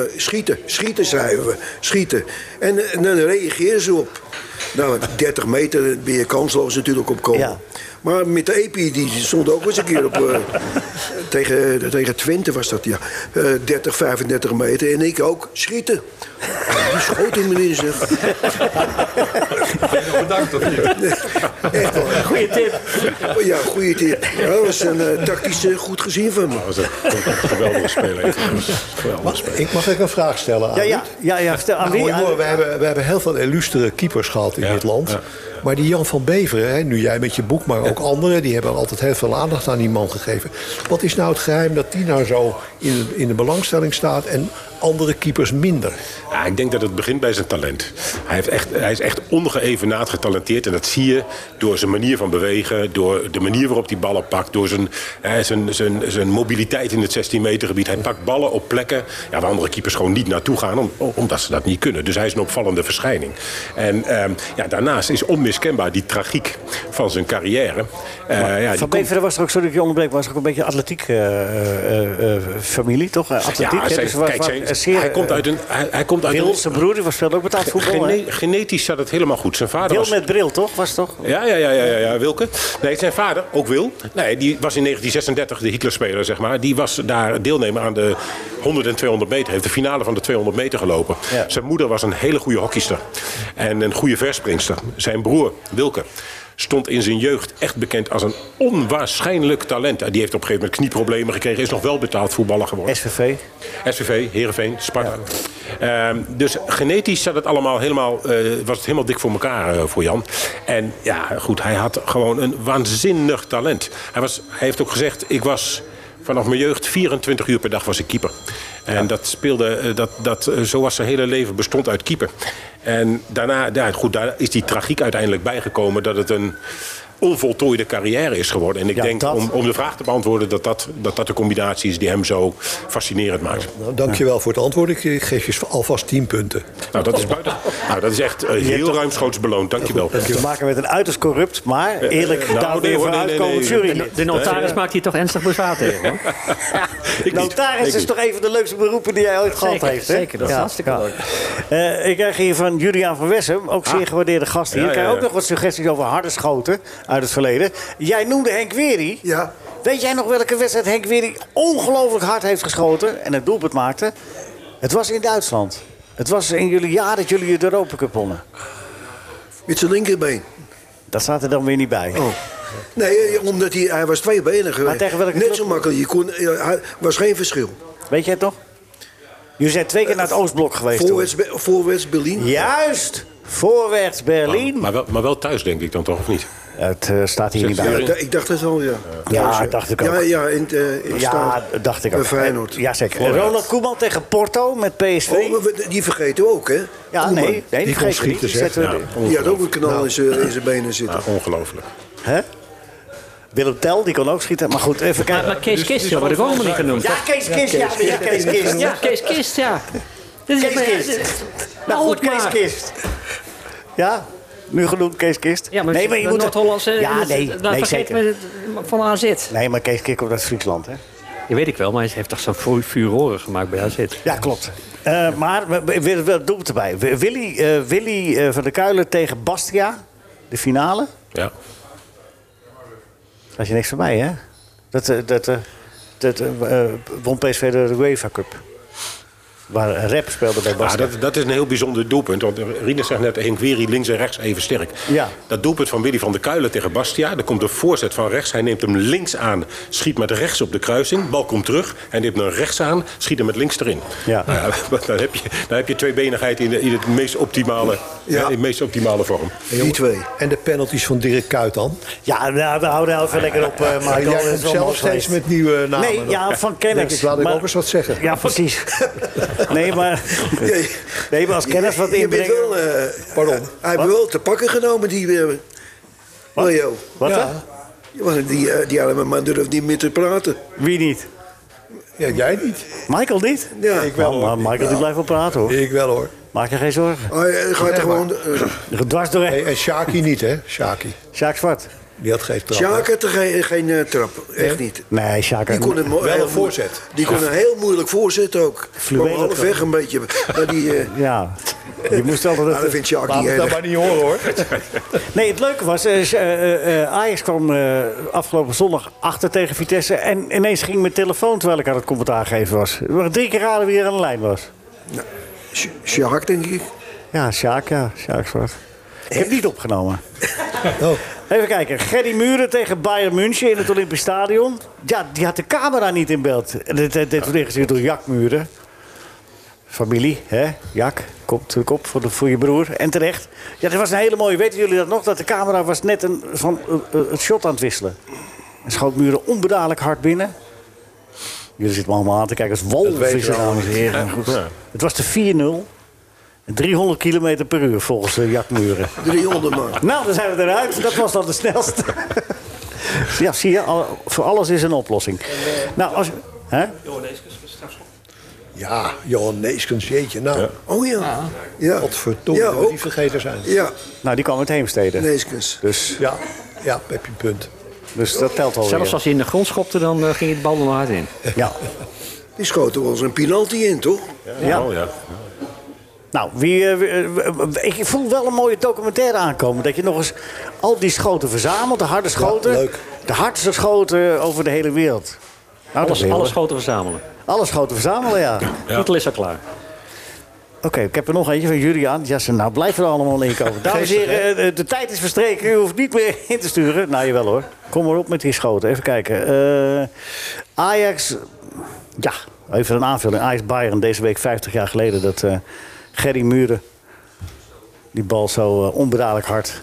eh, schieten, schieten zeiden we, schieten. En, eh, dan reageer ze op. Nou, 30 meter ben je kansloos natuurlijk op komen.
Ja.
Maar met de EPI, die stond ook eens een keer op... eh, tegen, eh, tegen Twente was dat, ja. Eh, 30, 35 meter. En ik ook, schieten. Die schoot in me in, zeg.
Bedankt toch niet?
Echt waar.
Goeie tip.
Ja, goede tip. Ja, dat was een eh, tactisch eh, goed gezien van me.
Dat was een geweldige speler. Geweldige speler.
Ik mag ik een vraag stellen aan
Ja, ja, ja, ja vertel. Aan wie?
Nou,
aan-
hoor, we, hebben, we hebben heel veel illustere keepers gehad in
Ja,
dit land.
ja.
Maar die Jan van Beveren, hè, nu jij met je boek, maar ook anderen... die hebben altijd heel veel aandacht aan die man gegeven. Wat is nou het geheim dat die nou zo in, in de belangstelling staat... en andere keepers minder?
Ja, ik denk dat het begint bij zijn talent. Hij, heeft echt, hij is echt ongeëvenaard getalenteerd. En dat zie je door zijn manier van bewegen. Door de manier waarop hij ballen pakt. Door zijn, hè, zijn, zijn, zijn mobiliteit in het 16 meter gebied. Hij pakt ballen op plekken ja, waar andere keepers gewoon niet naartoe gaan. om- omdat ze dat niet kunnen. Dus hij is een opvallende verschijning. En ehm, ja, daarnaast is onmiskenbaar die tragiek van zijn carrière. Eh, ja, die
Van
komt-
Beveren was er ook, sorry dat ik je onderbreek, was er ook een beetje atletiek eh, eh, eh, familie, toch? Eh, Atletiek, hè?
zijn-
Dus was-
kijk,
was
zijn-
een zeer,
hij komt
eh,
uit een... Hij, hij komt uit
Wil,
een
zijn broer, die was speelde ook betaald voetbal, hè?
gene- genetisch zat het helemaal goed. Zijn vader
Wil
was
met bril, toch? Was het toch?
Ja, ja, ja, ja, ja, ja, Wilke. Nee, zijn vader, ook Wil, nee, die was in 1936 de Hitlerspeler, zeg maar. Die was daar deelnemer aan de 100 en 200 meter. Heeft de finale van de 200 meter gelopen.
Ja.
Zijn moeder was een hele goede hockeyster. En een goede verspringster. Zijn broer, Wilke, stond in zijn jeugd echt bekend als een onwaarschijnlijk talent. En Die heeft op een gegeven moment knieproblemen gekregen. Is nog wel betaald voetballer geworden.
SVV.
SVV, Heerenveen, Sparta. Ehm, dus genetisch zat het allemaal helemaal, eh, was het helemaal dik voor elkaar eh, voor Jan. En ja, goed, hij had gewoon een waanzinnig talent. Hij, was, hij heeft ook gezegd, ik was vanaf mijn jeugd 24 uur per dag was ik keeper. En dat speelde, eh, dat, dat, eh, zo was zijn hele leven bestond uit keeper. En daarna, ja, goed, daar is die tragiek uiteindelijk bijgekomen dat het een onvoltooide carrière is geworden. En ik
Ja,
denk,
dat-
om, om de vraag te beantwoorden, dat dat, dat dat de combinatie is die hem zo fascinerend maakt.
Nou, dankjewel voor het antwoord. Ik ik geef je alvast 10 punten.
Nou, dat is, buiten, nou, dat is echt eh, heel ruimschoots beloond. Dankjewel.
Te maken met een uiterst corrupt, maar eerlijk
nou,
daar
nee,
weer
hoor,
voor
nee, nee,
uitkomend
nee.
jury.
De notaris maakt hier toch ernstig bezwaar tegen. hoor.
Ik niet.
Notaris
Ik
is
niet.
toch een van de leukste beroepen die jij ooit gehad
Zeker,
heeft, hè?
zeker, dat is hartstikke leuk.
Eh, ik krijg hier van Julian van Wessem, ook zeer gewaardeerde gast hier.
Ah. Ja,
ik krijg
ja,
ook
ja.
nog wat suggesties over harde schoten uit het verleden. Jij noemde Henk Wery.
Ja.
Weet jij nog welke wedstrijd Henk Wery ongelooflijk hard heeft geschoten en het doelpunt maakte? Het was in Duitsland. Het was in jullie jaar dat jullie de Europa Cup wonnen.
Met zijn linkerbeen.
Dat staat er dan weer niet bij.
Oh. Nee, eh, omdat hij, hij was twee benen geweest.
tegen welke
Net
club?
zo makkelijk. Je kon, eh, hij- was geen verschil.
Weet jij het nog? Jullie zijn twee keer naar het Oostblok geweest. toen.
Voorwaarts, Be- voorwaarts Berlin.
Juist! Voorwaarts Berlin.
Maar wel, maar wel thuis, denk ik dan toch, of niet?
Het eh, staat hier niet
Zit
Ja,
bij.
hier-
da- ik dacht het wel, ja.
Ja, dacht ik ook.
Ja, ja, in, het, eh, in het
Ja,
stadion.
dat dacht ik ook.
Bij Feyenoord.
Ja, zeker. Ronald Koeman tegen Porto met PSV.
Oh, maar we- die vergeten we ook, hè?
ja, nee, nee, die, dus
die kon
vergeten we niet.
schieten,
Die
zeg.
zetten we erin.
Die had ook een
Nou.
knal in zijn- in zijn benen zitten.
Ja, ongelooflijk.
Hè? Willem Tel, die kon ook schieten. Maar goed, even
Maar,
kijken.
maar
Dus
Kees Kist, ja, wat ik ook helemaal niet genoemd.
Ja, Kees Kist. Ja, ja, Kees Kist.
Ja,
Ja.
Kees Kist, ja. Dit is
Kees Kist. Nou goed, Kees Kist. Ja, nu genoemd Kees Kist.
Ja, maar,
nee, maar je moet...
Noord-Hollandse...
Ja,
dat-
nee,
dat- dat
nee
vergeet
zeker.
me het- van AZ.
Nee, maar Kees Kik komt uit Friesland, hè?
Dat weet ik wel, maar hij heeft toch zo'n fu- furoren gemaakt bij AZ.
Ja, klopt. Eh, maar we, we, we, we doen het erbij. We- Willy, eh, Willy eh, van der Kuilen tegen Bastia, de finale.
Ja.
Daar is je niks van mij, hè? Dat, eh, dat, eh, dat eh, eh, won PSV de UEFA Cup. Waar eh, Rep speelde bij
Ja,
Bastia.
dat, dat is een heel bijzonder doelpunt. Want Rienes zegt net, Enquiri links en rechts even sterk.
Ja.
Dat doelpunt van Willy van der Kuilen tegen Bastia. Er komt een voorzet van rechts. Hij neemt hem links aan, schiet met rechts op de kruising. Bal komt terug. Hij neemt hem rechts aan, schiet hem met links erin.
Ja.
Nou dan, heb je, dan heb je tweebenigheid in, de, in, het meest optimale,
Ja.
in de meest optimale vorm.
Die twee. En de penalties van Dirk Kuyt dan?
Ja, nou, we houden even lekker op, eh
Maar
Michael.
jij
Dat is
komt
wel
zelf
mooi
steeds
geweest.
met nieuwe namen.
Nee,
dan.
ja, van kennis.
Denk ik, laat ik
Maar-
ook eens wat zeggen.
Ja, precies. Nee, maar, nee, maar als kennis wat
Je bent
inbrengen...
wel, eh,
Pardon.
hij heeft wel te pakken genomen, die eh, Miljo.
Wat
Ja.
dan?
Die, was- die, eh, die arme man durft niet meer te praten.
Wie niet?
Ja, jij niet.
Michael niet?
Ja.
Ik wel
Nou, maar
hoor.
Michael die blijft wel praten, hoor.
Ik wel hoor. Oh,
Maak je geen zorgen.
Eh, Hij gaat
Nee,
gewoon... eh,
Dwars doorheen.
Hey, en Shaki niet, hè? Shaki.
Sjaak Zwart.
Die had geen trap.
Sjaak had er geen, geen eh, trap, echt niet.
Nee, Sjaak...
Die kon, hem mo-
Wel
heel
een voorzet.
mo- Die kon een heel moeilijk voorzet ook.
Fluwele
Kwam half
trap.
weg een beetje. Maar die, eh
Ja. Je moest altijd...
nou, dat vindt Sjaak
Laat
niet
het dan
erg.
maar niet horen hoor.
Nee, het leuke was, eh, z- eh, eh, Ajax kwam eh, afgelopen zondag achter tegen Vitesse. En ineens ging mijn telefoon terwijl ik aan het commentaar geven was. Het was drie keer raden wie er aan de lijn was.
Sj- Sjaak, denk ik.
Ja, Sjaak, ja. Sjaak Zwart. Ik heb niet opgenomen.
Oh.
Even kijken. Gerry Muren tegen Bayern München in het Olympisch Stadion. Ja, die had de camera niet in beeld. En Dit, dit, dit wordt ingestuurd door Jack Muren. Familie, hè? Jack, kop natuurlijk op voor, de, voor je broer. En terecht. Ja, dat was een hele mooie. Weten jullie dat nog? Dat de camera was net een, van eh, eh, het shot aan het wisselen. En schoot Muren onbedadelijk hard binnen. Jullie zitten me allemaal aan te kijken als walvissen, dames en heren. Maar goed. Het was de 4-0. 300 km per uur volgens eh, Jack Muren.
300 man.
Nou, dan zijn we eruit. Dat was dan de snelste. ja, zie je, al- voor alles is een oplossing. Nou, als. Hè?
Ja, Johan Neeskens, jeetje. Nou,
Oh ja. Ja,
wat verdomme
Ja,
dat we die
ook.
vergeten zijn.
ja.
Nou, die kwam uit Heemstede.
Neeskens.
Dus,
Ja, ja, heb je een punt.
dus dat telt al.
Zelfs als hij in de grond schopte, dan eh, ging het bal er nog hard in.
Ja.
Nou,
Die schoten ons een penalty in, toch?
Ja.
Oh, ja.
Nou, wie, eh, wie- eh, ik voel wel een mooie documentaire aankomen. Dat je nog eens al die schoten verzamelt, de harde schoten.
leuk.
De hardste schoten over de hele wereld. Nou, dat
Alles,
is
alles
alles,
schoten verzamelen.
alles schoten verzamelen, ja.
Titel is al klaar.
Oké, ik heb er nog eentje van Julian. Ja, ze- nou blijf er allemaal in komen. Dames en heren, eh, de, de tijd is verstreken. U hoeft niet meer in te sturen. Nou, jawel hoor. Kom maar op met die schoten. Even kijken. Eh, Ajax... Ja, even een aanvulling. Ajax-Bayern deze week 50 jaar geleden. Dat eh Gerry Muren die bal zo eh, onbedadelijk hard...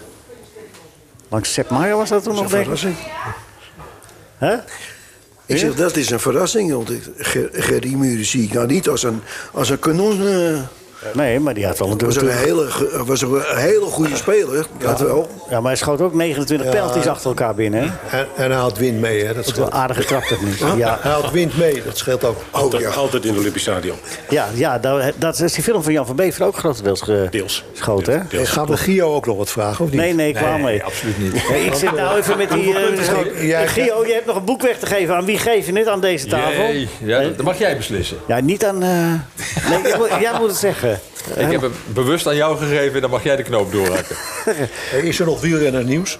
Langs Sepp Maier was dat toen nog, denk ik?
Verrassing.
Hè?
Ik zeg, dat is een verrassing. Want ik- Ger- Gerry Muren zie ik nou niet als een, als een kanon. eh,
Nee, maar die had wel een
was, een
doelpunt.
hele, ge- was een hele goede speler, dat wel.
Ja, maar hij schoot ook 29 penalties achter elkaar binnen. Hè?
En, en hij had wind mee, hè? Dat
Dat is
scheelt.
wel aardige trap dat niet. Ja,
Hij had wind mee, dat scheelt ook.
Oh
Altijd,
ja.
altijd in het Olympisch Stadion.
Ja, ja dat, dat is die film van Jan van Bever ook grotendeels
Deels.
geschoten, hè?
Deels.
Gaan we Gio ook nog wat vragen, of niet?
Nee, nee, ik kwam mee.
absoluut niet.
Nee, ik zit nou even met die... eh,
Jij- jij-
Gio, je hebt nog een boek weg te geven. Aan wie geef je het aan deze tafel?
Jee, ja, dat dat mag jij beslissen.
Ja, niet aan... eh, Nee, ik moet- jij moet het zeggen.
Ik heb hem bewust aan jou gegeven, dan mag jij de knoop doorhakken.
Hey, Is er nog wielrenner nieuws?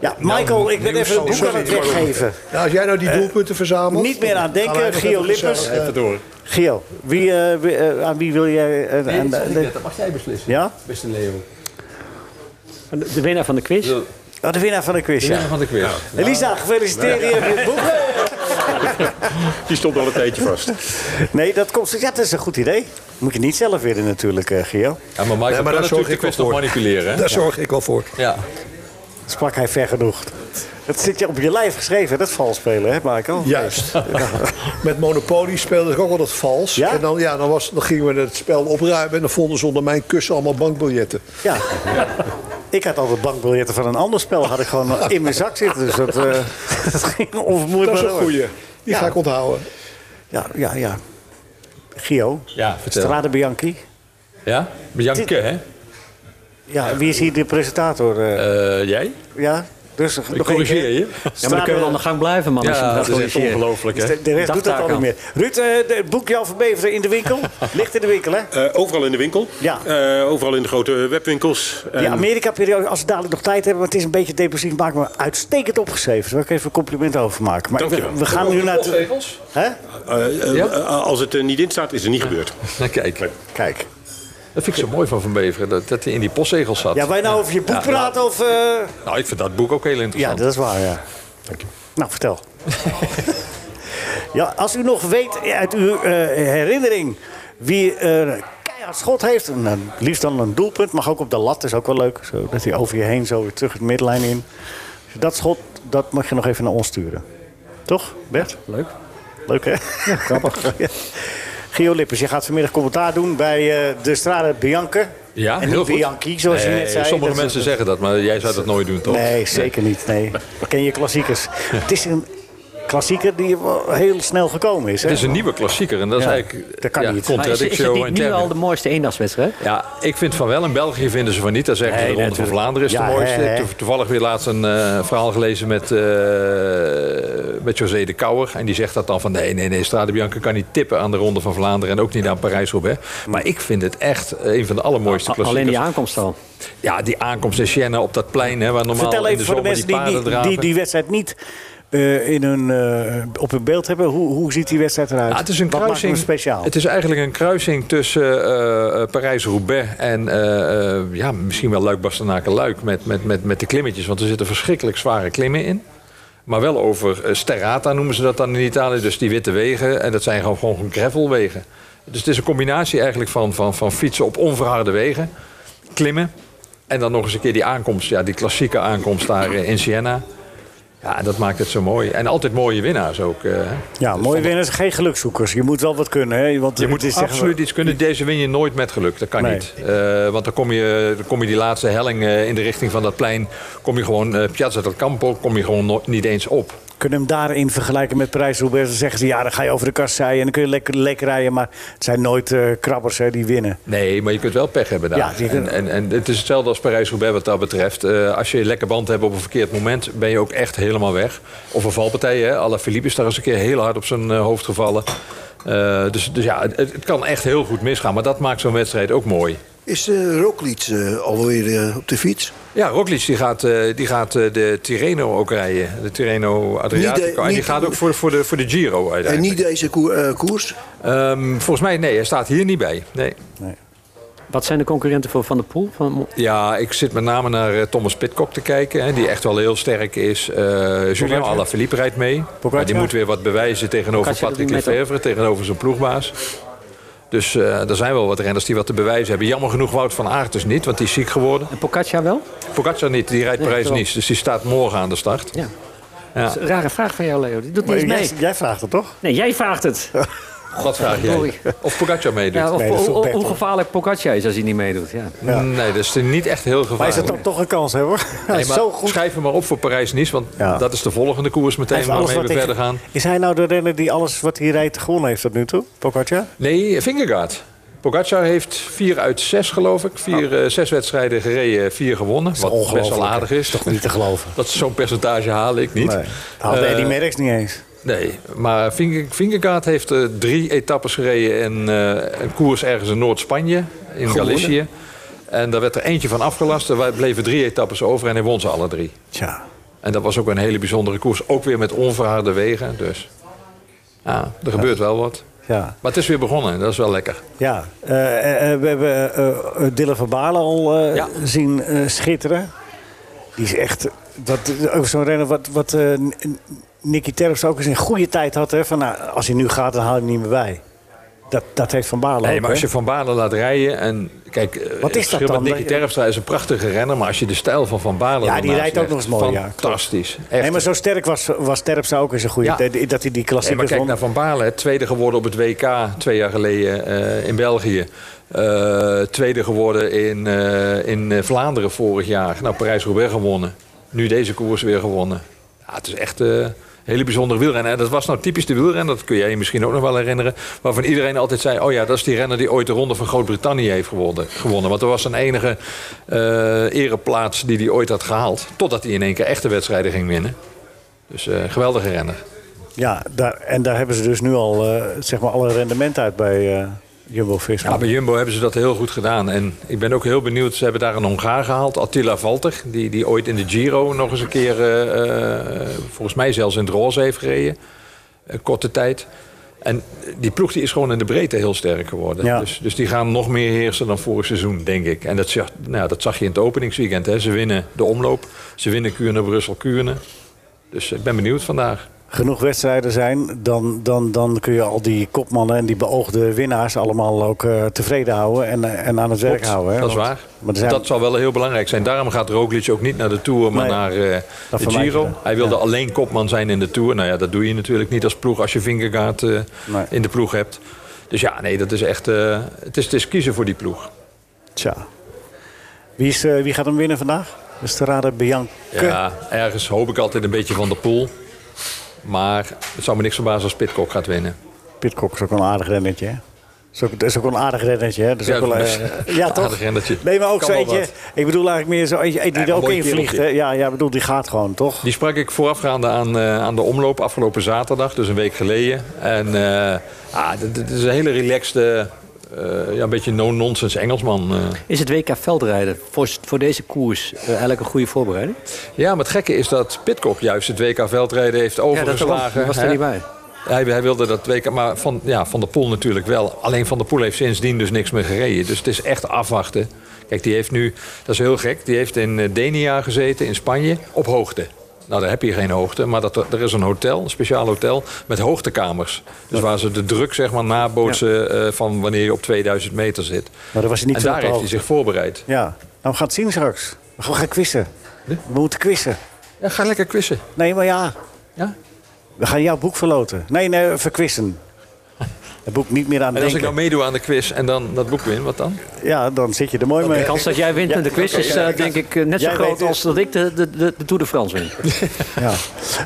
Ja, Michael, ik ben
nieuws
even het boek
sowieso
aan het weggeven. Eh,
Nou, als jij nou die doelpunten verzamelt...
niet meer aan denken,
gaan wij nog
Gio
even
Lippers.
gezellig, eh,
door.
Gio, wie, eh, wie, eh, aan wie wil jij... eh, aan-
dat mag jij beslissen.
ja?
Beste Leo.
De winnaar van de quiz.
Oh, de winnaar van de quiz, ja.
van de quiz.
Elisa, gefeliciteerd. Je hebt het boek.
Die stond al een tijdje vast.
Nee, dat komt... Ja, dat is een goed idee. Moet je niet zelf winnen natuurlijk, eh, Gio.
Ja, maar Michael
Nee, maar
kan
daar zorg
natuurlijk de
ik wel
quiz nog
voor.
manipuleren. Hè?
Daar zorg ik wel voor.
Ja.
Sprak hij ver genoeg. Dat zit je op je lijf geschreven, dat is vals spelen, hè, Michael?
Juist. Met Monopoly speelde ik ook altijd vals.
Ja?
En dan, ja, dan, was, dan gingen we het spel opruimen en dan vonden ze onder mijn kussen allemaal bankbiljetten.
Ja. Ik had altijd bankbiljetten van een ander spel, had ik gewoon in mijn zak zitten. Dus dat, eh, dat ging onvermoeid
Dat is
maar
een
door.
goeie. Die
Ja.
ga ik onthouden.
Ja, ja, ja. Gio,
Ja, vertel.
Strade Bianchi.
Ja? Bianca, hè?
Ja, wie is hier de presentator? eh?
Eh, jij?
ja? Dus
Ik corrigeer je.
Ja, maar dan kunnen we aan de gang blijven, man. als je hem
Ja,
gaat
dat is echt
corrigeren.
ongelooflijk, hè?
Dus De, de rest doet dat al
Dagtaak
niet meer. Ruud, eh, de- het boek Jan van Beveren in de winkel. Ligt in de winkel, hè?
Eh, overal in de winkel.
Ja.
Eh, overal in de grote webwinkels.
Die
eh,
En-
Amerika-periode, als we dadelijk nog tijd hebben, want het is een beetje depressief, maken we uitstekend opgeschreven. Daar wil ik even een compliment over maken. Maar we,
Dankjewel.
we gaan nu naar. het- Hè?
Eh, eh,
Ja?
eh, Als het er niet in staat, is het niet gebeurd.
Nou, Kijk,
Kijk.
dat vind ik zo mooi van Van Beveren, dat, dat hij in die postzegels zat.
Ja, wij nou over je boek
Ja.
praten of. eh,
Nou, ik vind dat boek ook heel
Ja,
interessant.
dat is waar, ja. Nou, vertel. ja, als u nog weet uit uw eh, herinnering wie eh keihard schot heeft, en, dan liefst dan een doelpunt, mag ook op de lat, is ook wel leuk. Zo, dat hij over je heen zo weer terug het middenlijn in. Als je Dat schot, dat mag je nog even naar ons sturen. Toch, Bert?
Leuk.
Leuk, hè? Ja, grappig. Gio Lippers, je gaat vanmiddag commentaar doen bij eh, de Strade Bianca.
Ja,
en
heel
niet
goed.
Bianchi, zoals je
Nee,
net zei.
Sommige
Dat is-
mensen zeggen dat, maar jij zou dat nooit doen, toch?
Nee, zeker niet. Nee. Ken je klassiekers? Het is een klassieker die wel heel snel gekomen is. Hè?
Het is een nieuwe klassieker en dat is
Ja,
eigenlijk
dat kan
ja,
niet.
Maar is, is het
contradictio
niet
in
nu
termine.
al de mooiste eendagswedstrijd?
Ja, ik vind van wel. In België vinden ze van niet. Daar zeggen
Nee,
ze de Ronde van
natuurlijk.
Vlaanderen is
Ja,
de mooiste.
hè, hè.
To- Toevallig weer laatst een eh, verhaal gelezen met, eh, met José de Kouwer. En die zegt dat dan van nee, nee, nee. Strade Bianca kan niet tippen aan de Ronde van Vlaanderen. En ook niet aan Parijs-Roubaix. Maar ik vind het echt eh, een van de allermooiste
A- Alleen
klassiekers.
die aankomst al.
Ja, die aankomst in Siena op dat plein. Hè, waar normaal
Vertel
in de
even voor de
zomer
mensen
die
die,
paarden
die,
draven.
die die wedstrijd niet eh, in hun, eh, op hun beeld hebben. Hoe, hoe ziet die wedstrijd eruit?
Ja, het is een
Wat maakt
kruising.
hem speciaal?
Het is eigenlijk een kruising tussen eh, eh, Parijs-Roubaix en eh, eh, ja, misschien wel Luik-Bastenaken-Luik met, met, met, met de klimmetjes. Want er zitten verschrikkelijk zware klimmen in. Maar wel over eh, Sterrata noemen ze dat dan in Italië. Dus die witte wegen. En dat zijn gewoon, gewoon gravelwegen. Dus het is een combinatie eigenlijk van, van, van fietsen op onverharde wegen. Klimmen. En dan nog eens een keer die aankomst. Ja, die klassieke aankomst daar eh, in Siena. Ja, en dat maakt het zo mooi. En altijd mooie winnaars ook. eh, hè.
ja, mooie winnaars, geen gelukzoekers. Je moet wel wat kunnen. Hè? Want
Je
het
moet
is echt-
absoluut iets kunnen. Deze win je nooit met geluk. Dat kan
Nee.
niet. Eh, want dan kom, je, dan kom je die laatste helling eh, in de richting van dat plein. Kom je gewoon, eh Piazza del Campo, kom je gewoon no- niet eens op.
Kunnen hem daarin vergelijken met parijs roubaix Dan zeggen ze, ja, dan ga je over de kasseien en dan kun je lekker, lekker rijden. Maar het zijn nooit eh, krabbers hè, die winnen.
Nee, maar je kunt wel pech hebben daar.
Ja, je kunt-
en, en, en het is hetzelfde als Parijs-Roubaix wat dat betreft. Eh, als je een lekker band hebt op een verkeerd moment, ben je ook echt helemaal weg. Of een valpartij, hè. Alain Philippe is daar eens een keer heel hard op zijn eh, hoofd gevallen. Eh, dus, dus ja, het, het kan echt heel goed misgaan. Maar dat maakt zo'n wedstrijd ook mooi.
Is uh, Roglic eh, alweer eh, op de fiets?
Ja, Roglic die gaat, eh, die gaat eh, de Tirreno ook rijden. De Tirreno Adriatico.
Niet de-
en die
niet-
gaat ook voor, voor, de, voor de Giro
En
uiteindelijk.
niet deze koe- eh, koers?
Ehm, volgens mij, nee, hij staat hier niet bij. Nee.
Wat zijn de concurrenten voor Van der Poel? Van,
Ja, ik zit met name naar eh, Thomas Pitcock te kijken. Hè, die echt wel heel sterk is. Eh Julien Alaphilippe rijdt mee. Maar die moet weer wat bewijzen tegenover
Pogacar doet
Patrick
niet mee,
Lefevre. Tegenover zijn ploegbaas. Dus eh, er zijn wel wat renners die wat te bewijzen hebben. Jammer genoeg Wout van Aert dus niet, want die is ziek geworden.
en Pocaccia wel?
Pogacar niet, die rijdt
Nee,
Parijs-Nice. Dus die staat morgen aan de start.
Ja.
Ja.
Dat is een rare vraag van jou, Leo. Die doet niet eens mee.
jij, jij vraagt het toch?
Nee, jij vraagt het.
Wat vraag jij?
Sorry.
Of Pogacar meedoet?
Ja, of,
Nee, dat is
hoe-
toch
hoe-
Bert,
hoe
hoor.
gevaarlijk Pocaccia is als hij niet meedoet. Ja.
Ja.
Nee, dat is niet echt heel
Maar is
gevaarlijk.
het dan toch een kans, hè, hoor? Hij
Nee,
is
maar
zo goed.
Schrijf hem maar op voor Parijs-Nice, want
Ja.
dat is de volgende koers
Hij
meteen
heeft alles
waarmee we
wat ik-
verder gaan.
Is hij nou de renner die alles wat hij rijdt gewonnen heeft tot nu toe? Pogacar?
Nee, Vingegaard. Pogacar heeft vier uit zes, geloof ik. Vier, eh, zes wedstrijden gereden, vier gewonnen. Wat best wel aardig is.
Toch niet te geloven.
Dat zo'n percentage haal ik niet.
Nee. Dat had
Eh,
Eddie Merckx niet eens.
Nee, maar Vinge- Vingegaard heeft eh, drie etappes gereden in eh, een koers ergens in Noord-Spanje, in Galicië. En daar werd er eentje van afgelast. Er bleven drie etappes over en hij won ze alle drie.
Tja.
En dat was ook een hele bijzondere koers. Ook weer met onverharde wegen. Dus ja, er gebeurt wel wat.
Ja,
Maar het is weer begonnen. Dat is wel lekker.
ja. Eh, eh, we hebben eh Dylan van Baarle al eh,
Ja.
zien eh, schitteren. Die is echt dat, ook zo'n renner wat, wat eh, N- N- Nicky Terps ook eens in goede tijd had. Hè, van, nou, als hij nu gaat, dan haal je hem niet meer bij. Dat, dat heeft Van Baarle
Nee,
ook,
maar als
hè?
je Van Baarle laat rijden en kijk, eh,
Wat is dat
Schubert
dan?
Nicky Terpstra is een prachtige renner, maar als je de stijl van Van Baarle
Ja, die
daarnaast
rijdt ook
legt,
nog eens mooi, ja, klopt.
fantastisch. Echt.
Nee, maar zo sterk was, was Terpstra ook in zijn goede
Ja.
tijd. Dat hij die
Nee, maar
klassiekers
kijk
won.
naar Van Baarle. hè. Tweede geworden op het WK twee jaar geleden eh, in België. Eh, tweede geworden in, eh, in eh, Vlaanderen vorig jaar. Nou, Parijs-Roubaix gewonnen. Nu deze koers weer gewonnen. Ja, het is echt... eh, Hele bijzondere wielrenner. En dat was nou typisch de wielrenner, dat kun jij je misschien ook nog wel herinneren. Waarvan iedereen altijd zei: Oh ja, dat is die renner die ooit de Ronde van Groot-Brittannië heeft gewonnen. gewonnen. Want dat was zijn enige eh, ereplaats die hij ooit had gehaald. Totdat hij in één keer echte wedstrijden ging winnen. Dus eh, geweldige renner.
Ja, daar, en daar hebben ze dus nu al eh, zeg maar alle rendement uit bij eh Jumbo-Visma.
Ja, bij Jumbo hebben ze dat heel goed gedaan. En ik ben ook heel benieuwd. Ze hebben daar een Hongaar gehaald, Attila Valter. Die, die ooit in de Giro nog eens een keer, eh, eh, volgens mij zelfs in het roze heeft gereden. Een korte tijd. En die ploeg die is gewoon in de breedte heel sterk geworden.
Ja.
Dus, dus die gaan nog meer heersen dan vorig seizoen, denk ik. En dat zag, nou, dat zag je in het openingsweekend. Hè. Ze winnen de omloop. Ze winnen Kuurne-Brussel-Kuurne. Dus ik ben benieuwd vandaag.
Genoeg wedstrijden zijn, dan, dan, dan kun je al die kopmannen en die beoogde winnaars allemaal ook eh, tevreden houden en, eh, en aan het werk
Klopt,
houden. Hè?
Dat is
Want-
waar.
Maar er zijn,
Dat zal wel heel belangrijk zijn. Daarom gaat Roglic ook niet naar de Tour, maar
Nee,
naar eh,
dat
de
verwijt
Giro.
je.
Hij wilde alleen kopman zijn in de Tour. Nou ja, dat doe je natuurlijk niet als ploeg als je Vingegaard eh, in de ploeg hebt. Dus ja, nee, dat is echt... eh, het, is, het is kiezen voor die ploeg.
tja. Wie, is, eh, wie gaat hem winnen vandaag? Dat is te raden Bianca.
Ja, ergens hoop ik altijd een beetje van de pool. Maar het zou me niks verbazen als Pitcock gaat winnen.
Pitcock is ook wel een aardig rennertje, hè? Dat is ook, dat is ook wel een aardig rennertje, hè? Dat is
Ja,
ook wel,
dat is-
eh, ja, toch?
aardig rennertje.
Nee, maar ook
Kan
zo
wel
eentje.
wat.
Ik bedoel eigenlijk meer zo eentje die
maar
er ook
mooi
in vliegt, hè?
kereltje.
Ja, ja, ik bedoel, die gaat gewoon, toch?
Die sprak ik voorafgaande aan, eh, aan de omloop afgelopen zaterdag, dus een week geleden. En eh, ah, dit, dit is een hele relaxte, eh, ja, een beetje no-nonsense Engelsman. eh.
Is het WK veldrijden voor, voor deze koers eh, eigenlijk een goede voorbereiding?
Ja, maar het gekke is dat Pitcock juist het WK veldrijden heeft
Ja, dat
overgeslagen.
ook. was er
hè.
niet bij.
Hij, hij wilde dat WK, maar van, ja, van der Poel natuurlijk wel. Alleen Van der Poel heeft sindsdien dus niks meer gereden. Dus het is echt afwachten. Kijk, die heeft nu, dat is heel gek, die heeft in eh, Denia gezeten, in Spanje, op hoogte. Nou, daar heb je geen hoogte, maar dat, er is een hotel, een speciaal hotel, met hoogtekamers. Dus waar ze de druk, zeg maar, nabootsen eh, van wanneer je op 2000 meter zit.
Maar daar was hij niet
en
veel
daar
op
heeft
de
hij
hoogte.
zich voorbereid.
Ja, nou, we gaan het zien straks. We gaan quizzen. We moeten quizzen.
Ja, ga lekker quizzen.
Nee, maar ja.
Ja?
We gaan jouw boek verloten. Nee, nee, verquissen. Het boek niet meer aan
En als ik
denken.
nou meedoe aan de quiz en dan dat boek win, wat dan?
Ja, dan zit je er mooi mee.
De kans dat jij wint
Ja,
met de quiz
oké,
is
ja,
eh,
ja.
denk ik eh, net zo
Jij
groot
weet het.
als dat ik de, de, de, de Tour de France win.
Ja.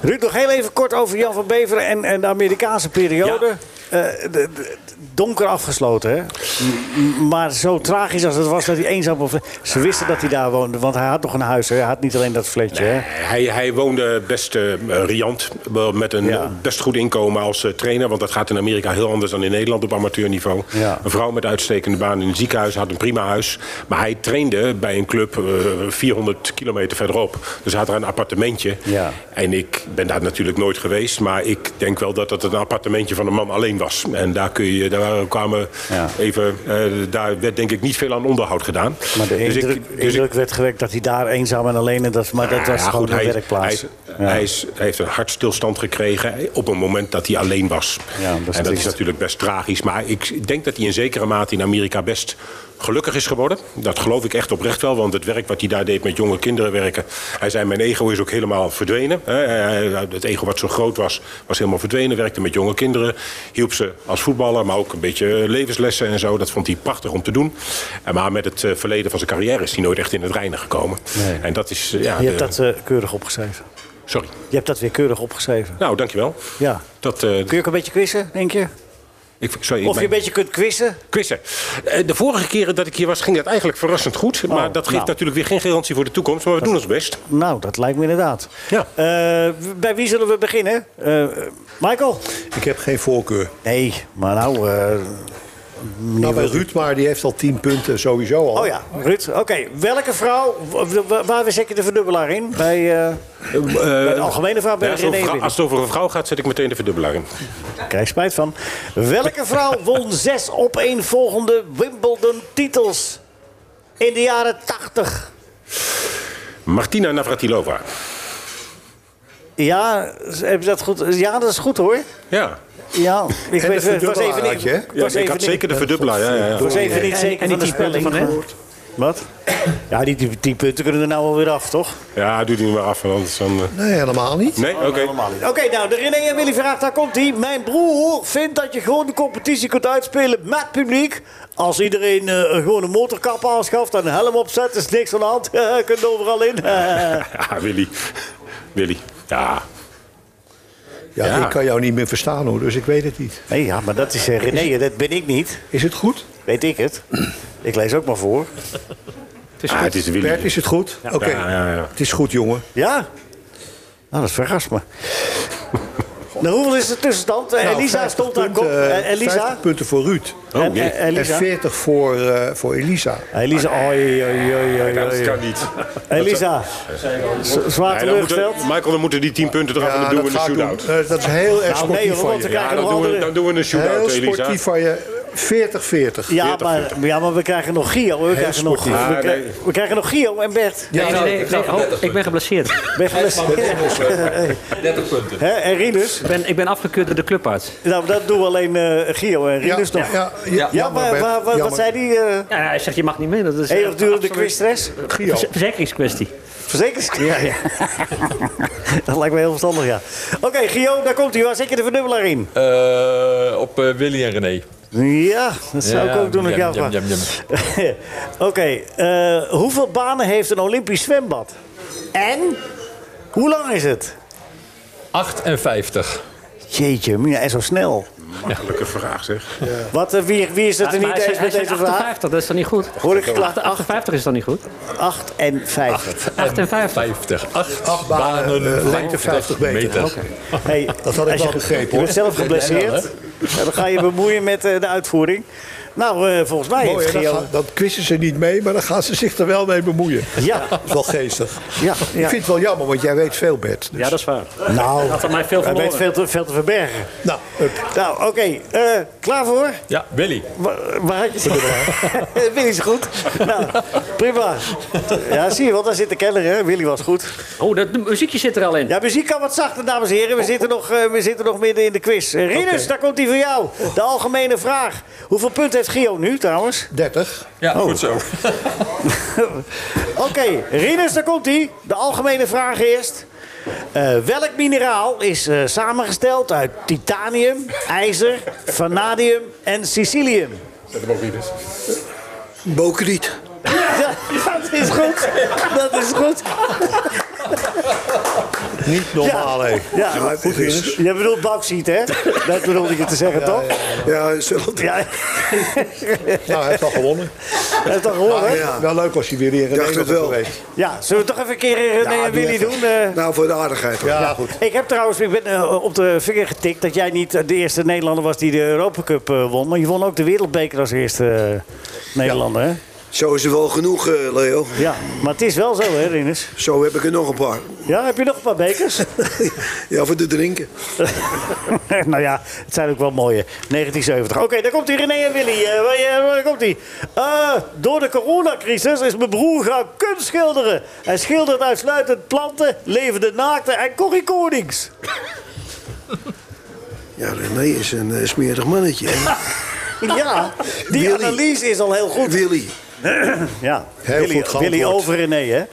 Ruud, nog heel even kort over Jan van Beveren en, en de Amerikaanse periode. Eh, de- de- donker afgesloten, hè? M- m- Maar zo tragisch als het was dat hij eenzaam... Op... Ze wisten dat hij daar woonde, want hij had nog een huis. Hè? Hij had niet alleen dat flatje, hè?
Hij, hij woonde best eh, riant, wel met een
Ja.
best goed inkomen als eh, trainer. Want dat gaat in Amerika heel anders dan in Nederland op amateurniveau.
Ja.
Een vrouw met uitstekende baan in een ziekenhuis, had een prima huis. Maar hij trainde bij een club eh, 400 kilometer verderop. Dus hij had er een appartementje.
Ja.
En ik ben daar natuurlijk nooit geweest. Maar ik denk wel dat het een appartementje van een man alleen was. En daar, kun je, daar kwamen
Ja.
even... eh, daar werd denk ik niet veel aan onderhoud gedaan.
Maar de
Dus ik-
indruk,
dus ik-
indruk werd gewekt dat hij daar eenzaam en alleen... En dat, maar dat
nou
was
ja,
gewoon
goed,
een
hij,
werkplaats.
Hij, hij is, hij heeft een hartstilstand gekregen op een moment dat hij alleen was.
Ja, dat
en
is
dat
triest.
is natuurlijk best tragisch. Maar ik denk dat hij in zekere mate in Amerika best gelukkig is geworden. Dat geloof ik echt oprecht wel. Want het werk wat hij daar deed met jonge kinderen werken. Hij zei, mijn ego is ook helemaal verdwenen. hè. Eh, Het ego wat zo groot was, was helemaal verdwenen. Werkte met jonge kinderen. Hielp ze als voetballer, maar ook een beetje levenslessen en zo. Dat vond hij prachtig om te doen. En Maar met het eh, verleden van zijn carrière is hij nooit echt in het reinen gekomen.
Nee.
En dat is... eh, Ja,
Je
de-
hebt dat eh, keurig opgeschreven.
Sorry.
Je hebt dat weer keurig opgeschreven.
Nou, dankjewel.
Ja.
Dat, eh,
Kun je ook een beetje quizzen, denk je?
ik, sorry,
Of je een
mijn-
beetje kunt quizzen?
quizzen. Eh, de vorige keren dat ik hier was, ging dat eigenlijk verrassend goed. maar dat geeft
nou.
natuurlijk weer geen garantie voor de toekomst. Maar we doen ons best.
Nou, dat lijkt me inderdaad.
Ja.
Eh, bij wie zullen we beginnen? Eh, Michael?
Ik heb geen voorkeur.
Nee, maar nou... eh,
Nou, bij Ruud, maar die heeft al 10 punten sowieso al.
oh ja, Ruud. Oké, welke vrouw... w- w- Waar zet je de verdubbelaar in? Bij, eh, bij de algemene vrouw ben
Ja, als, het
je geen
over,
één
vrou-
binnen.
als het over een vrouw gaat, zet ik meteen de verdubbelaar in.
Krijg spijt van. Welke vrouw won zes opeenvolgende Wimbledon-titels in de jaren tachtig?
Martina Navratilova.
Ja, heb je dat goed? Ja, dat is goed hoor.
Ja,
Ja, ik
En de
weet het was even
verdubbelaar
niet.
had je, hè?
ja
was
ik
even
had
niet-
zeker de verdubbelaar. Ja, ja, ja.
was even niet zeker
en die
van
tien
de
punten
spelling.
van hem?
Wat? Ja, die, die, die punten kunnen er nou alweer af, toch? Oh,
ja doe die maar af. want Anders dan, eh.
Nee, helemaal niet.
Nee, oké.
Oké, nou, de René en Willy vraagt, daar komt hij. Mijn broer vindt dat je gewoon de competitie kunt uitspelen met publiek. Als iedereen eh, gewoon een motorkap aanschaft en een helm opzet, is niks aan de hand. Je kunt overal in.
Ja, Willy. Willy. Ja.
Ja,
Ja.
ik kan jou niet meer verstaan hoor, dus ik weet het niet.
Nee, ja, maar dat is eh, René, dat ben ik niet.
Is het goed?
Weet ik het. Ik lees ook maar voor.
is Ah, goed. het is Willy. Bert, is het goed? Ja. Oké. Ja, ja, Het is goed, jongen.
Ja? Nou, dat verrast me. nou, hoeveel is de tussenstand? Eh,
Nou,
Elisa
50
stond daar kop.
punten,
Eh, Elisa?
50 punten voor Ruud.
Oh, En- jee. en Elisa?
En 40 voor, eh, voor Elisa.
Elisa, oei, oei, oei, oei.
Dat
oei.
kan niet.
Elisa, z- zwaar
Nee, dan moeten-
teleurgesteld?
Michael, dan moeten die 10 punten eraf en dan doen we een shootout.
Eh, dat is heel erg
Nou, nee,
sportief
hoor,
van
want
je.
we krijgen
Ja, dan
nog
doen we-
andere-
dan doen we een shootout,
heel
Elisa.
sportief van je. 40-40.
Ja maar, ja, maar we krijgen nog Gio. We, krijgen nog, we,
sportief. nou, Ah,
krij-
nee.
we krijgen nog Gio en Bert.
Nee, nee, nee, nee, ho, ik ben geblesseerd.
Ben geblesseerd.
30 punten.
Hè, en Rinus?
Ik ben, ik ben afgekeurd door de clubarts.
Nou, dat doen we alleen eh, Gio en Rinus nog.
Ja,
Ja, maar, waar- waar- wat zei die? eh,
Ja, hij zegt je mag niet mee. Dat is eh,
Eeuwigdurende
absoluut- Eh,
quizstress?
Gio.
Verze- Verzekeringskwestie.
Verzekers? Ja, ja. dat lijkt me heel verstandig, ja. Oké, Gio, daar komt hij. Waar zet je de verdubbelaar in?
Eh, op eh, Willy en René.
Ja, dat zou
Ja,
ik ook doen als ik
jam,
jou
jam,
vraag.
jam,
Oké, eh, hoeveel banen heeft een Olympisch zwembad? En? Hoe lang is het?
58.
Jeetje, mina, en zo snel.
Makkelijke vraag zeg.
Wat, eh, wie, wie is het
Maar
er niet
hij
eens
zegt-
met
hij zegt
deze vraag?
58, dat is dan niet goed.
Hoor ik klachten?
58 is dan niet goed.
58.
58.
50. 8
Acht banen,
banen,
eh, lengte
50,
50 meter. Oké.
Hey,
Dat had ik
als
wel
je-
begrepen,
Je
hoor.
bent zelf geblesseerd. En dan ga je bemoeien met eh, de uitvoering. Nou, eh, volgens mij
Mooi,
heeft
hè, dan,
Gio...
gaan- dan quizzen ze niet mee, maar dan gaan ze zich er wel mee bemoeien.
Ja.
Dat is wel geestig.
Ja, ja.
Ik vind het wel jammer, want jij weet veel, Bert. Dus-
Ja, dat is waar.
Nou,
Had er mij veel
hij weet
verloren.
veel te, veel te verbergen.
Nou, hup.
Nou, oké. eh, klaar voor?
Ja, Willy.
Waar, waar had je ze? Willy is goed. Nou, prima. Ja, zie je wel, daar zit de keller, hè? Willy was goed.
Oh, dat de muziekje zit er al in.
Ja, muziek kan wat zachter, dames en heren. We zitten nog, eh, we zitten nog midden in de quiz. Eh, Rinus, daar komt die voor jou. De algemene vraag. Hoeveel punten heeft Gio nu, trouwens?
30.
Ja,
Oh.
goed zo.
Oké, Rinus, daar komt hij. De algemene vraag eerst. Eh, welk mineraal is eh, samengesteld uit titanium, ijzer, vanadium en sicilium?
Bokriet.
Ja, dat is goed. Dat is goed.
Niet normaal, hè.
Ja,
goed is.
Jij bedoelt bauxiet, hè? Dat bedoelde ik je te zeggen, toch?
Ja, zullen we-
Ja,
Nou, hij heeft al gewonnen.
dat is toch gehoord, hè?
Ja.
Wel leuk als hij weer in
Dacht
René
het
was
wel.
geweest.
Ja, zullen we toch even een keer eh, René
Ja,
en
doe
Willy
even.
doen? eh?
Nou, voor de aardigheid. hoor.
Ja, goed.
Ik heb trouwens, ik ben eh, op de vinger getikt dat jij niet eh, de eerste Nederlander was die de Europa Cup eh, won. Maar je won ook de Wereldbeker als eerste eh, Nederlander, hè?
Zo is er wel genoeg, eh, Leo.
Ja, maar het is wel zo, hè, Rinus?
Zo heb ik er nog een paar.
Ja, heb je nog een paar bekers?
ja, voor te drinken.
nou ja, het zijn ook wel mooie. 1970. Oké, daar komt hij René en Willy. Eh, waar, eh, waar komt hij? door de coronacrisis is mijn broer gaan kunstschilderen. Hij schildert uitsluitend planten, levende naakten en Corrie Konings.
Ja, René is een eh, smerig mannetje. hè.
Ja, die
Willy.
analyse is al heel goed.
Willy.
Ja,
Heel
Willy,
goed geantwoord.
Willy over René, hè?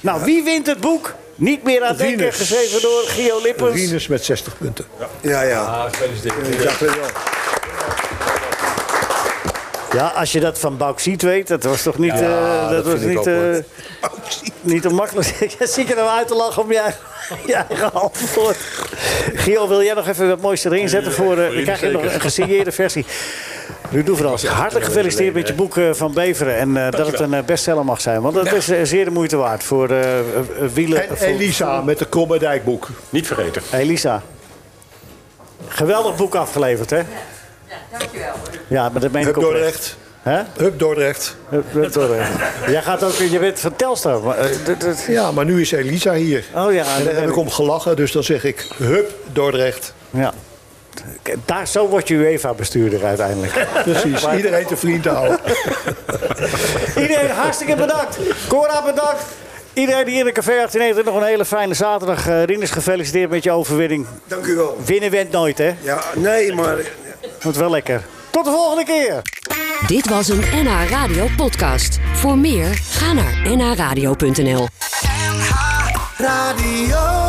Nou, wie wint het boek? Niet meer aan denken,
Rinus.
geschreven door Gio Lippens.
Rinus met 60 punten.
Ja, ja.
Ah, gefeliciteerd.
Ik dacht het wel.
Ja, als je dat van bauxiet weet, dat was toch niet... eh dat,
dat
was
vind ik
niet,
ook, hoor.
eh, niet onmakkelijk. Jij zit er nou uit te lachen om je, eigen- je eigen antwoord. Gio, wil jij nog even wat moois erin zetten? Voor, eh dan krijg je nog een gesigneerde versie. Nu doe vooral. Hartelijk gefeliciteerd met je boek eh, van Beveren. En eh, dat het een eh, bestseller mag zijn. Want dat is eh, zeer de moeite waard voor eh, eh, eh, wielen.
En
voor-
Elisa met de Kromme Dijkboek.
Niet vergeten.
Elisa. Geweldig boek afgeleverd, hè? Ja, dankjewel. Ja, maar dat meen
Hup
ik oprecht.
Dordrecht.
Hè?
Hup Dordrecht.
Dat- dat- dat- Jij gaat ook, je bent van Telstar. maar, eh, dat- dat-
Ja, maar nu is Elisa hier.
Oh ja,
En
dat
daar heb
heb
ik om gelachen, dus dan zeg ik hup Dordrecht.
ja. K- Daar, zo wordt je UEFA-bestuurder uiteindelijk.
Precies, iedereen te vriend houden.
Iedereen hartstikke bedankt. Cora bedankt. Iedereen die in de café 1890 nog een hele fijne zaterdag. Eh, Rinus, gefeliciteerd met je overwinning.
Dank u wel.
Winnen went nooit, hè?
Ja, nee, maar
Wordt wel lekker. Tot de volgende keer.
Dit was een NH Radio podcast. Voor meer, ga naar nhradio.nl.
Radio.